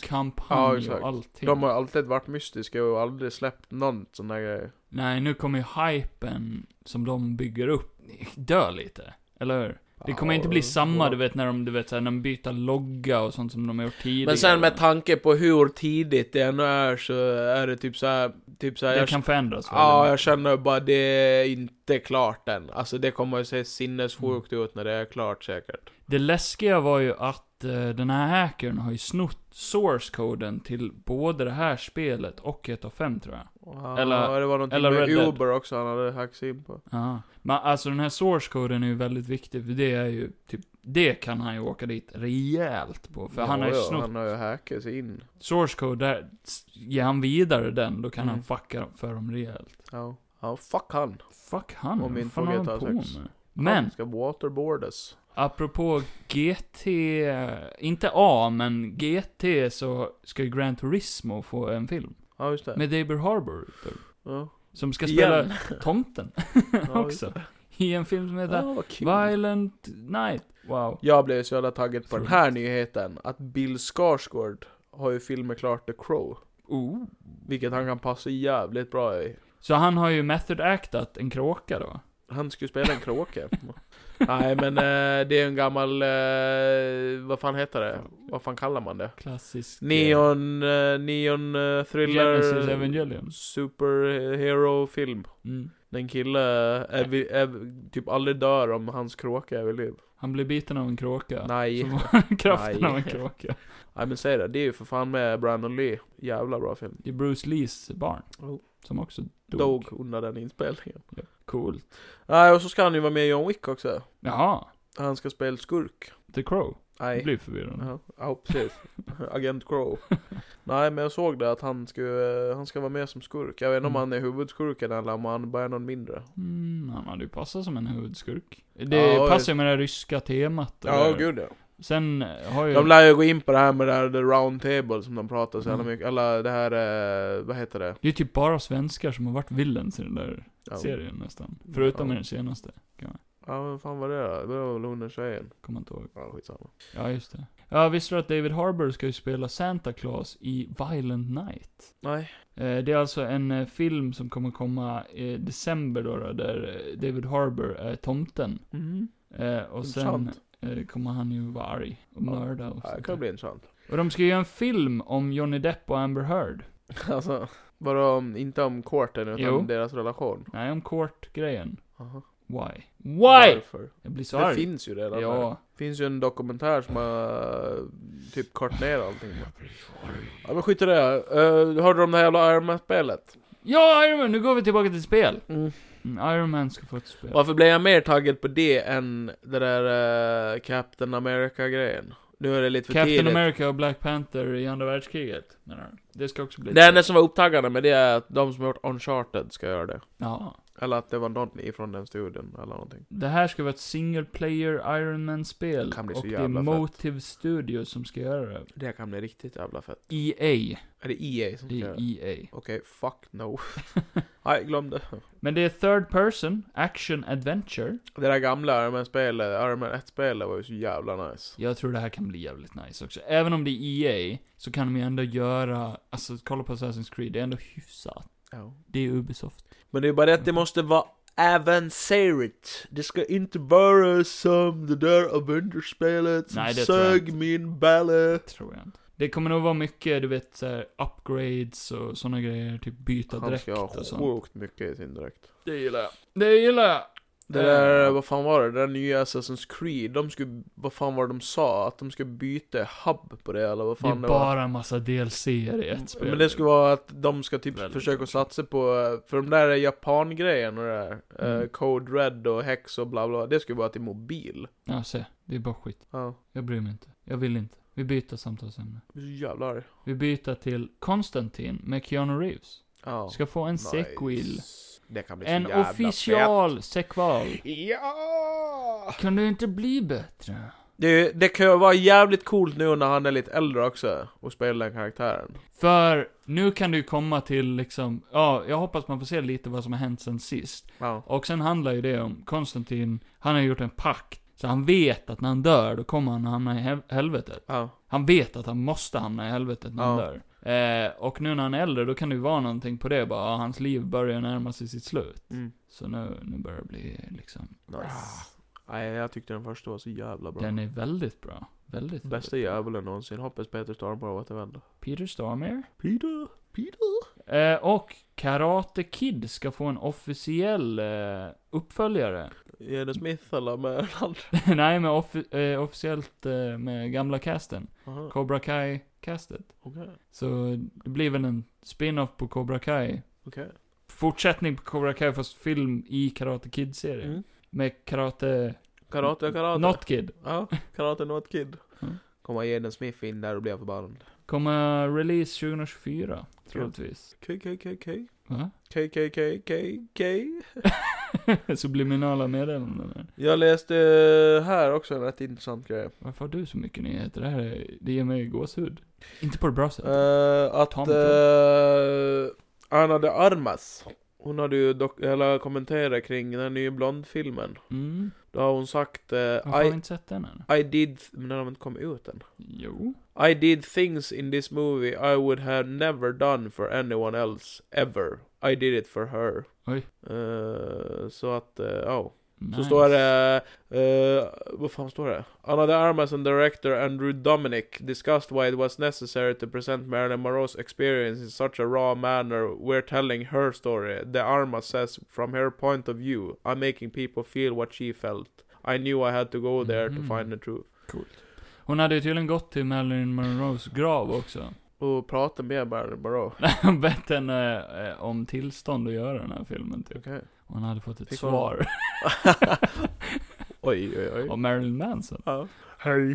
Speaker 1: Ja,
Speaker 2: reklamkampanj
Speaker 1: exakt.
Speaker 2: och allting.
Speaker 1: De har alltid varit mystiska och aldrig släppt någon sån där grej.
Speaker 2: Nej, nu kommer ju hypen som de bygger upp dö lite. Eller hur? Det kommer inte bli samma, du vet, när de, du vet, såhär, när de byter logga och sånt som de har gjort tidigare.
Speaker 1: Men sen med tanke på hur tidigt det ännu är så är det typ så här, typ så här
Speaker 2: Det
Speaker 1: jag,
Speaker 2: kan förändras
Speaker 1: Ja, jag
Speaker 2: väldigt mycket.
Speaker 1: känner bara det är inte klart än. Alltså det kommer ju se sinnessjukt ut när det är klart säkert.
Speaker 2: Det läskiga var ju att eh, den här hackern har ju snott source-koden till både det här spelet och 1.5 tror jag. Eller-
Speaker 1: ja, det var någonting
Speaker 2: eller
Speaker 1: med
Speaker 2: Red Dead.
Speaker 1: Uber också han hade hackat in på.
Speaker 2: Ja. Men alltså den här source-koden är ju väldigt viktig, för det är ju typ, det kan han ju åka dit rejält på. För han har ju
Speaker 1: Ja, ja,
Speaker 2: snott
Speaker 1: Han har ju hackat sig in.
Speaker 2: source code där, s- ger han vidare den, då kan
Speaker 1: Mm.
Speaker 2: han fucka för dem rejält.
Speaker 1: Ja. Ja, fuck han.
Speaker 2: Fuck han,
Speaker 1: Om vi
Speaker 2: vad
Speaker 1: inte
Speaker 2: fan
Speaker 1: får
Speaker 2: har han
Speaker 1: GTA
Speaker 2: på
Speaker 1: sex.
Speaker 2: med? Men,
Speaker 1: Han ska waterboardas.
Speaker 2: Apropå GT, inte A, men GT så ska ju Gran Turismo få en film.
Speaker 1: Ja, just det.
Speaker 2: Med David Harbour. typ.
Speaker 1: ja.
Speaker 2: Som ska
Speaker 1: Igen.
Speaker 2: spela tomten *laughs*
Speaker 1: Ja, just
Speaker 2: också. I en film som heter
Speaker 1: Ja, vad kul.
Speaker 2: Violent Night. Wow.
Speaker 1: Jag blev så jävla taggad på den
Speaker 2: Otroligt.
Speaker 1: här nyheten, att Bill Skarsgård har ju filmen klart The Crow.
Speaker 2: Oh.
Speaker 1: Vilket han kan passa jävligt bra i.
Speaker 2: Så han har ju method actat en kråka då.
Speaker 1: Han skulle spela en kråka. *laughs* Nej men eh, det är en gammal, eh, vad fan heter det? Vad fan kallar man det?
Speaker 2: Klassisk... eh,
Speaker 1: Neon, eh, neon eh,
Speaker 2: Genesis
Speaker 1: thriller,
Speaker 2: Evangelion.
Speaker 1: superhero film.
Speaker 2: Mm.
Speaker 1: Den kille är, vi, är, typ aldrig dör om hans kråka överlever.
Speaker 2: Han blir biten av en kråka.
Speaker 1: Nej.
Speaker 2: Som var *laughs* kraften
Speaker 1: Nej.
Speaker 2: av en kråka.
Speaker 1: Nej men säg det, det är ju för fan med Brandon Lee. Jävla bra film.
Speaker 2: Det är Bruce Lees barn.
Speaker 1: Oh.
Speaker 2: Som också dog.
Speaker 1: Dog under den inspelningen.
Speaker 2: Coolt.
Speaker 1: Nej och så ska han ju vara med i John Wick också.
Speaker 2: Jaha.
Speaker 1: Han ska spela skurk.
Speaker 2: The Crow. Det
Speaker 1: Nej.
Speaker 2: blir förvirrande.
Speaker 1: Ja, ja precis. *laughs* Agent Crow. Nej men jag såg det att han ska, han ska vara med som skurk. Jag vet inte om
Speaker 2: Mm.
Speaker 1: han är huvudskurken eller om han bara är någon mindre.
Speaker 2: Mm, han hade ju passat som en huvudskurk. Det
Speaker 1: Ja,
Speaker 2: passar ju med det här ryska temat.
Speaker 1: Ja
Speaker 2: eller-
Speaker 1: gud ja.
Speaker 2: Sen har ju...
Speaker 1: De lär ju gå in på det här med det här the round table som de pratar så jävla
Speaker 2: Mm.
Speaker 1: mycket. Eller det här, eh, vad heter det?
Speaker 2: Det är ju typ bara svenskar som har varit villains i den där
Speaker 1: Ja.
Speaker 2: serien nästan. Förutom
Speaker 1: Ja.
Speaker 2: i den senaste.
Speaker 1: Ja vad fan var det då? Det var väl hon den tjejen.
Speaker 2: Kommer inte ihåg.
Speaker 1: Ja skitsamma.
Speaker 2: Ja, just det. Ja, visste du att David Harbour ska ju spela Santa Claus i Violent Night?
Speaker 1: Nej.
Speaker 2: Eh, Det är alltså en eh, film som kommer komma i december då, då där eh, David Harbour är tomten.
Speaker 1: Mm.
Speaker 2: Eh, Och sen
Speaker 1: Intressant.
Speaker 2: eh, kommer han ju vara arg och
Speaker 1: Ja.
Speaker 2: mörda och
Speaker 1: Ja, det
Speaker 2: sånt
Speaker 1: kan
Speaker 2: där.
Speaker 1: bli intressant.
Speaker 2: Och de ska ju göra en film om Johnny Depp och Amber Heard.
Speaker 1: *laughs* Alltså, bara om, inte om courten utan
Speaker 2: Jo.
Speaker 1: om deras relation.
Speaker 2: Nej, om Court-grejen.
Speaker 1: Aha.
Speaker 2: Why? Why?
Speaker 1: Varför?
Speaker 2: Jag blir så
Speaker 1: Det
Speaker 2: arg.
Speaker 1: finns ju redan. där.
Speaker 2: Ja.
Speaker 1: finns ju en dokumentär som har eh, typ kort ner allting. Ja men skit i det. Uh, hörde du om det här jävla armspelet?
Speaker 2: Ja, Iron Man, nu går vi tillbaka till spel.
Speaker 1: Mm.
Speaker 2: Mm, Iron Man ska få ett spel.
Speaker 1: Varför blev jag mer taggad på det än det där eh, Captain America-grejen? Nu är det lite för
Speaker 2: Captain
Speaker 1: tidigt.
Speaker 2: America och Black Panther i andra världskriget. Nej, nej. Det ska också bli...
Speaker 1: Det enda som var upptaggande med det är att de som har gjort Uncharted ska göra det.
Speaker 2: Ja.
Speaker 1: Eller att det var någon ifrån den studion eller någonting.
Speaker 2: Det här ska vara ett single player Iron Man-spel.
Speaker 1: Det kan bli så
Speaker 2: Och det är
Speaker 1: jävla fett.
Speaker 2: Motive Studios som ska göra det.
Speaker 1: Det kan bli riktigt jävla fett.
Speaker 2: EA.
Speaker 1: Är E det EA som ska
Speaker 2: Det
Speaker 1: göra det?
Speaker 2: är E EA.
Speaker 1: Okej, fuck *laughs* no. Nej, glöm det.
Speaker 2: Men det är third person, action adventure.
Speaker 1: Det där gamla Armen-spelet, Armen 1-spelet var ju så jävla nice.
Speaker 2: Jag tror det här kan bli jävligt nice också. Även om det är EA, så kan de ju ändå göra, alltså kolla på Assassin's Creed, det är ändå hyfsat.
Speaker 1: Ja.
Speaker 2: Det är Ubisoft.
Speaker 1: Men det är bara det att det måste vara avancerat. Det ska inte vara som det där Avengers-spelet som
Speaker 2: Nej, det tror jag
Speaker 1: sög
Speaker 2: inte.
Speaker 1: min balle.
Speaker 2: Tror jag inte. Det kommer nog vara mycket, du vet, så här, upgrades och såna grejer, typ byta
Speaker 1: Han
Speaker 2: dräkt
Speaker 1: ska ha
Speaker 2: och sånt.
Speaker 1: sjukt mycket i sin dräkt.
Speaker 2: Det gillar jag. Det gillar jag!
Speaker 1: Det
Speaker 2: Eh,
Speaker 1: där, vad fan var det? Det där nya Assassin's Creed, de skulle, vad fan var det de sa? Att de skulle byta hub på det eller vad
Speaker 2: det är
Speaker 1: fan det, var? Mm,
Speaker 2: bara en massa DLC i ett spel.
Speaker 1: Men det skulle vara att de ska typ
Speaker 2: Väldigt
Speaker 1: försöka
Speaker 2: bra.
Speaker 1: satsa på, eh, för de där japan-grejen och det där, eh,
Speaker 2: Mm.
Speaker 1: Code Red och Hex och bla bla, det skulle vara till mobil.
Speaker 2: Ja, se. Det är bara skit.
Speaker 1: Ja,
Speaker 2: Jag bryr mig inte. Jag vill inte. Vi byter samtalsämne.
Speaker 1: jag blir så jävla arg.
Speaker 2: Vi byter till Konstantin med Keanu Reeves.
Speaker 1: Ja.
Speaker 2: Ska få en
Speaker 1: Nice.
Speaker 2: sequel.
Speaker 1: Det kan bli så
Speaker 2: En
Speaker 1: jävla
Speaker 2: official sequel.
Speaker 1: fett. Ja!
Speaker 2: Kan du inte bli bättre?
Speaker 1: Det, det kan ju vara jävligt coolt nu när han är lite äldre också, och spelar den karaktären.
Speaker 2: För nu kan du ju komma till liksom, ja, jag hoppas man får se lite vad som har hänt sen sist.
Speaker 1: Ja.
Speaker 2: Och sen handlar ju det om Konstantin, han har gjort en pakt. Så han vet att när han dör, då kommer han att hamna i hel- helvetet.
Speaker 1: Ja.
Speaker 2: Han vet att han måste hamna i helvetet när han
Speaker 1: Ja.
Speaker 2: dör. Eh, och nu när han är äldre, då kan det ju vara någonting på det bara, ja, hans liv börjar närma sig sitt slut.
Speaker 1: Mm.
Speaker 2: Så nu, nu börjar det bli liksom,
Speaker 1: Nice. Nej, jag tyckte den första var så jävla bra.
Speaker 2: den är väldigt bra. Väldigt,
Speaker 1: Bästa
Speaker 2: väldigt bra.
Speaker 1: djävulen någonsin. Hoppas Peter Stormborg återvänder.
Speaker 2: Peter Stormare.
Speaker 1: Peter! Peter!
Speaker 2: Eh, och Karate Kid ska få en officiell eh, uppföljare. *laughs*
Speaker 1: Är det Smith eller med den andra?
Speaker 2: Nej, men offi- eh, officiellt eh, med gamla casten.
Speaker 1: Aha,
Speaker 2: Cobra Kai-castet.
Speaker 1: Okej.
Speaker 2: Så det blir väl en spin-off på Cobra Kai.
Speaker 1: Okej.
Speaker 2: Fortsättning på Cobra Kai fast film i Karate Kid-serien.
Speaker 1: Mm.
Speaker 2: Med Karate...
Speaker 1: Karate, karate.
Speaker 2: Not Kid.
Speaker 1: Ja, karate not kid.
Speaker 2: Mm.
Speaker 1: Kommer Jaden Smith in där och blir förbannad.
Speaker 2: Kommer release 2024, troligtvis.
Speaker 1: KKKK.
Speaker 2: Va? *laughs*
Speaker 1: KKKKK.
Speaker 2: Subliminala meddelanden här.
Speaker 1: Jag läste eh, här också en rätt intressant grej.
Speaker 2: Varför har du så mycket nyheter? Det här är, det ger mig gåshud. Inte på det bra sättet.
Speaker 1: Eh, att
Speaker 2: Tom
Speaker 1: uh, Anna de Armas Hon hade ju dok- eller kommenterat kring den nya Blond-filmen.
Speaker 2: Mm.
Speaker 1: Då har hon sagt
Speaker 2: Varför
Speaker 1: eh,
Speaker 2: har vi
Speaker 1: I,
Speaker 2: inte sett den än?
Speaker 1: I did... Men den har inte kommit ut än.
Speaker 2: Jo.
Speaker 1: I did things in this movie I would have never done for anyone else, ever. I did it for her.
Speaker 2: Oj.
Speaker 1: Eh, så att, eh, ja.
Speaker 2: Nice.
Speaker 1: Så står det... eh, vad fan står det? Anna de Armas and director Andrew Dominic discussed why it was necessary to present Marilyn Monroe's experience in such a raw manner. We're telling her story. De Armas says, from her point of view, I'm making people feel what she felt. I knew I had to go there
Speaker 2: Mhm.
Speaker 1: to find the truth.
Speaker 2: Hon hade ju tydligen gått till Marilyn Monroes grav också. *laughs*
Speaker 1: Och prata med Marilyn Monroe.
Speaker 2: Och bett henne eh, om tillstånd att göra den här filmen typ.
Speaker 1: Okej.
Speaker 2: Och hon hade fått ett
Speaker 1: Fick hon-
Speaker 2: svar
Speaker 1: Oj, oj, oj.
Speaker 2: av Marilyn Manson.
Speaker 1: Ja. Hej.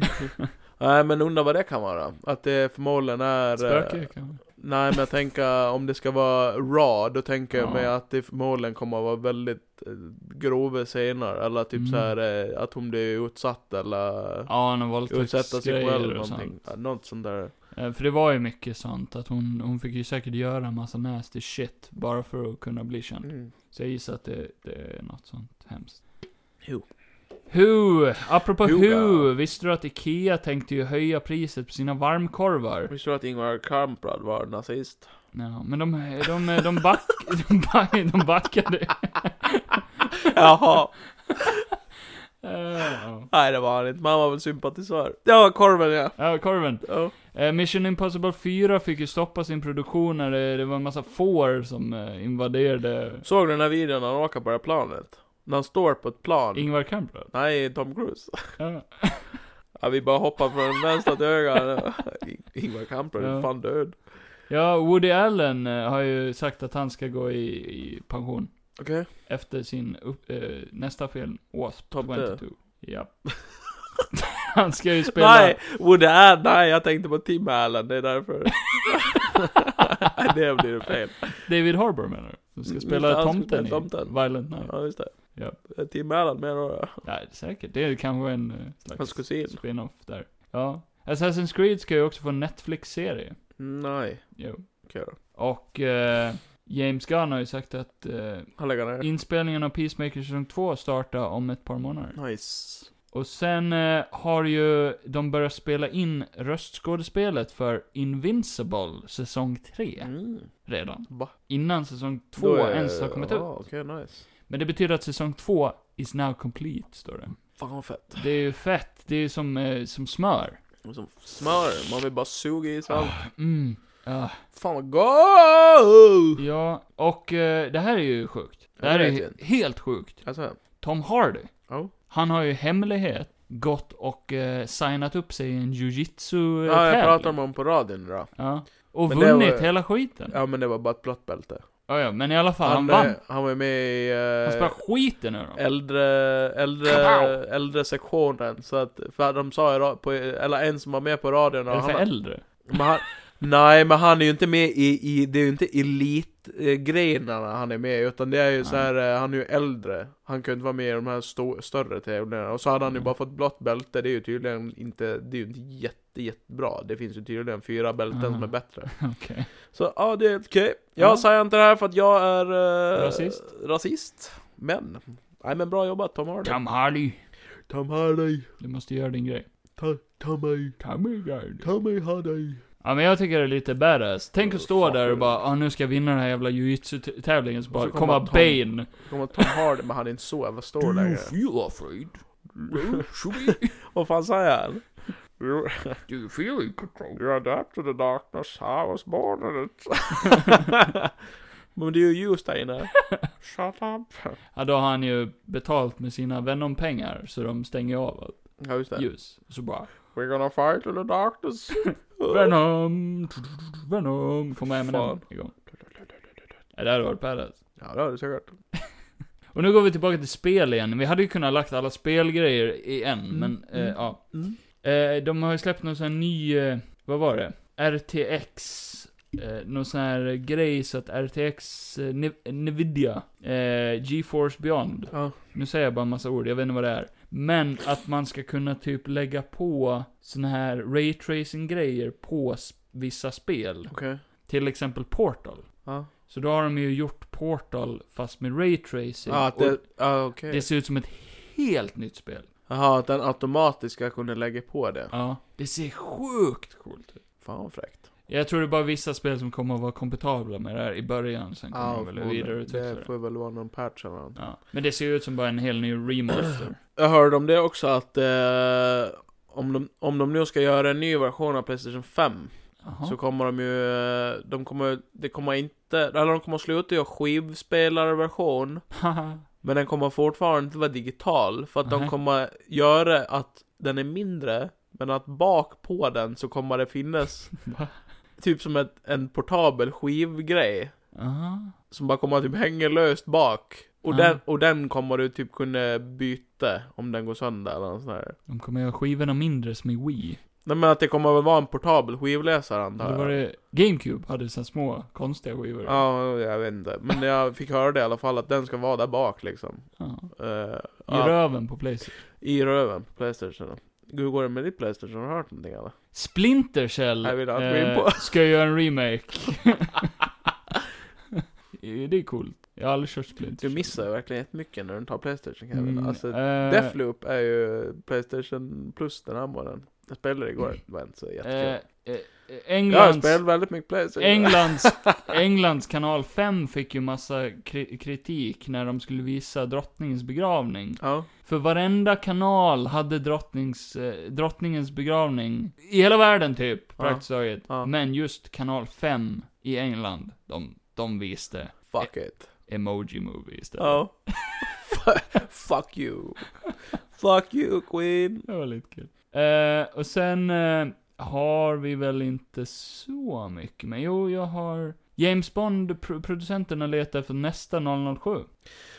Speaker 1: Nej men undrar vad det kan vara. Att det förmodligen är... eh,
Speaker 2: Spöke kanske?
Speaker 1: Nej men jag tänker om det ska vara raw, då tänker jag
Speaker 2: Ja.
Speaker 1: mig att det förmodligen kommer att vara väldigt eh, grova scener. Eller typ
Speaker 2: Mm.
Speaker 1: så här eh, att hon blir utsatt eller
Speaker 2: Ja, någon
Speaker 1: utsätta sig själv
Speaker 2: våldtäktsgrejer och
Speaker 1: någonting.
Speaker 2: sånt.
Speaker 1: Ja, Något sånt där.
Speaker 2: Eh, För det var ju mycket sånt, att hon, hon fick ju säkert göra en massa nasty shit bara för att kunna bli känd.
Speaker 1: Mm.
Speaker 2: Så jag gissar att det, det är något sånt hemskt.
Speaker 1: Who?
Speaker 2: Who! Apropå
Speaker 1: Who,
Speaker 2: Who, visste du att IKEA tänkte ju höja priset på sina varmkorvar?
Speaker 1: Visste du att Ingvar Kamprad var
Speaker 2: *laughs*
Speaker 1: nazist?
Speaker 2: Ja, men de, de, de,
Speaker 1: *laughs*
Speaker 2: back, de, back, de backade.
Speaker 1: Jaha,
Speaker 2: Eh, ja.
Speaker 1: nej det var han inte, men han var väl sympatisör. Det var korven ja.
Speaker 2: Ja, korven.
Speaker 1: Ja.
Speaker 2: Eh, Mission Impossible 4 fick ju stoppa sin produktion när det, det var en massa får som eh, invaderade
Speaker 1: Såg du den här videon när han åker på det här planet? När han står på ett plan?
Speaker 2: Ingvar Kamprad.
Speaker 1: Nej, Tom Cruise.
Speaker 2: Ja.
Speaker 1: Ja, vi bara hoppar från vänster till
Speaker 2: *laughs*
Speaker 1: höger. Ingvar Kamprad är
Speaker 2: Ja.
Speaker 1: fan död.
Speaker 2: ja, Woody Allen eh, har ju sagt att han ska gå i, i pension.
Speaker 1: Okej.
Speaker 2: Efter sin upp, eh, nästa film, Wasp
Speaker 1: Top
Speaker 2: 22. Ja. *laughs* han ska
Speaker 1: *laughs*
Speaker 2: ju spela... *laughs*
Speaker 1: Nej, Woody Allen, nej jag tänkte på Tim Allen, det är därför. Nej, det blir
Speaker 2: *laughs*
Speaker 1: fel.
Speaker 2: David Harbour menar du? Som ska
Speaker 1: Mm,
Speaker 2: spela
Speaker 1: han ska
Speaker 2: tomten,
Speaker 1: spela tomten.
Speaker 2: i Violent Night.
Speaker 1: Ja, just det.
Speaker 2: Ja.
Speaker 1: Eh, Tim Allen med då,
Speaker 2: Nej, säkert. Det är kanske en eh,
Speaker 1: hans
Speaker 2: slags
Speaker 1: kusin.
Speaker 2: spin-off där. Ja. Assassin's Creed ska ju också få en Netflix-serie.
Speaker 1: Nej,
Speaker 2: Jo.
Speaker 1: okej då.
Speaker 2: Och eh, James Gunn har ju sagt att eh,
Speaker 1: Han lägger ner.
Speaker 2: inspelningen av Peacemaker säsong 2 startar om ett par månader.
Speaker 1: Nice.
Speaker 2: Och sen eh, har ju de börjat spela in röstskådespelet för Invincible säsong 3
Speaker 1: Mm.
Speaker 2: redan.
Speaker 1: Va?
Speaker 2: Innan säsong 2
Speaker 1: Då är-
Speaker 2: ens har kommit ut.
Speaker 1: Ja, okej, nice.
Speaker 2: Men det betyder att säsong 2 is now complete, står det.
Speaker 1: Fan vad fett.
Speaker 2: Det är ju fett, det är ju som, eh, som smör.
Speaker 1: Som smör, man vill bara suga i sig allt.
Speaker 2: Mm. Ah.
Speaker 1: Fan vad gott!
Speaker 2: Ja, och eh, det här är ju sjukt. Det här
Speaker 1: Ja,
Speaker 2: är
Speaker 1: det vet
Speaker 2: ju
Speaker 1: jag.
Speaker 2: helt sjukt.
Speaker 1: Alltså,
Speaker 2: Tom Hardy,
Speaker 1: ja.
Speaker 2: han har ju i hemlighet gått och eh, signat upp sig i en jujitsu
Speaker 1: Ja, jag pratade om honom på radion idag.
Speaker 2: Ja. Och
Speaker 1: Men det
Speaker 2: vunnit
Speaker 1: var-
Speaker 2: hela skiten. Ja.
Speaker 1: Ja men det var bara ett blått bälte.
Speaker 2: Ja, men i alla fall, han,
Speaker 1: eh,
Speaker 2: vann.
Speaker 1: Han var ju med i...
Speaker 2: Han
Speaker 1: eh,
Speaker 2: spelar skiten nu då.
Speaker 1: äldre, äldre,
Speaker 2: Kapow!
Speaker 1: äldre sektionen. Så att, för de sa ju ra- på, eller en som var med på radion. och
Speaker 2: Eller för
Speaker 1: han,
Speaker 2: äldre.
Speaker 1: men han, nej, men han är ju inte med i, i det är ju inte elitgrenarna han är med i, utan det är ju så här, eh, han är ju äldre. Han kunde inte vara med i de här sto, större tävlingarna. Och så hade han ju
Speaker 2: Mm.
Speaker 1: bara fått blått bälte, det är ju tydligen inte, det är ju inte jätte, jättebra. Det finns ju tydligen fyra bälten
Speaker 2: Aha.
Speaker 1: som är bättre.
Speaker 2: Okej.
Speaker 1: Så ja, det är helt okej. Jag
Speaker 2: Ja.
Speaker 1: säger inte det här för att jag är... Eh,
Speaker 2: Rasist.
Speaker 1: Rasist. Men. Nej men bra jobbat Tom Hardy.
Speaker 2: Tom Hardy.
Speaker 1: Ta med dig,
Speaker 2: Du måste göra din grej.
Speaker 1: ta, ta mig,
Speaker 2: Tom Hardy.
Speaker 1: ta mig ha dig.
Speaker 2: Ja men jag tycker det är lite badass. Tänk att stå
Speaker 1: Fan,
Speaker 2: där och
Speaker 1: det-
Speaker 2: bara ah, nu ska jag vinna den här jävla jujutsu-tävlingen, så
Speaker 1: Och så
Speaker 2: bara
Speaker 1: kommer
Speaker 2: komma
Speaker 1: Tom-
Speaker 2: Bane.
Speaker 1: Kommer Tom Hardy, men han är inte så jävla stor längre.
Speaker 2: feel afraid? Should we?
Speaker 1: Vad fan säger han? You,
Speaker 2: Do you feel in control?
Speaker 1: you adapt to the darkness, I was born in it. *laughs* men det är ju ljus där inne. Shut up.
Speaker 2: Ja då har han ju betalt med sina Venom-pengar, så de stänger av allt
Speaker 1: Ja just det.
Speaker 2: ljus. Så bara
Speaker 1: We're gonna fight in the *laughs* darkness.
Speaker 2: Venom, Venom, kommer Eminem
Speaker 1: Fan.
Speaker 2: igång. Ja, det hade varit badass.
Speaker 1: ja det har du säkert.
Speaker 2: Och nu går vi tillbaka till spel igen. Vi hade ju kunnat lagt alla spelgrejer i en, men eh,
Speaker 1: mm.
Speaker 2: ja. Eh, de har ju släppt någon sån här ny, eh, vad var det? RTX. Eh, någon sån här grej så att RTX, eh, Ni- Nvidia, eh, GeForce Beyond.
Speaker 1: Ja.
Speaker 2: Nu säger jag bara en massa ord, jag vet inte vad det är. Men att man ska kunna typ lägga på såna här raytracing-grejer på s- vissa spel.
Speaker 1: Okej.
Speaker 2: Till exempel Portal.
Speaker 1: Ja,
Speaker 2: Så då har de ju gjort Portal fast med Ray Tracing.
Speaker 1: ja att
Speaker 2: Och
Speaker 1: det... Ja, okej.
Speaker 2: det ser ut som ett helt nytt spel.
Speaker 1: Jaha, att den automatiskt ska kunna lägga på det.
Speaker 2: Ja. Det ser sjukt coolt ut.
Speaker 1: Fan vad fräckt.
Speaker 2: Jag tror det är bara vissa spel som kommer att vara kompatibla med det här i början, sen kommer de väl vidareutveckla
Speaker 1: det
Speaker 2: det.
Speaker 1: får väl vara någon patch eller något.
Speaker 2: Ja. Men det ser ju ut som bara en hel
Speaker 1: *clears throat*
Speaker 2: ny remaster.
Speaker 1: Jag hörde om det också att eh, om, de, om de nu ska göra en ny version av Playstation 5
Speaker 2: Jaha. *laughs*
Speaker 1: så kommer de ju, eh, de kommer, det kommer inte, eller de kommer sluta göra skivspelarversion
Speaker 2: Haha.
Speaker 1: men den kommer fortfarande inte vara digital för att de
Speaker 2: Nej.
Speaker 1: kommer göra att den är mindre men att bak på den så kommer det finnas
Speaker 2: Va?
Speaker 1: typ som ett, en portabel skivgrej
Speaker 2: Aha.
Speaker 1: som bara kommer att typ hänga löst bak och,
Speaker 2: Ja.
Speaker 1: den, och den kommer du typ kunna byta om den går sönder eller något sånt där.
Speaker 2: De kommer göra skivorna mindre som i Wii.
Speaker 1: Nej men att det kommer väl vara en portabel skivläsare antar
Speaker 2: Då
Speaker 1: jag.
Speaker 2: var det... GameCube hade så här små, konstiga skivor.
Speaker 1: Ja, jag vet inte. Men jag fick höra det i alla fall att den ska vara där bak liksom.
Speaker 2: Ja.
Speaker 1: Eh,
Speaker 2: I
Speaker 1: ja,
Speaker 2: röven på Playstation.
Speaker 1: I röven på Playstation. Hur går det med ditt Playstation? Har du hört någonting eller?
Speaker 2: Splinter Cell eh,
Speaker 1: Jag vill inte gå in på. *laughs*
Speaker 2: ska jag göra en remake. *laughs* det är coolt. Jag har aldrig kört Splinter
Speaker 1: Du
Speaker 2: Cell.
Speaker 1: missar ju verkligen jättemycket när du tar Playstation Kevin.
Speaker 2: Mm,
Speaker 1: Alltså,
Speaker 2: eh,
Speaker 1: Deathloop är ju Playstation plus den här månaden. Jag spelade det igår, det var inte så jättekul.
Speaker 2: Mm. eh, eh,
Speaker 1: jag
Speaker 2: Englands,
Speaker 1: spelade väldigt mycket Playstation.
Speaker 2: Englands,
Speaker 1: *laughs*
Speaker 2: Englands kanal 5 fick ju massa kri- kritik när de skulle visa drottningens begravning.
Speaker 1: Ja.
Speaker 2: För varenda kanal hade drottnings, eh, drottningens begravning. I hela världen typ,
Speaker 1: Ja.
Speaker 2: praktiskt taget.
Speaker 1: Ja.
Speaker 2: Men just kanal 5 i England, de, de typ. visste
Speaker 1: Fuck it.
Speaker 2: emoji movie istället.
Speaker 1: Ja. Fu- *laughs* Fuck you. Fuck you Queen.
Speaker 2: Det var lite kul. Eh, och sen eh, har vi väl inte så mycket, men jo, jag har... James Bond, pro- producenterna letar efter nästa 007.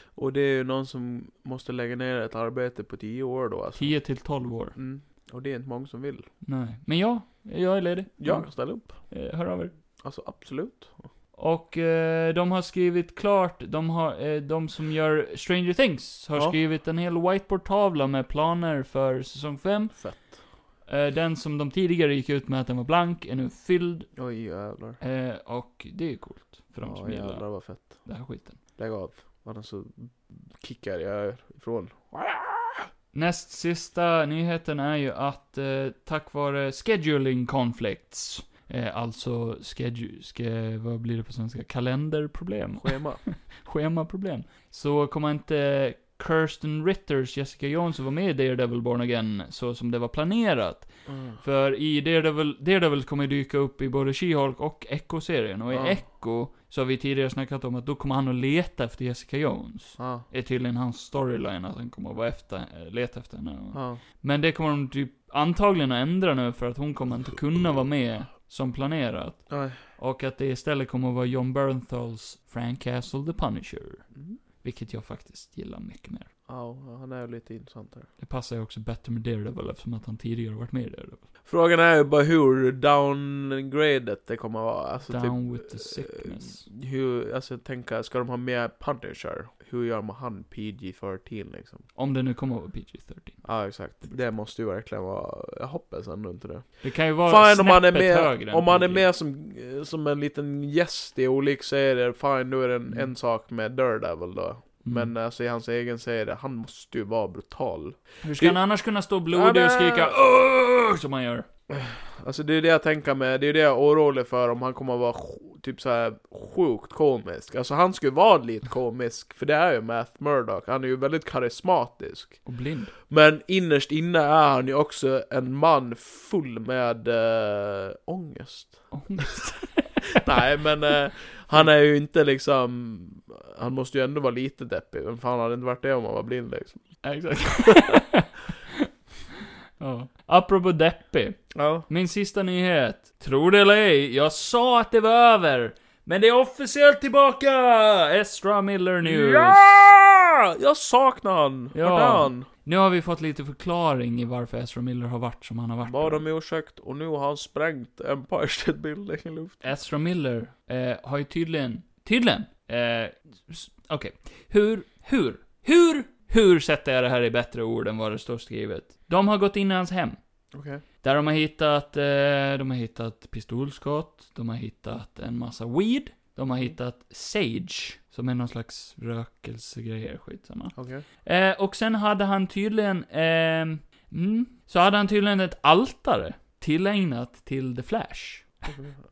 Speaker 1: Och det är ju någon som måste lägga ner ett arbete på 10 år då alltså.
Speaker 2: 10 till 12 år.
Speaker 1: Mm. Och det är inte många som
Speaker 2: Mm.
Speaker 1: vill.
Speaker 2: Nej. Men ja, jag är ledig.
Speaker 1: Jag kan ställa upp.
Speaker 2: Eh, hör av er.
Speaker 1: Alltså absolut.
Speaker 2: Och eh, de har skrivit klart, de, har, eh, de som gör Stranger Things har
Speaker 1: Ja.
Speaker 2: skrivit en hel whiteboard-tavla med planer för säsong 5.
Speaker 1: Fett.
Speaker 2: Eh, den som de tidigare gick ut med att den var blank är nu fylld.
Speaker 1: Oj jävlar.
Speaker 2: Eh, och det är coolt, för de som
Speaker 1: Ja
Speaker 2: gillar
Speaker 1: jävlar vad fett.
Speaker 2: den här skiten.
Speaker 1: Lägg av. Annars så kickar jag er ifrån.
Speaker 2: Näst sista nyheten är ju att eh, tack vare scheduling conflicts, eh, alltså schedule, ske, vad blir det på svenska? Kalenderproblem? *laughs*
Speaker 1: Schema.
Speaker 2: Schemaproblem. Så kommer inte Kirsten Ritters, Jessica Jones, att vara med i Daredevil Born Again, så som det var planerat.
Speaker 1: Mm.
Speaker 2: För i Daredevil, Daredevil kommer ju dyka upp i både She-Hulk och Echo-serien, och i
Speaker 1: Ja.
Speaker 2: Echo så har vi tidigare snackat om att då kommer han att leta efter Jessica Jones.
Speaker 1: Ja.
Speaker 2: är tydligen hans storyline att han kommer att vara efter, eh, leta efter henne.
Speaker 1: Ja.
Speaker 2: Men det kommer de typ antagligen att ändra nu för att hon kommer inte kunna vara med som planerat.
Speaker 1: Nej.
Speaker 2: Och att det istället kommer att vara John Bernthals Frank Castle the Punisher.
Speaker 1: Mm.
Speaker 2: Vilket jag faktiskt gillar mycket mer.
Speaker 1: Ja, han är ju lite intressant där.
Speaker 2: Det passar ju också bättre med Daredevil eftersom att han tidigare varit med i Daredevil.
Speaker 1: Frågan är ju bara hur downgradet det kommer att vara. Alltså typ,
Speaker 2: Down with the sickness.
Speaker 1: eh, hur, alltså jag tänker, ska de ha med Punisher? Hur gör man han PG-13 liksom?
Speaker 2: Om det nu kommer att vara PG-13.
Speaker 1: Ja, exakt. Det måste ju verkligen vara, jag hoppas ändå inte det.
Speaker 2: Det kan ju vara
Speaker 1: Fine om han är
Speaker 2: snäppet högre
Speaker 1: med,
Speaker 2: än
Speaker 1: om han är
Speaker 2: PG.
Speaker 1: med som, eh, som en liten gäst i olika serier, fine då är det en,
Speaker 2: Mm.
Speaker 1: en sak med Daredevil då.
Speaker 2: Mm.
Speaker 1: Men alltså i hans egen serie, han måste ju vara brutal.
Speaker 2: Hur ska
Speaker 1: det-
Speaker 2: han annars kunna stå blodig och skrika "Åh!" som han gör?
Speaker 1: Alltså det är det jag tänker med, det är det jag är orolig för om han kommer att vara sj- typ så här sjukt komisk. Alltså han skulle vara lite komisk, för det är ju Math Murdock, han är ju väldigt karismatisk.
Speaker 2: Och blind.
Speaker 1: Men innerst inne är han ju också en man full med äh,
Speaker 2: *laughs*
Speaker 1: ångest.
Speaker 2: Ångest.
Speaker 1: Nej men eh, han är ju inte liksom, han måste ju ändå vara lite deppig, vem fan hade inte varit det om han var blind liksom?
Speaker 2: Ja, Exakt. *laughs* ja. Apropå deppig.
Speaker 1: Ja.
Speaker 2: Min sista nyhet. Tror det eller ej, jag sa att det var över. Men det är officiellt tillbaka! Ezra Miller News.
Speaker 1: Ja! Jag saknar han!
Speaker 2: Ja.
Speaker 1: Vart är han?
Speaker 2: Nu har vi fått lite förklaring i varför Ezra Miller har varit som han har varit.
Speaker 1: Bad om ursäkt och nu har han sprängt Empire State Building i luften.
Speaker 2: Ezra Miller eh, har ju tydligen, tydligen, eh, s- okej. Hur, hur, hur, hur sätter jag det här i bättre ord än vad det står skrivet? De har gått in i hans hem.
Speaker 1: Okej.
Speaker 2: Där de har hittat, eh, de har hittat pistolskott, de har hittat en massa weed, De har hittat Sage, som är någon slags rökelsegrejer, skitsamma.
Speaker 1: Okej.
Speaker 2: Eh, och sen hade han tydligen, ehm, mm, så hade han tydligen ett altare tillägnat till The Flash.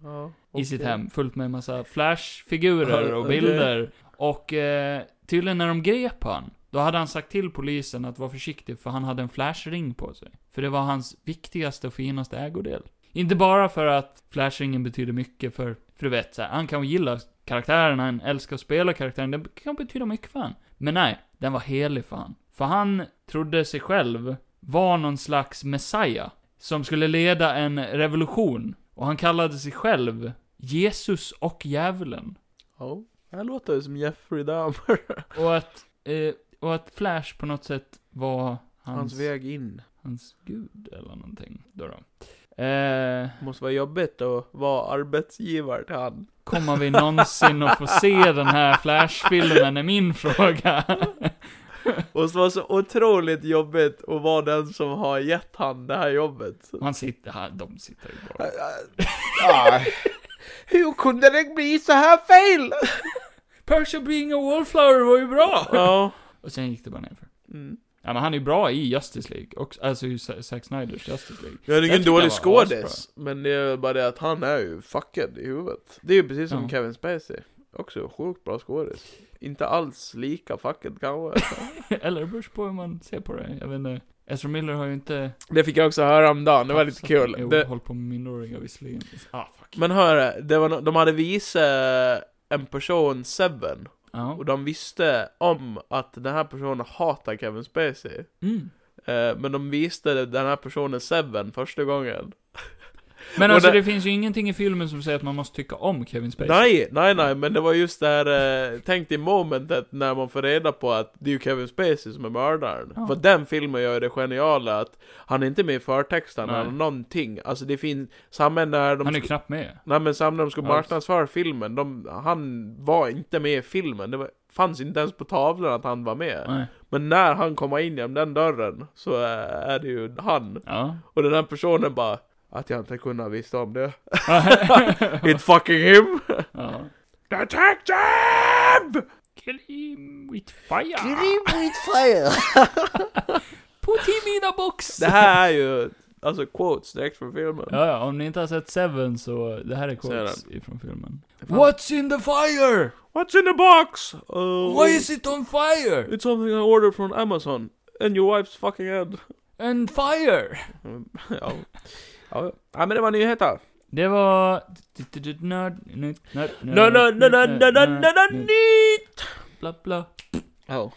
Speaker 1: Ja,
Speaker 2: i sitt
Speaker 1: okej.
Speaker 2: hem, fullt med massa flashfigurer
Speaker 1: Ja,
Speaker 2: och
Speaker 1: okej.
Speaker 2: bilder. Och eh, tydligen när de grep han, då hade han sagt till polisen att vara försiktig för han hade en flashring på sig. För det var hans viktigaste och finaste ägodel. Inte bara för att flashringen betyder mycket för, för du vet så här, han kan gilla karaktären, han älskar att spela karaktären, det kan betyda mycket för han. Men nej, den var helig för han. För han trodde sig själv var någon slags messiah som skulle leda en revolution. Och han kallade sig själv Jesus och djävulen.
Speaker 1: Ja, det här låter ju som Jeffrey Dahmer. *laughs*
Speaker 2: Och att, eh, och att Flash på något sätt var hans,
Speaker 1: Hans, väg in.
Speaker 2: hans gud eller någonting. Då då. Eh,
Speaker 1: Måste vara jobbigt att vara arbetsgivare till han.
Speaker 2: kommer vi någonsin att få se den här Flash-filmen är min fråga.
Speaker 1: Måste vara så otroligt jobbigt att vara den som har gett han det här
Speaker 2: *laughs*
Speaker 1: jobbet.
Speaker 2: Man sitter här, de sitter ju bara. Ah.
Speaker 1: *laughs* Hur kunde det bli så här fel?
Speaker 2: Percy being a wallflower var ju bra!
Speaker 1: Ja.
Speaker 2: Och sen gick det bara nerför.
Speaker 1: Mm.
Speaker 2: Ja men han är ju bra i Justice League, också, alltså i Sa- Zack Snyders Justice League. *laughs*
Speaker 1: Jag är
Speaker 2: Jag
Speaker 1: ingen
Speaker 2: tycker
Speaker 1: dålig
Speaker 2: han var
Speaker 1: skådis, men det är bara det att han är ju fuckad i huvudet. Det är ju precis som
Speaker 2: Ja.
Speaker 1: Kevin Spacey. Också sjukt bra skådis. Inte alls lika fuckad
Speaker 2: *laughs*
Speaker 1: kanske.
Speaker 2: Eller det beror på hur man ser på det, jag vet inte. Ezra Miller har ju inte...
Speaker 1: det fick jag också höra om dagen, det var lite
Speaker 2: tafsat-
Speaker 1: kul.
Speaker 2: Jo,
Speaker 1: Det,
Speaker 2: håll på med minderåriga visserligen. Ah, fuck.
Speaker 1: men hör, det var no- de hade visat en person, Seven,
Speaker 2: Ja.
Speaker 1: och de visste om att den här personen hatar Kevin Spacey.
Speaker 2: Mm.
Speaker 1: Eh, men de visste den här personen Seven första gången.
Speaker 2: Men
Speaker 1: Och
Speaker 2: alltså
Speaker 1: det-
Speaker 2: det... finns ju ingenting i filmen som säger att man måste tycka om Kevin Spacey.
Speaker 1: Nej, nej, nej, men det var just det här, eh, tänk dig momentet när man får reda på att det är ju Kevin Spacey som är mördaren.
Speaker 2: Ja.
Speaker 1: För den filmen gör ju det geniala att han är inte med i förtexten
Speaker 2: Nej.
Speaker 1: eller någonting. Alltså det finns, samma när de...
Speaker 2: Han är ju
Speaker 1: sk-
Speaker 2: knappt med.
Speaker 1: Nej men samma när de skulle
Speaker 2: Alls.
Speaker 1: marknadsföra filmen, de, han var inte med i filmen. Det var, fanns inte ens på tavlan att han var med.
Speaker 2: Nej.
Speaker 1: Men när han kommer in genom den dörren så eh, är det ju han. *laughs*
Speaker 2: Ja.
Speaker 1: Och den här personen bara, att jag inte kunde ha visst om
Speaker 2: *laughs*
Speaker 1: det. It fucking him!
Speaker 2: ja.
Speaker 1: Detective!
Speaker 2: Kill him with fire!
Speaker 1: with fire!
Speaker 2: Put him in a box!
Speaker 1: Det här är ju, alltså quotes direkt från filmen.
Speaker 2: Ja, ja, om ni inte har sett Seven så, det här är
Speaker 1: Så är
Speaker 2: quotes ifrån filmen.
Speaker 1: Fan.
Speaker 2: What's in the fire?
Speaker 1: What's in the box? Uh,
Speaker 2: Why is it on fire?
Speaker 1: It's something I ordered from Amazon. And your wife's fucking head.
Speaker 2: And fire!
Speaker 1: ja. ja. Ja men det var nyheter.
Speaker 2: Det var... Nörd... Nörd... Nörd...
Speaker 1: No, no, no, no, no, no, no, no, nytt!
Speaker 2: Bla, bla.
Speaker 1: Ja.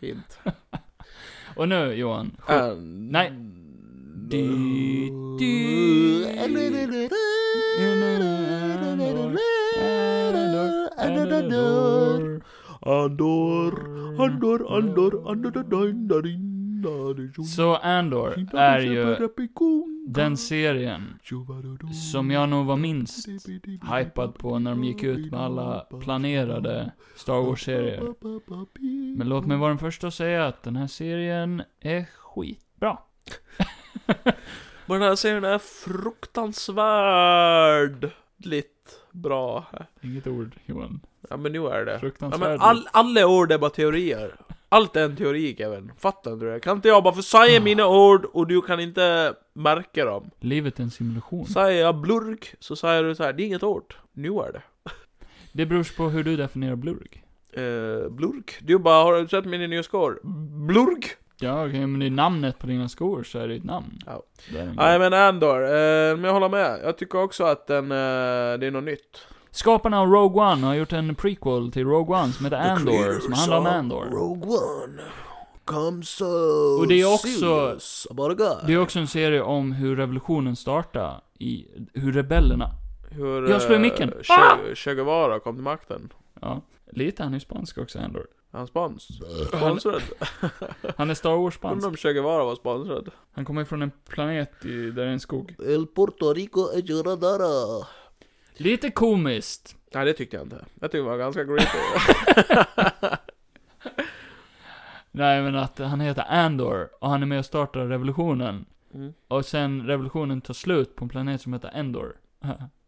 Speaker 1: Fint.
Speaker 2: Och nu Johan, skjut.
Speaker 1: And...
Speaker 2: Nej. Du, du.
Speaker 1: Andor, Andor, Andor, Andor,
Speaker 2: Så Andor är ju den serien som jag nog var minst hypad på när de gick ut med alla planerade Star Wars-serier. Men låt mig vara den första att säga att den här serien är skitbra.
Speaker 1: Men den här serien är fruktansvärdligt bra.
Speaker 2: Inget ord Johan.
Speaker 1: Ja men nu är det. Ja, men
Speaker 2: Fruktansvärt.
Speaker 1: all, alla ord är bara teorier. Allt är en teori Kevin. Fattar inte du det? Kan inte jag bara få
Speaker 2: Ah.
Speaker 1: säga mina ord och du kan inte märka dem?
Speaker 2: Livet är en simulation.
Speaker 1: Säger jag blurk så säger du så här, det är inget ord. Nu är det.
Speaker 2: Det beror på hur du definierar blurg.
Speaker 1: Eh, blurk. Du bara, har du sett mina nya skor?
Speaker 2: Mm.
Speaker 1: Blurk!
Speaker 2: Ja, okej, men det är namnet på dina skor så är det ett namn.
Speaker 1: Ja.
Speaker 2: Det är en
Speaker 1: Nej
Speaker 2: grej.
Speaker 1: men Andor, eh, men jag håller med. Jag tycker också att den, eh, det är något nytt.
Speaker 2: Skaparna av Rogue One har gjort en prequel till Rogue One som heter Andor, som handlar om Andor.
Speaker 1: Rogue One. Come so
Speaker 2: Och det är också- serious
Speaker 1: about a guy.
Speaker 2: Det är också en serie om hur revolutionen startade, i, hur rebellerna...
Speaker 1: Hur
Speaker 2: Jag slår i
Speaker 1: eh,
Speaker 2: micken. Ah!
Speaker 1: Che, che Guevara kom till makten.
Speaker 2: Ja, lite han är spansk också, Andor.
Speaker 1: Är han spons? Sponsrad?
Speaker 2: Han är Star
Speaker 1: Undrar
Speaker 2: Wars-spansk.
Speaker 1: om Che Guevara var sponsrad?
Speaker 2: Han kommer från en planet i, där det är en skog.
Speaker 1: El Puerto Rico är Juradara.
Speaker 2: Lite komiskt.
Speaker 1: Nej, det tyckte jag inte. Jag tyckte det var ganska creepy.
Speaker 2: Nej, men att han heter Andor och han är med och startar revolutionen.
Speaker 1: Mm.
Speaker 2: Och sen revolutionen tar slut på en planet som heter Endor.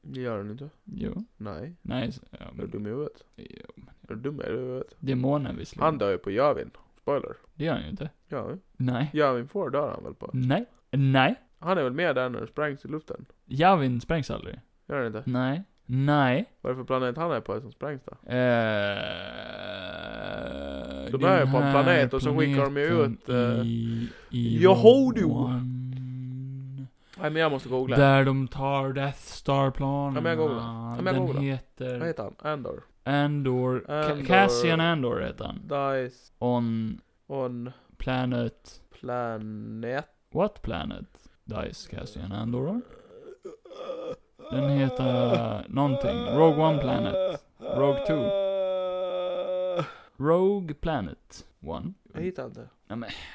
Speaker 1: Det gör den inte.
Speaker 2: *laughs* Jo.
Speaker 1: Nej.
Speaker 2: Nej, så- ja,
Speaker 1: Är du
Speaker 2: men,
Speaker 1: dum i huvudet?
Speaker 2: jo, men
Speaker 1: Är du dum i huvudet?
Speaker 2: demonen visserligen.
Speaker 1: Han dör ju på Jövin. Spoiler.
Speaker 2: Det gör han ju inte.
Speaker 1: Ja,
Speaker 2: Nej.
Speaker 1: Jövin får dör han väl på?
Speaker 2: Nej. Nej.
Speaker 1: Han är väl med där när det sprängs i luften?
Speaker 2: Javin sprängs aldrig.
Speaker 1: Gör han inte?
Speaker 2: Nej. Nej.
Speaker 1: Vad är det för planet han är på som sprängs då?
Speaker 2: Eh,
Speaker 1: De är ju på en
Speaker 2: den här
Speaker 1: planet och så skickar de ju
Speaker 2: planeten
Speaker 1: ut, eh,
Speaker 2: i- i
Speaker 1: Jaha, du.
Speaker 2: Rogue One.
Speaker 1: Nej men jag måste googla.
Speaker 2: Där de tar Death Star-planen.
Speaker 1: Ja, men jag googlar. Ja, men jag
Speaker 2: Den
Speaker 1: googlar. Vad
Speaker 2: heter
Speaker 1: heter han? Andor.
Speaker 2: Andor. Ca-
Speaker 1: Andor.
Speaker 2: Cassian Andor heter han.
Speaker 1: Dice
Speaker 2: On
Speaker 1: on
Speaker 2: planet...
Speaker 1: planet.
Speaker 2: What planet? Dice Cassian Andor? Den heter någonting. Rogue One Planet. Rogue Two. Rogue Planet One.
Speaker 1: Jag hittar inte.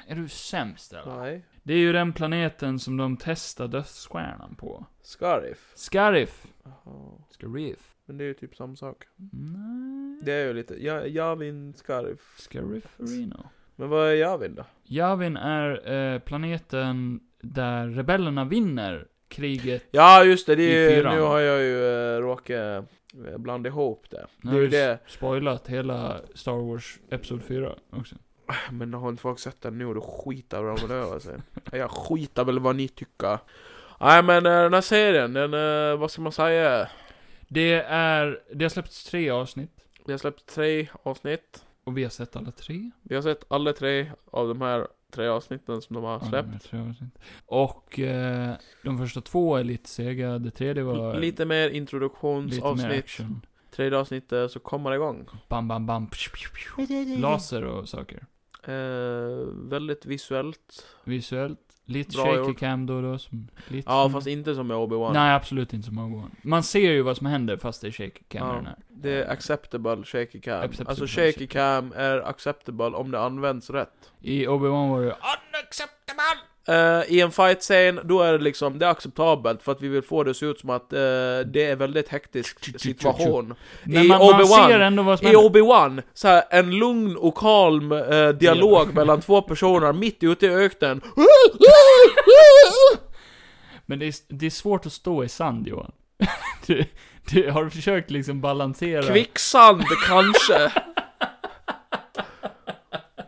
Speaker 2: Är du sämst eller?
Speaker 1: Nej.
Speaker 2: Det är ju den planeten som de testar dödsstjärnan på.
Speaker 1: Scarif.
Speaker 2: Scarif.
Speaker 1: Jaha.
Speaker 2: Scarif.
Speaker 1: Men det är ju typ samma sak.
Speaker 2: Nej.
Speaker 1: Det är ju lite, ja, Javin Scarif.
Speaker 2: Scariferino.
Speaker 1: Men vad är Javin då?
Speaker 2: Yavin är eh, planeten där rebellerna vinner kriget.
Speaker 1: Ja just det, det är,
Speaker 2: I
Speaker 1: ju-
Speaker 2: fyran.
Speaker 1: nu har jag ju äh, råkat eh, blanda ihop det. Det
Speaker 2: Nu har
Speaker 1: är ju
Speaker 2: vi
Speaker 1: det.
Speaker 2: spoilat hela Star Wars Episod 4 också.
Speaker 1: Men har inte folk sett den nu då skitar väl de väl över sig. Jag skitar väl vad ni tycker. Nej men eh, den här serien, den, eh, vad ska man säga?
Speaker 2: Det är, det har släppts tre avsnitt.
Speaker 1: Vi har släppt tre avsnitt.
Speaker 2: Och vi har sett alla tre.
Speaker 1: Vi har sett alla tre av de här tre avsnitten som de har
Speaker 2: Ja,
Speaker 1: släppt.
Speaker 2: de här tre avsnitt. Och eh, de första två är lite sega, det tredje var
Speaker 1: L- lite mer
Speaker 2: lite mer
Speaker 1: introduktionsavsnitt.
Speaker 2: action.
Speaker 1: Tredje avsnittet så kommer det igång.
Speaker 2: Bam, bam, bam. Psh, psh,
Speaker 1: Mm.
Speaker 2: psh. Laser och saker.
Speaker 1: Eh, väldigt visuellt.
Speaker 2: Visuellt. Lite
Speaker 1: Bra
Speaker 2: shaky
Speaker 1: gjort.
Speaker 2: cam då och då. Som, lite
Speaker 1: Ja
Speaker 2: som-
Speaker 1: fast inte som med Obi-Wan.
Speaker 2: Nej, absolut inte som Obi-Wan. Man ser ju vad som händer fast det är shaky cam i
Speaker 1: Ja.
Speaker 2: den här.
Speaker 1: Det är acceptable shaky cam.
Speaker 2: Acceptable
Speaker 1: alltså
Speaker 2: shaky
Speaker 1: shaky cam är acceptable om det används rätt.
Speaker 2: I Obi-Wan var det unacceptable!
Speaker 1: Eh, I en fight-scen, då är det liksom, det är acceptabelt för att vi vill få det att se ut som att eh, det är en väldigt hektisk situation.
Speaker 2: Men
Speaker 1: I
Speaker 2: man, man
Speaker 1: Obi-Wan-
Speaker 2: ser ändå vad som
Speaker 1: I
Speaker 2: händer.
Speaker 1: Obi-Wan, så här, en lugn och kalm eh, dialog mellan två personer mitt ute i
Speaker 2: *laughs*
Speaker 1: öknen. *laughs*
Speaker 2: Men det är, det är svårt att stå i sand, Johan. *laughs* du, du har försökt liksom balansera.
Speaker 1: Kvicksand kanske?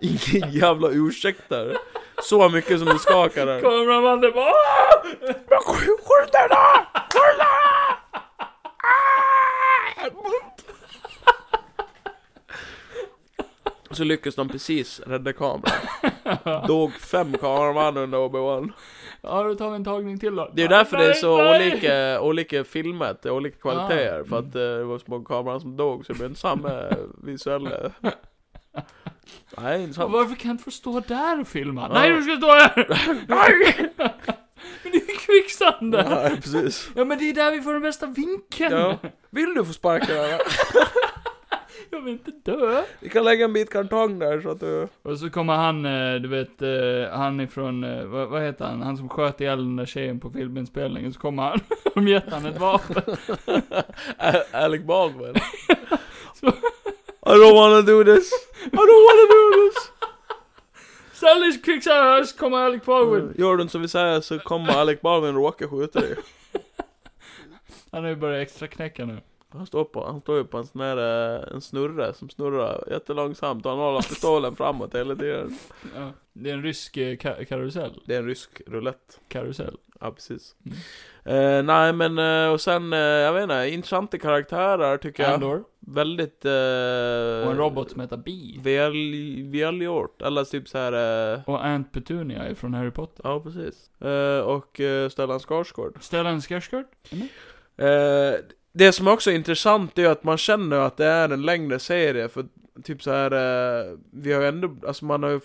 Speaker 1: Ingen jävla ursäkt där. Så mycket som du skakar där.
Speaker 2: Kameramannen bara "Åh!"
Speaker 1: Men skj- skjut den då! Skjut den då! Ah! Så lyckas de precis rädda kameran. Dog fem kameraman under Obi-Wan.
Speaker 2: Ja, då tar vi en tagning till då.
Speaker 1: Det är ju därför det är så
Speaker 2: Nej, Ah. nej.
Speaker 1: olika, olika filmer, det är olika kvaliteter. För att eh, det var så många kameror som dog, så det blev inte samma visuella... Nej, inte samma.
Speaker 2: Varför kan inte få stå där och filma?
Speaker 1: Ja.
Speaker 2: Nej, du ska stå här! Nej! *laughs* men det är ju kvicksand där.
Speaker 1: Nej, precis.
Speaker 2: Ja, men det är där vi får den bästa vinkeln.
Speaker 1: Ja. Vill du få sparka den här?
Speaker 2: Jag vill inte dö.
Speaker 1: Vi kan lägga en bit kartong där så att du...
Speaker 2: Och så kommer han, eh, du vet, eh, han ifrån, eh, vad, vad heter han, han som sköt ihjäl den där tjejen på filminspelningen, så kommer han, *laughs* de gett han ett vapen.
Speaker 1: A- Alec Baldwin.
Speaker 2: Så-
Speaker 1: I don't wanna do this. I don't wanna do this.
Speaker 2: Stanley Quicksand, så kommer Alec Baldwin.
Speaker 1: *laughs* Gör du inte som vi säger så kommer Alec Baldwin råka skjuta dig.
Speaker 2: Han har ju börjat extra knäcka nu.
Speaker 1: Han står på, han står ju på en sån här, eh, en snurre som snurrar jättelångsamt och han håller pistolen framåt hela tiden.
Speaker 2: Ja. Det är en rysk eh, ka- karusell.
Speaker 1: Det är en rysk roulette.
Speaker 2: Karusell.
Speaker 1: Ja, precis.
Speaker 2: Mm.
Speaker 1: Eh, nej men, eh, och sen, eh, jag vet inte, intressanta karaktärer tycker jag.
Speaker 2: Andor.
Speaker 1: Väldigt... Eh,
Speaker 2: Och en robot som heter Bee.
Speaker 1: Väl, välgjort, eller typ så här. Eh,
Speaker 2: Och Aunt Petunia från Harry Potter.
Speaker 1: Ja, precis. Eh, och eh, Stellan Skarsgård.
Speaker 2: Stellan Skarsgård?
Speaker 1: Eh, det som också är intressant är ju att man känner att det är en längre serie, för typ så här, eh, vi har ju ändå, alltså man har ju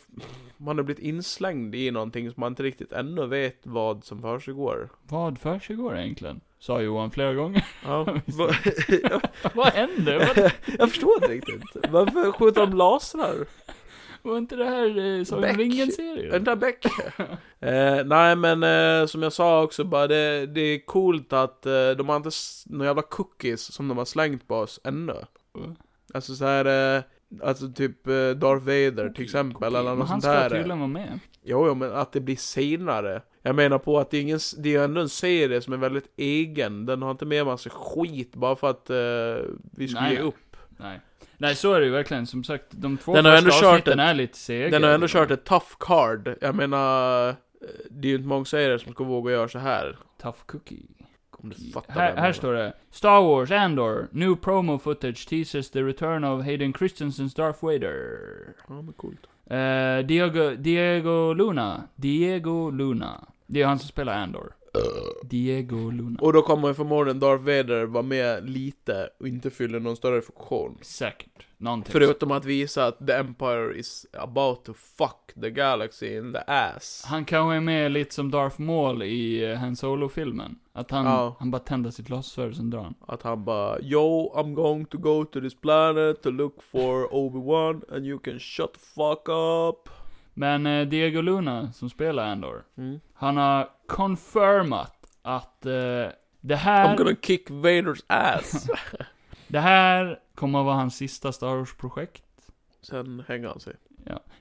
Speaker 1: man har blivit inslängd i någonting som man inte riktigt ännu vet vad som försiggår.
Speaker 2: Vad försiggår egentligen? Sa Johan flera gånger. *laughs*
Speaker 1: Ja. va- *laughs*
Speaker 2: Vad hände? Var,
Speaker 1: jag förstår inte riktigt. Varför skjuter de lasrar?
Speaker 2: var inte det här eh, Sagan om
Speaker 1: Beck.
Speaker 2: ringen-serien?
Speaker 1: Den där Beck. eh, nej men eh, som jag sa också bara, det, det är coolt att eh, de har inte s- några jävla cookies som de har slängt på oss ännu.
Speaker 2: Va?
Speaker 1: Alltså så här, eh, Alltså typ eh, Darth Vader till
Speaker 2: Okej,
Speaker 1: exempel
Speaker 2: okej,
Speaker 1: eller
Speaker 2: Men
Speaker 1: något
Speaker 2: han
Speaker 1: sånt
Speaker 2: ska
Speaker 1: där. eh,
Speaker 2: tydligen vara med.
Speaker 1: Jo, jo, men att det blir senare. Jag menar på att det är, ingen, det är ju ändå en serie som är väldigt egen. Den har inte med massa skit bara för att eh, vi skulle
Speaker 2: Nej,
Speaker 1: ge
Speaker 2: nej.
Speaker 1: upp.
Speaker 2: Nej. Nej, så är det ju verkligen. Som sagt, de två
Speaker 1: Den har
Speaker 2: första
Speaker 1: ändå kört
Speaker 2: avsnitten
Speaker 1: ett-
Speaker 2: är lite sega.
Speaker 1: Den har ändå kört ett tough card. Jag menar, eh, det är ju inte många serier som ska våga göra så här.
Speaker 2: Tough cookie.
Speaker 1: Om du fattar vad jag
Speaker 2: Här, här
Speaker 1: menar.
Speaker 2: står det. Star Wars Andor. New promo footage teases the return of Hayden Christensen's Darth Vader.
Speaker 1: Ja, men coolt.
Speaker 2: Eh, Diego, Diego Luna. Diego Luna. Det är han som spelar Andor. Diego Luna.
Speaker 1: Och då kommer ju förmodligen Darth Vader vara med lite och inte fylla någon större funktion.
Speaker 2: Säkert. Någonting.
Speaker 1: Förutom att visa att the Empire is about to fuck the galaxy in the ass.
Speaker 2: Han kanske är med lite som Darth Maul i eh, Han Solo-filmen. Att han,
Speaker 1: Ja.
Speaker 2: han bara tänder sitt lassvärd, sen drar han.
Speaker 1: Att han bara Yo, I'm going to go to this planet to look for Obi-Wan and you can shut the fuck up.
Speaker 2: Men eh, Diego Luna, som spelar Andor,
Speaker 1: Mm.
Speaker 2: han har confirmat att eh, det,
Speaker 1: I'm
Speaker 2: här,
Speaker 1: gonna kick Vaders ass. *laughs*
Speaker 2: det här kommer att vara hans sista Star Wars-projekt.
Speaker 1: Sen hänger han sig.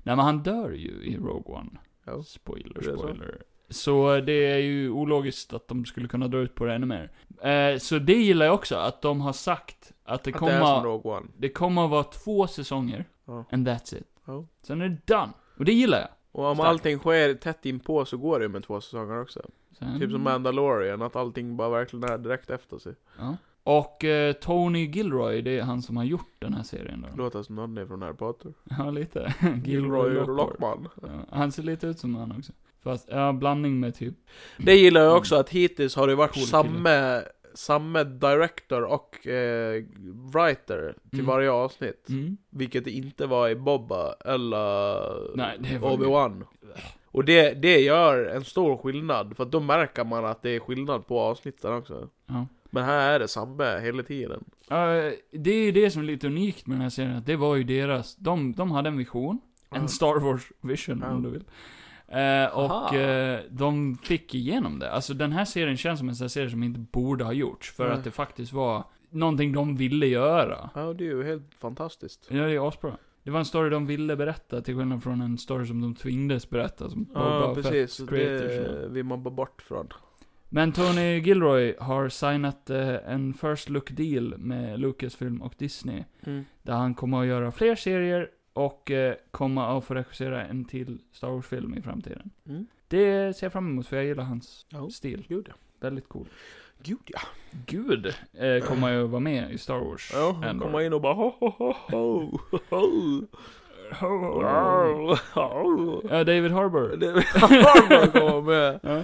Speaker 2: Nej men han dör ju i Rogue One.
Speaker 1: Ja.
Speaker 2: Spoiler,
Speaker 1: Är det så?
Speaker 2: spoiler. Så eh, det är ju ologiskt att de skulle kunna dra ut på det ännu mer. Eh, så det gillar jag också, att de har sagt att det
Speaker 1: Att det är som
Speaker 2: kommer,
Speaker 1: Rogue One.
Speaker 2: det kommer att vara två säsonger,
Speaker 1: Ja.
Speaker 2: and that's it.
Speaker 1: Ja.
Speaker 2: Sen är det done. Och det gillar jag.
Speaker 1: Och om
Speaker 2: Starkt.
Speaker 1: allting sker tätt inpå så går det ju med två säsonger också.
Speaker 2: Sen,
Speaker 1: Typ som Mandalorian, att allting bara verkligen är direkt efter sig.
Speaker 2: ja. Och eh, Tony Gilroy, det är han som har gjort den här serien då.
Speaker 1: Låter som någon är från Harry Potter.
Speaker 2: Ja, lite. Gilroy Lockwood.
Speaker 1: Lockman.
Speaker 2: Ja, han ser lite ut som han också. Fast, ja, blandning med typ...
Speaker 1: Det gillar jag också att hittills har det varit
Speaker 2: Cool
Speaker 1: samma, samma director och eh, writer till
Speaker 2: Mm.
Speaker 1: varje avsnitt.
Speaker 2: Mm.
Speaker 1: Vilket det inte var i Bobba eller
Speaker 2: Nej, det var
Speaker 1: Obi-Wan. Och det, det gör en stor skillnad, för att då märker man att det är skillnad på avsnitten också.
Speaker 2: Ja.
Speaker 1: Men här är det samma hela tiden.
Speaker 2: Eh, det är ju det som är lite unikt med den här serien, att det var ju deras, de, de hade en vision,
Speaker 1: Ja.
Speaker 2: en Star Wars vision
Speaker 1: Ja.
Speaker 2: om du vill. Eh, och
Speaker 1: Aha.
Speaker 2: eh, de fick igenom det. Alltså den här serien känns som en sån här serie som inte borde ha gjorts, för
Speaker 1: Nej.
Speaker 2: att det faktiskt var någonting de ville göra.
Speaker 1: Ja, det är ju helt fantastiskt.
Speaker 2: Ja, det är asbra. Det var en story de ville berätta, till skillnad från en story som de tvingades berätta, som
Speaker 1: Ja,
Speaker 2: Boba Fett
Speaker 1: precis.
Speaker 2: creators,
Speaker 1: Det vill man bara bort från.
Speaker 2: Men Tony Gilroy har signat eh, en first look deal med Lucasfilm och Disney. Där han kommer att göra fler serier och eh, kommer att få regissera en till Star Wars-film i framtiden.
Speaker 1: Mm.
Speaker 2: Det ser jag fram emot för jag gillar hans
Speaker 1: Ja.
Speaker 2: stil.
Speaker 1: Gud ja.
Speaker 2: Väldigt cool.
Speaker 1: Gud ja.
Speaker 2: Gud eh, kommer ju att vara med i Star Wars.
Speaker 1: Ja, han
Speaker 2: ändå.
Speaker 1: kommer in och bara ho ho ho ho. ho. Wow.
Speaker 2: Ja, David Harbour.
Speaker 1: Det *laughs* Harbour kommer med.
Speaker 2: Ja.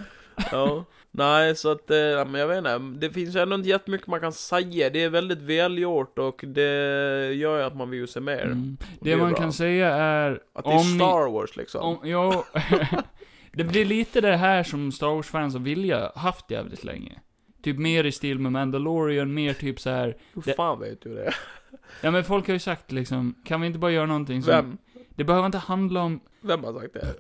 Speaker 1: Ja. Nej, så att, eh, ja, men jag vet inte. Det finns ju ändå inte jättemycket man kan säga. Det är väldigt välgjort och det gör ju att man vill ju se mer.
Speaker 2: Mm.
Speaker 1: Och
Speaker 2: Det
Speaker 1: är
Speaker 2: man
Speaker 1: bra.
Speaker 2: kan säga är...
Speaker 1: Att det är
Speaker 2: ni-
Speaker 1: Star Wars liksom.
Speaker 2: Om, jo, *laughs* det blir lite det här som Star Wars-fans har vilja haft jävligt länge. Typ mer i stil med Mandalorian, mer typ så här.
Speaker 1: Hur
Speaker 2: det-
Speaker 1: fan vet du det?
Speaker 2: Ja men folk har ju sagt liksom, kan vi inte bara göra någonting som...
Speaker 1: Vem?
Speaker 2: Det behöver inte handla om
Speaker 1: Vem har sagt det?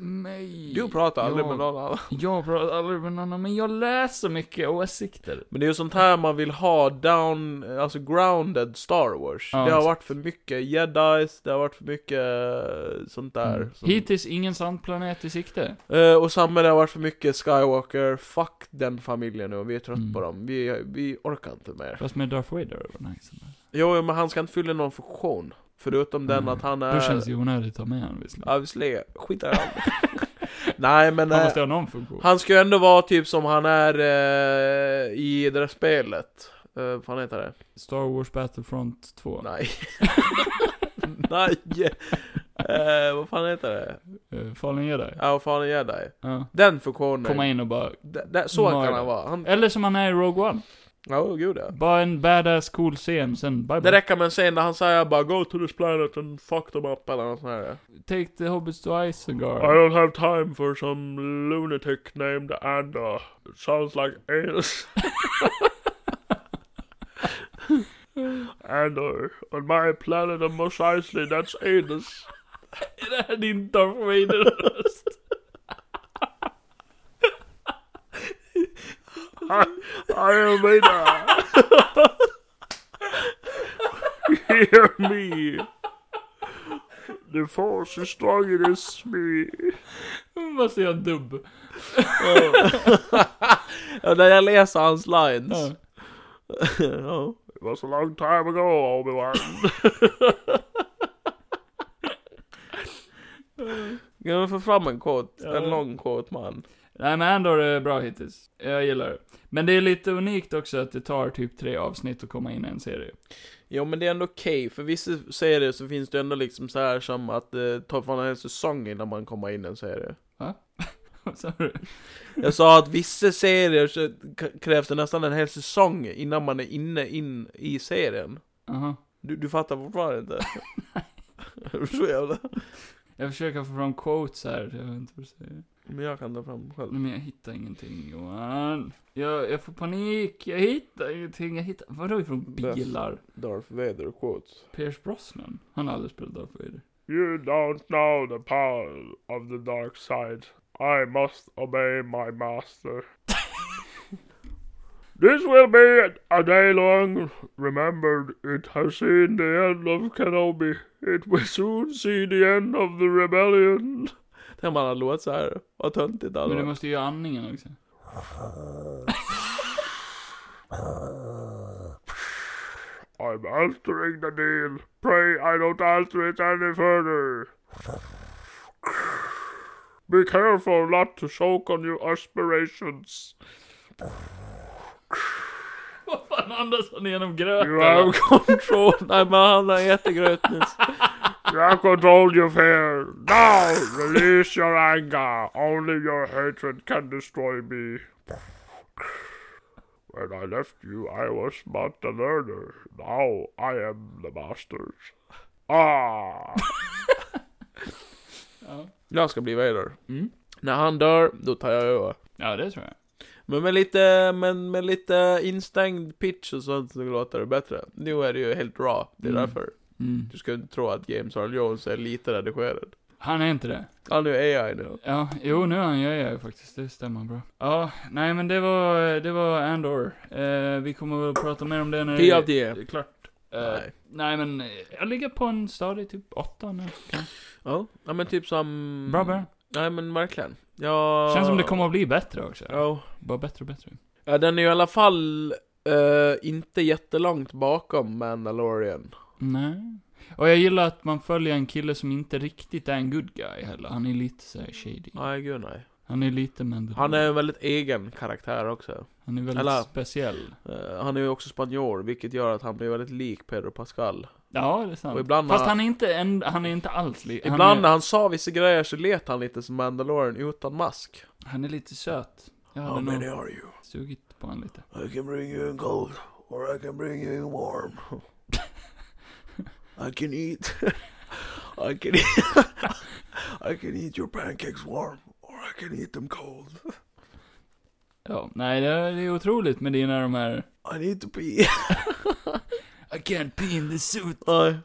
Speaker 2: mig.
Speaker 1: Du pratar aldrig
Speaker 2: jag,
Speaker 1: med någon annan.
Speaker 2: Jag pratar aldrig med någon annan, men jag läser mycket åsikter.
Speaker 1: Men det är ju sånt här man vill ha down, alltså grounded Star Wars.
Speaker 2: Ja,
Speaker 1: det har
Speaker 2: exakt.
Speaker 1: varit för mycket jedis, det har varit för mycket eh, sånt där.
Speaker 2: Mm.
Speaker 1: Som,
Speaker 2: Hittills ingen sann planet i sikte.
Speaker 1: Eh, och samma, det har varit för mycket Skywalker. Fuck den familjen nu, vi är trött
Speaker 2: Mm.
Speaker 1: på dem. Vi, vi orkar inte mer.
Speaker 2: Fast med Darth Vader, det var nice.
Speaker 1: Jo, jo, men han ska inte fylla någon funktion. Förutom den
Speaker 2: Mm.
Speaker 1: att han
Speaker 2: Då
Speaker 1: är...
Speaker 2: känns det ju onödigt att ta med honom visserligen.
Speaker 1: Ja, visserligen. Skit i honom. *laughs* Nej, men...
Speaker 2: Han
Speaker 1: eh,
Speaker 2: måste ha någon funktion.
Speaker 1: Han ska ju ändå vara typ som han är eh, i det där spelet. Eh, Vad fan heter det?
Speaker 2: Star Wars Battlefront 2.
Speaker 1: Nej. *laughs* Nej! Eh, vad fan heter det?
Speaker 2: Eh, Fallen Jedi.
Speaker 1: Ja, vad fan är dig?
Speaker 2: Ja.
Speaker 1: Den funktionen.
Speaker 2: Komma in och bara...
Speaker 1: D- d- så
Speaker 2: Mörda.
Speaker 1: kan han vara. Han...
Speaker 2: Eller som han är i Rogue One.
Speaker 1: Ja, oh, gud ja.
Speaker 2: Bara en badass cool scen, sen bye
Speaker 1: Det
Speaker 2: bye.
Speaker 1: räcker med en scen där han säger bara 'Go to this planet and fuck them up' eller nåt sånt här.
Speaker 2: Take the hobbits to
Speaker 1: I
Speaker 2: Isengard.
Speaker 1: don't have time for some lunatic named Anna. It sounds like anus.
Speaker 2: *laughs*
Speaker 1: *laughs* Anna, on my planet of Mos Eisley, that's anus.
Speaker 2: Är *laughs* det här din Darth *laughs* Vader-röst?
Speaker 1: I, I am Anna. Hear me. The force is stronger than me.
Speaker 2: Vad säger jag dubb?
Speaker 1: ja, när jag läser hans lines.
Speaker 2: Ja.
Speaker 1: ja. It was a long time ago, Obi-Wan. Kan vi få fram en kåt?
Speaker 2: Ja.
Speaker 1: En lång kåt man.
Speaker 2: Nej men ändå är det bra hittills. Jag gillar det. Men det är lite unikt också att det tar typ tre avsnitt att komma in i en serie. *laughs*
Speaker 1: Jo men det är ändå okej, för vissa serier så finns det ändå liksom så här som att det tar fan en hel säsong innan man kommer in i en serie.
Speaker 2: Vad sa du?
Speaker 1: Jag sa att vissa serier så k- krävs det nästan en hel säsong innan man är inne in i serien.
Speaker 2: Aha.
Speaker 1: Du, du fattar fortfarande inte? *laughs* Är du så jävla...
Speaker 2: Jag försöker få fram quotes här, jag vet inte vad jag säger.
Speaker 1: Men jag kan ta fram själv.
Speaker 2: Nej, Men jag hittar ingenting Johan. Jag, jag får panik, jag hittar ingenting. Jag hittar, vadå ifrån bilar?
Speaker 1: Darth Vader quotes.
Speaker 2: Pierce Brosnan? Han har aldrig spelat Darth Vader.
Speaker 1: You don't know the power of the dark side. I must obey my master. This will be a day long remembered. It has seen the end of Kenobi. It will soon see the end of the rebellion. Tänk man hade låtit såhär. Vad töntigt det hade
Speaker 2: Men du
Speaker 1: varit.
Speaker 2: måste ju göra andningen också. *laughs*
Speaker 1: *laughs* I'm altering the deal. Pray I don't alter it any further. Be careful not to choke on your aspirations.
Speaker 2: Vad fan andas han genom gröten?
Speaker 1: You have *laughs* control. Nej men han har jättegröt nyss. You have control your fear. Now release your anger. Only your hatred can destroy me. When I left you, I was but the learner. Now I am the master. *laughs* Ah.
Speaker 2: Ja.
Speaker 1: Jag ska bli Vader.
Speaker 2: Mm.
Speaker 1: När han dör, då tar jag över.
Speaker 2: ja, det tror jag.
Speaker 1: Men med lite, men med lite instängd pitch och sånt så låter det bättre. Nu är det ju helt raw, det är
Speaker 2: Mm.
Speaker 1: därför. Du ska inte tro att James Earl Jones är lite redigerad.
Speaker 2: Han är inte det.
Speaker 1: Han är ju AI nu.
Speaker 2: Ja, jo nu är han gör jag ju faktiskt, det stämmer bra. Ja, nej men det var, det var Andor. Eh, vi kommer väl prata mer om det när
Speaker 1: P av
Speaker 2: det
Speaker 1: det.
Speaker 2: är klart. Eh,
Speaker 1: Nej.
Speaker 2: nej men, eh, jag ligger på en stadig typ åtta nu.
Speaker 1: Ja, ja, men typ som...
Speaker 2: Bra början.
Speaker 1: Nej men verkligen. Ja...
Speaker 2: Känns som det kommer att bli bättre också.
Speaker 1: Ja.
Speaker 2: Bara bättre och bättre.
Speaker 1: ja, den är ju i alla fall eh, inte jättelångt bakom Mandalorian.
Speaker 2: Nej. Och jag gillar att man följer en kille som inte riktigt är en good guy heller. Han är lite såhär shady.
Speaker 1: Nej, gud nej.
Speaker 2: Han är lite men
Speaker 1: Han är en väldigt egen karaktär också.
Speaker 2: han är väldigt
Speaker 1: eller-
Speaker 2: speciell.
Speaker 1: Eh, han är ju också spanjor, vilket gör att han blir väldigt lik Pedro Pascal.
Speaker 2: Ja, det är sant.
Speaker 1: Och ibland
Speaker 2: Fast
Speaker 1: har-
Speaker 2: han är inte, en, han är inte alls li- han
Speaker 1: Ibland
Speaker 2: är-
Speaker 1: när han sa vissa grejer så lät han lite som Mandalorian utan mask.
Speaker 2: Han är lite söt. Jag hade nog
Speaker 1: are you?
Speaker 2: sugit på honom lite.
Speaker 1: I can bring you in cold, or I can bring you in warm. I can eat... *laughs* I can eat... *laughs* I can eat your pancakes warm, or I can eat them cold.
Speaker 2: Ja, nej det är, det är otroligt med dina de här...
Speaker 1: I need to pee. *laughs*
Speaker 2: I can't pee in the suit,
Speaker 1: I,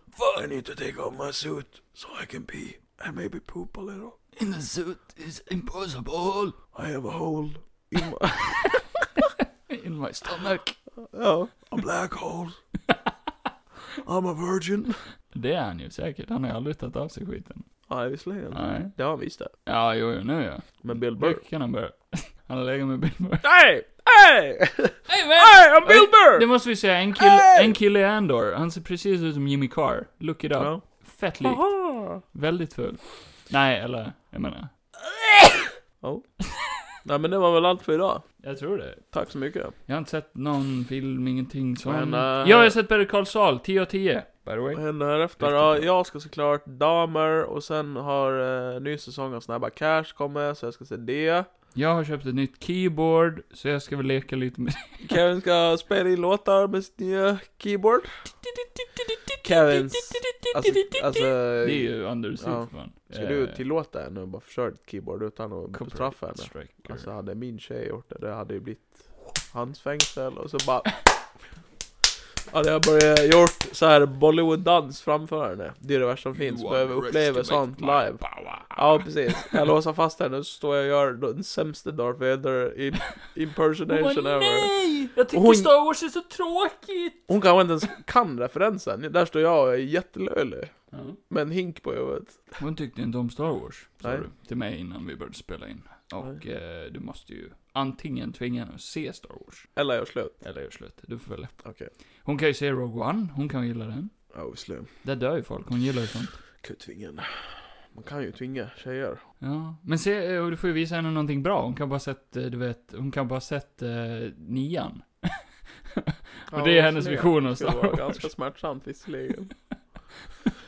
Speaker 1: I need to take off my suit, so I can pee, and maybe poop a little.
Speaker 2: in the suit is impossible.
Speaker 1: I have a hole in my...
Speaker 2: In my stomach.
Speaker 1: *laughs* Ja. A black hole. I'm a virgin.
Speaker 2: Det är han ju säkert, han har ju aldrig tagit av sig skiten.
Speaker 1: Nej, visserligen.
Speaker 2: Nej.
Speaker 1: Det har han visst det.
Speaker 2: Ja, jo, jo, nu ja.
Speaker 1: Men Bill
Speaker 2: Nu
Speaker 1: Burr.
Speaker 2: kan han börja. *laughs* Han har legat med Bill Burr.
Speaker 1: Hej! Hej!
Speaker 2: Hey,
Speaker 1: Hej! I'm Bill
Speaker 2: Det
Speaker 1: Burr!
Speaker 2: måste vi säga, en kille,
Speaker 1: Hey!
Speaker 2: en kille i Andor, han ser precis ut som Jimmy Carr. Look it up.
Speaker 1: Ja.
Speaker 2: Fett lik.
Speaker 1: Aha.
Speaker 2: Väldigt full. Nej, eller, jag menar.
Speaker 1: Nej men det var väl allt för idag.
Speaker 2: Jag tror det.
Speaker 1: Tack så mycket.
Speaker 2: Jag har inte sett någon film, ingenting sånt.
Speaker 1: Men, eh,
Speaker 2: ja, jag har sett Better Call Saul, 10 av 10. By the way.
Speaker 1: Vad händer här efter då? Jag ska såklart damer och sen har eh, ny säsong av Snabba Cash kommit så jag ska se det.
Speaker 2: Jag har köpt ett nytt keyboard, så jag ska väl leka lite med
Speaker 1: Kevin ska spela in låtar med sitt nya keyboard. Kevins... Alltså, alltså...
Speaker 2: Det är ju Eh, Anders
Speaker 1: Ja.
Speaker 2: Uthman.
Speaker 1: Ska du tillåta henne att bara förstöra ditt keyboard utan att straffa henne?
Speaker 2: Striker.
Speaker 1: Alltså hade min tjej gjort det, det hade ju blivit hans fängsel och så bara... *laughs* Hade jag börjat gjort så här Bollywood-dans framför henne. Det är det värsta som finns. Behöver uppleva sånt live. Ja, precis. Jag låser fast henne och så står jag och gör den sämsta Darth Vader im- impersonation ever.
Speaker 2: nej! Jag tycker
Speaker 1: Hon-
Speaker 2: Star Wars är så tråkigt!
Speaker 1: Hon kanske inte ens kan referensen. Där står jag och är jättelöjlig. Med en hink på huvudet.
Speaker 2: Hon tyckte inte om Star Wars, sa
Speaker 1: Nej.
Speaker 2: du till mig innan vi började spela in. Och eh, du måste ju antingen tvinga henne att se Star Wars,
Speaker 1: Eller gör slut.
Speaker 2: eller göra slut. Du får välja.
Speaker 1: Okej.
Speaker 2: Hon kan ju se Rogue One, hon kan ju gilla den.
Speaker 1: Obviously.
Speaker 2: Där dör ju folk, hon gillar ju sånt.
Speaker 1: Kan ju tvinga henne. Man kan ju tvinga tjejer.
Speaker 2: Ja, men se, eh, du får ju visa henne någonting bra. Hon kan bara sett, eh, du vet, hon kan bara sett eh, nian. Och det är hennes vision av
Speaker 1: Det skulle
Speaker 2: Star
Speaker 1: vara
Speaker 2: Wars.
Speaker 1: ganska smärtsamt visserligen.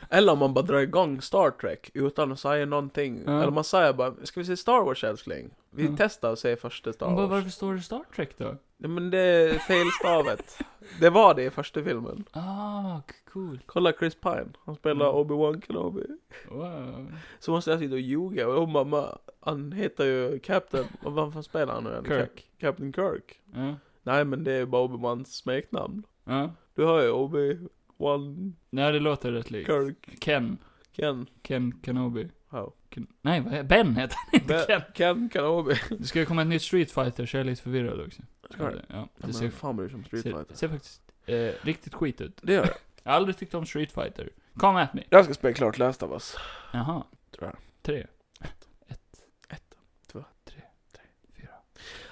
Speaker 1: Eller om man bara drar igång Star Trek utan att säga någonting.
Speaker 2: Ja.
Speaker 1: Eller man säger bara, ska vi se Star Wars älskling? Vi
Speaker 2: Ja.
Speaker 1: testar och ser första Star
Speaker 2: Hon bara,
Speaker 1: Wars.
Speaker 2: varför står det Star Trek då?
Speaker 1: Nej, men det är felstavet. det var det i första filmen.
Speaker 2: *laughs* Ah, cool.
Speaker 1: Kolla Chris Pine, han spelar
Speaker 2: Mm.
Speaker 1: Obi-Wan Kenobi.
Speaker 2: Wow.
Speaker 1: Så måste jag sitta och ljuga och hon bara, "Ma, han heter ju Captain, och vad fan spelar han nu igen? Cap-
Speaker 2: Kirk.
Speaker 1: Captain Kirk.
Speaker 2: Ja.
Speaker 1: Nej men det är bara Obi-Wans smeknamn.
Speaker 2: ja.
Speaker 1: Du hör ju Obi-Wan
Speaker 2: Nej, det låter rätt likt.
Speaker 1: Kirk
Speaker 2: Ken.
Speaker 1: Ken.
Speaker 2: Ken Kenobi.
Speaker 1: Oh.
Speaker 2: Ken... Nej, vad är... Ben heter han, inte
Speaker 1: Be-
Speaker 2: Ken.
Speaker 1: Ken Kenobi.
Speaker 2: Det ska ju komma ett nytt Street Fighter, så jag är lite förvirrad också.
Speaker 1: Ska det?
Speaker 2: Ja,
Speaker 1: Ja,
Speaker 2: det
Speaker 1: men hur
Speaker 2: ser,
Speaker 1: fan bryr sig om Street
Speaker 2: ser,
Speaker 1: Fighter?
Speaker 2: ser faktiskt eh, riktigt skit ut.
Speaker 1: Det gör jag.
Speaker 2: Jag har aldrig tyckt om Street Fighter. Come at me.
Speaker 1: Jag ska spela klart Last of Us.
Speaker 2: Jaha.
Speaker 1: Tror jag.
Speaker 2: Tre.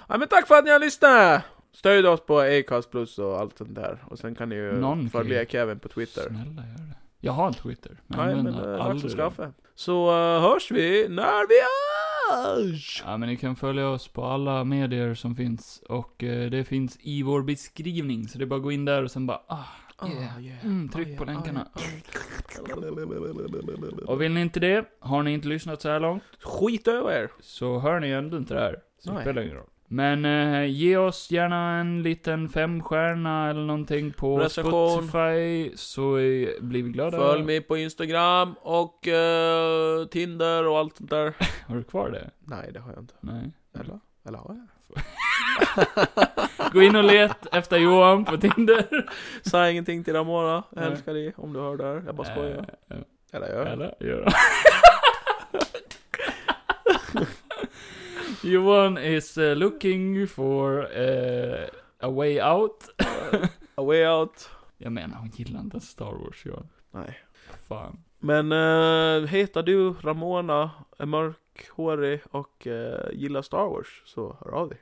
Speaker 1: Ja, men tack för att ni har lyssnat! Stöd oss på Acast plus och allt sånt där. Och sen kan ni ju
Speaker 2: Någon
Speaker 1: följa
Speaker 2: kan-
Speaker 1: Kevin på Twitter.
Speaker 2: Snälla gör det. Jag har en Twitter, men jag
Speaker 1: Nej men
Speaker 2: använder
Speaker 1: äh,
Speaker 2: aldrig
Speaker 1: aldrig
Speaker 2: den.
Speaker 1: skaffa. Så eh, hörs vi när vi hörs!
Speaker 2: Ja, men ni kan följa oss på alla medier som finns. Och eh, det finns i vår beskrivning, så det är bara att gå in där och sen bara ah, yeah.
Speaker 1: Ah, yeah.
Speaker 2: mm, tryck
Speaker 1: Ah, yeah,
Speaker 2: på Mm.
Speaker 1: ah,
Speaker 2: länkarna.
Speaker 1: yeah, ah.
Speaker 2: Och vill ni inte det, har ni inte lyssnat så här långt,
Speaker 1: Skit över er!
Speaker 2: så hör ni ändå inte det här. Så det
Speaker 1: Nej.
Speaker 2: spelar ingen roll. Men eh, ge oss gärna en liten femstjärna eller någonting på
Speaker 1: Recension.
Speaker 2: Spotify, så eh, blir vi glada.
Speaker 1: Följ mig på Instagram och eh, Tinder och allt sånt där.
Speaker 2: Har du kvar det?
Speaker 1: Nej, det har jag inte.
Speaker 2: Nej.
Speaker 1: Eller? Eller har jag?
Speaker 2: Gå in och let efter Johan på Tinder.
Speaker 1: Säg ingenting till Ramona. Jag
Speaker 2: Nej.
Speaker 1: älskar dig om du hör det här. Jag bara skojar.
Speaker 2: Eh,
Speaker 1: Eller gör jag?
Speaker 2: Eller? Gör han? *laughs* Johan is eh, looking for eh, a way out.
Speaker 1: A way out.
Speaker 2: Jag menar, hon gillar inte Star Wars, Johan.
Speaker 1: Nej.
Speaker 2: Fan.
Speaker 1: Men eh, heter du Ramona, är mörkhårig och eh, gillar Star Wars så hör av dig.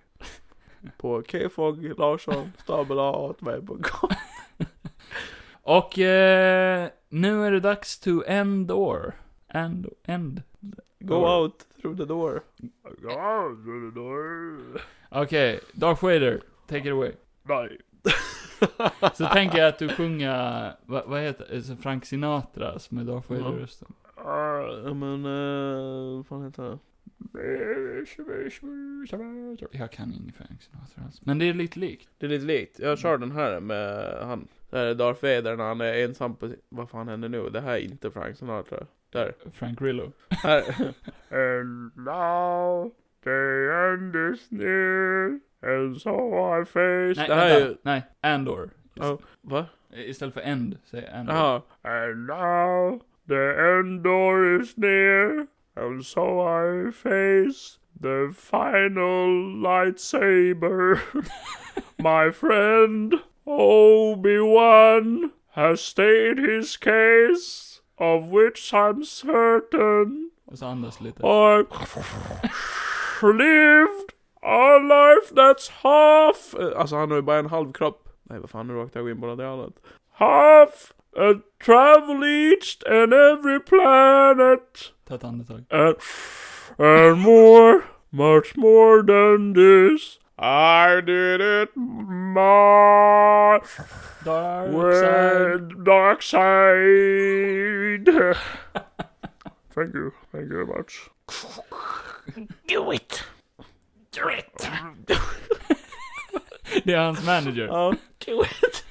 Speaker 1: På kfog larsson stabelaatmej.com
Speaker 2: Och eh, nu är det dags to end or. End, end.
Speaker 1: Go out through the door. Go out through the door.
Speaker 2: Okej, Darth Vader, take it away.
Speaker 1: Nej.
Speaker 2: Så tänker jag att du sjunger, vad, vad heter alltså Frank Sinatra som är Darth
Speaker 1: Ja.
Speaker 2: Vader-rösten.
Speaker 1: Ja men, eh, vad fan heter det?
Speaker 2: Jag kan ingen Frank Sinatra alls. Men det är lite likt.
Speaker 1: Det är lite likt. Jag kör den här med han. Där är Darth Vader när han är ensam på sin... Vad fan händer nu? Det här är inte Frank Sinatra. Där.
Speaker 2: Frank Grillo.
Speaker 1: Här. *laughs* and now the end is near and so I face...
Speaker 2: Nej,
Speaker 1: det här är
Speaker 2: vänta.
Speaker 1: ju...
Speaker 2: Nej, Andor.
Speaker 1: Ja. Va?
Speaker 2: Istället för End, säger jag Andor.
Speaker 1: Jaha. Ah, And now the end door is near and so I face the final lightsaber. *laughs* My friend Obi-Wan has stated his case, of which I'm certain
Speaker 2: Och så andas lite.
Speaker 1: I lived a life that's half... Eh, Alltså han har ju bara en halv kropp. Nej vad fan, nu råkade jag gå in på något annat. Half a travel each and every planet
Speaker 2: Ta ett andetag.
Speaker 1: and, and more, much more than this. I did it my
Speaker 2: Dark
Speaker 1: way,
Speaker 2: side.
Speaker 1: dark *laughs* side. thank you, thank you very much. Do it! Do it!
Speaker 2: Det är hans manager.
Speaker 1: Ja, do it!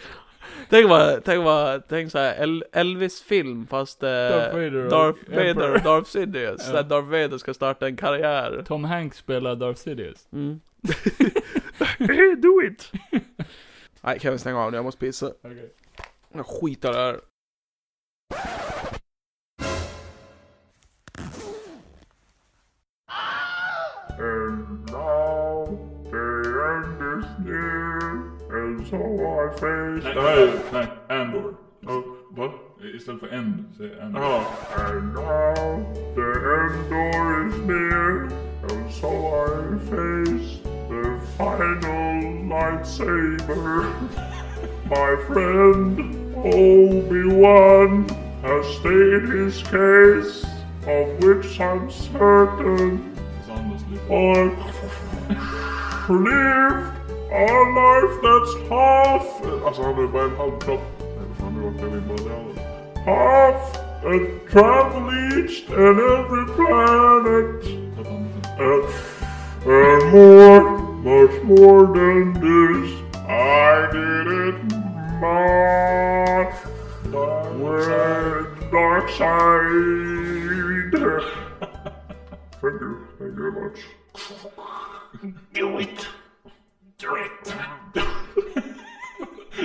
Speaker 1: Tänk vad, tänk vad, tänk såhär El- Elvis-film fast eh,
Speaker 2: Darth Vader och
Speaker 1: Darth Vader
Speaker 2: Emperor.
Speaker 1: och Darth Sidious.
Speaker 2: Ja.
Speaker 1: Där Darth Vader ska starta en karriär.
Speaker 2: Tom
Speaker 1: Mm. *laughs*
Speaker 2: Hanks spelar Darth Sidious.
Speaker 1: do it!
Speaker 3: Nej Kevin stäng av nu, jag måste pissa.
Speaker 4: Okej.
Speaker 3: Jag skitar där.
Speaker 1: And now the end is near, and so I face
Speaker 2: Nej,
Speaker 1: death.
Speaker 2: nej, nej. Andor. Oh, va? Istället för end, säger jag Andor.
Speaker 1: Huh. And now the end door is near, and so I face the final lightsaber. *laughs* My friend Obi-Wan has stated his case, of which I'm certain
Speaker 2: Så andas lite.
Speaker 1: I lived a life that's half... Alltså han är bara en halv kropp. Nej, vad fan, nu råkade vi bara det. Half and travel each and every planet.
Speaker 2: Tappar andan.
Speaker 1: And, and more, much more than this. I did it my way. Dark side. Thank you. Thank you very much.
Speaker 2: Do it! Do it!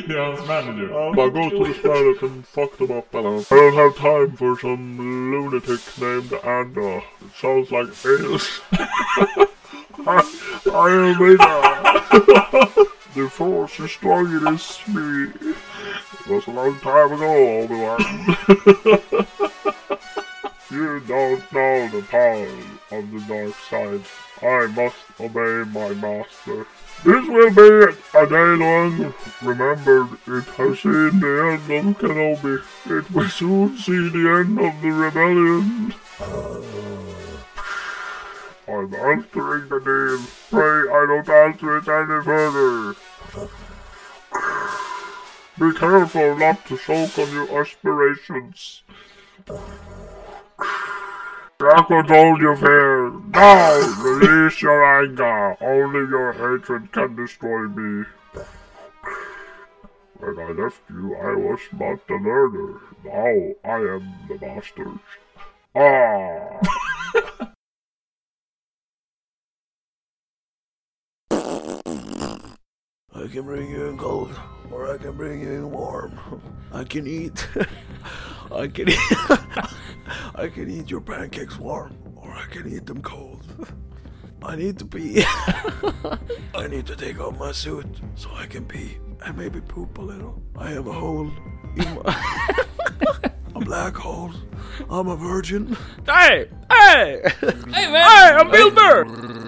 Speaker 2: Det är hans manager.
Speaker 1: But go to this planet and fuck them up, Alan. I don't have time for some lunatic named Anna. It sounds like aliens. I, *laughs* I am Anna. *laughs* the force is strong in this me. It was a long time ago, Obi-Wan. *laughs* you don't know the power of the dark side. I must obey my master. This will be a day long remembered. It has seen the end of Kenobi. It will soon see the end of the rebellion. *sighs* I'm altering the name. Pray I don't alter it any further. *sighs* Be careful not to choke on your aspirations. Draco told you fear. Now release your anger. Only your hatred can destroy me. When I left you, I was but the learner. Now I am the master. Ah.
Speaker 3: I can bring you in cold, or I can bring you in warm. *laughs* I can eat. *laughs* I can eat. *laughs* I can eat your pancakes warm, or I can eat them cold. *laughs* I need to pee. *laughs* I need to take off my suit so I can pee and maybe poop a little. I have a hole in my. *laughs* a black hole. I'm a virgin. Hey! Hey! Hey, man! Hey, I'm Bilber!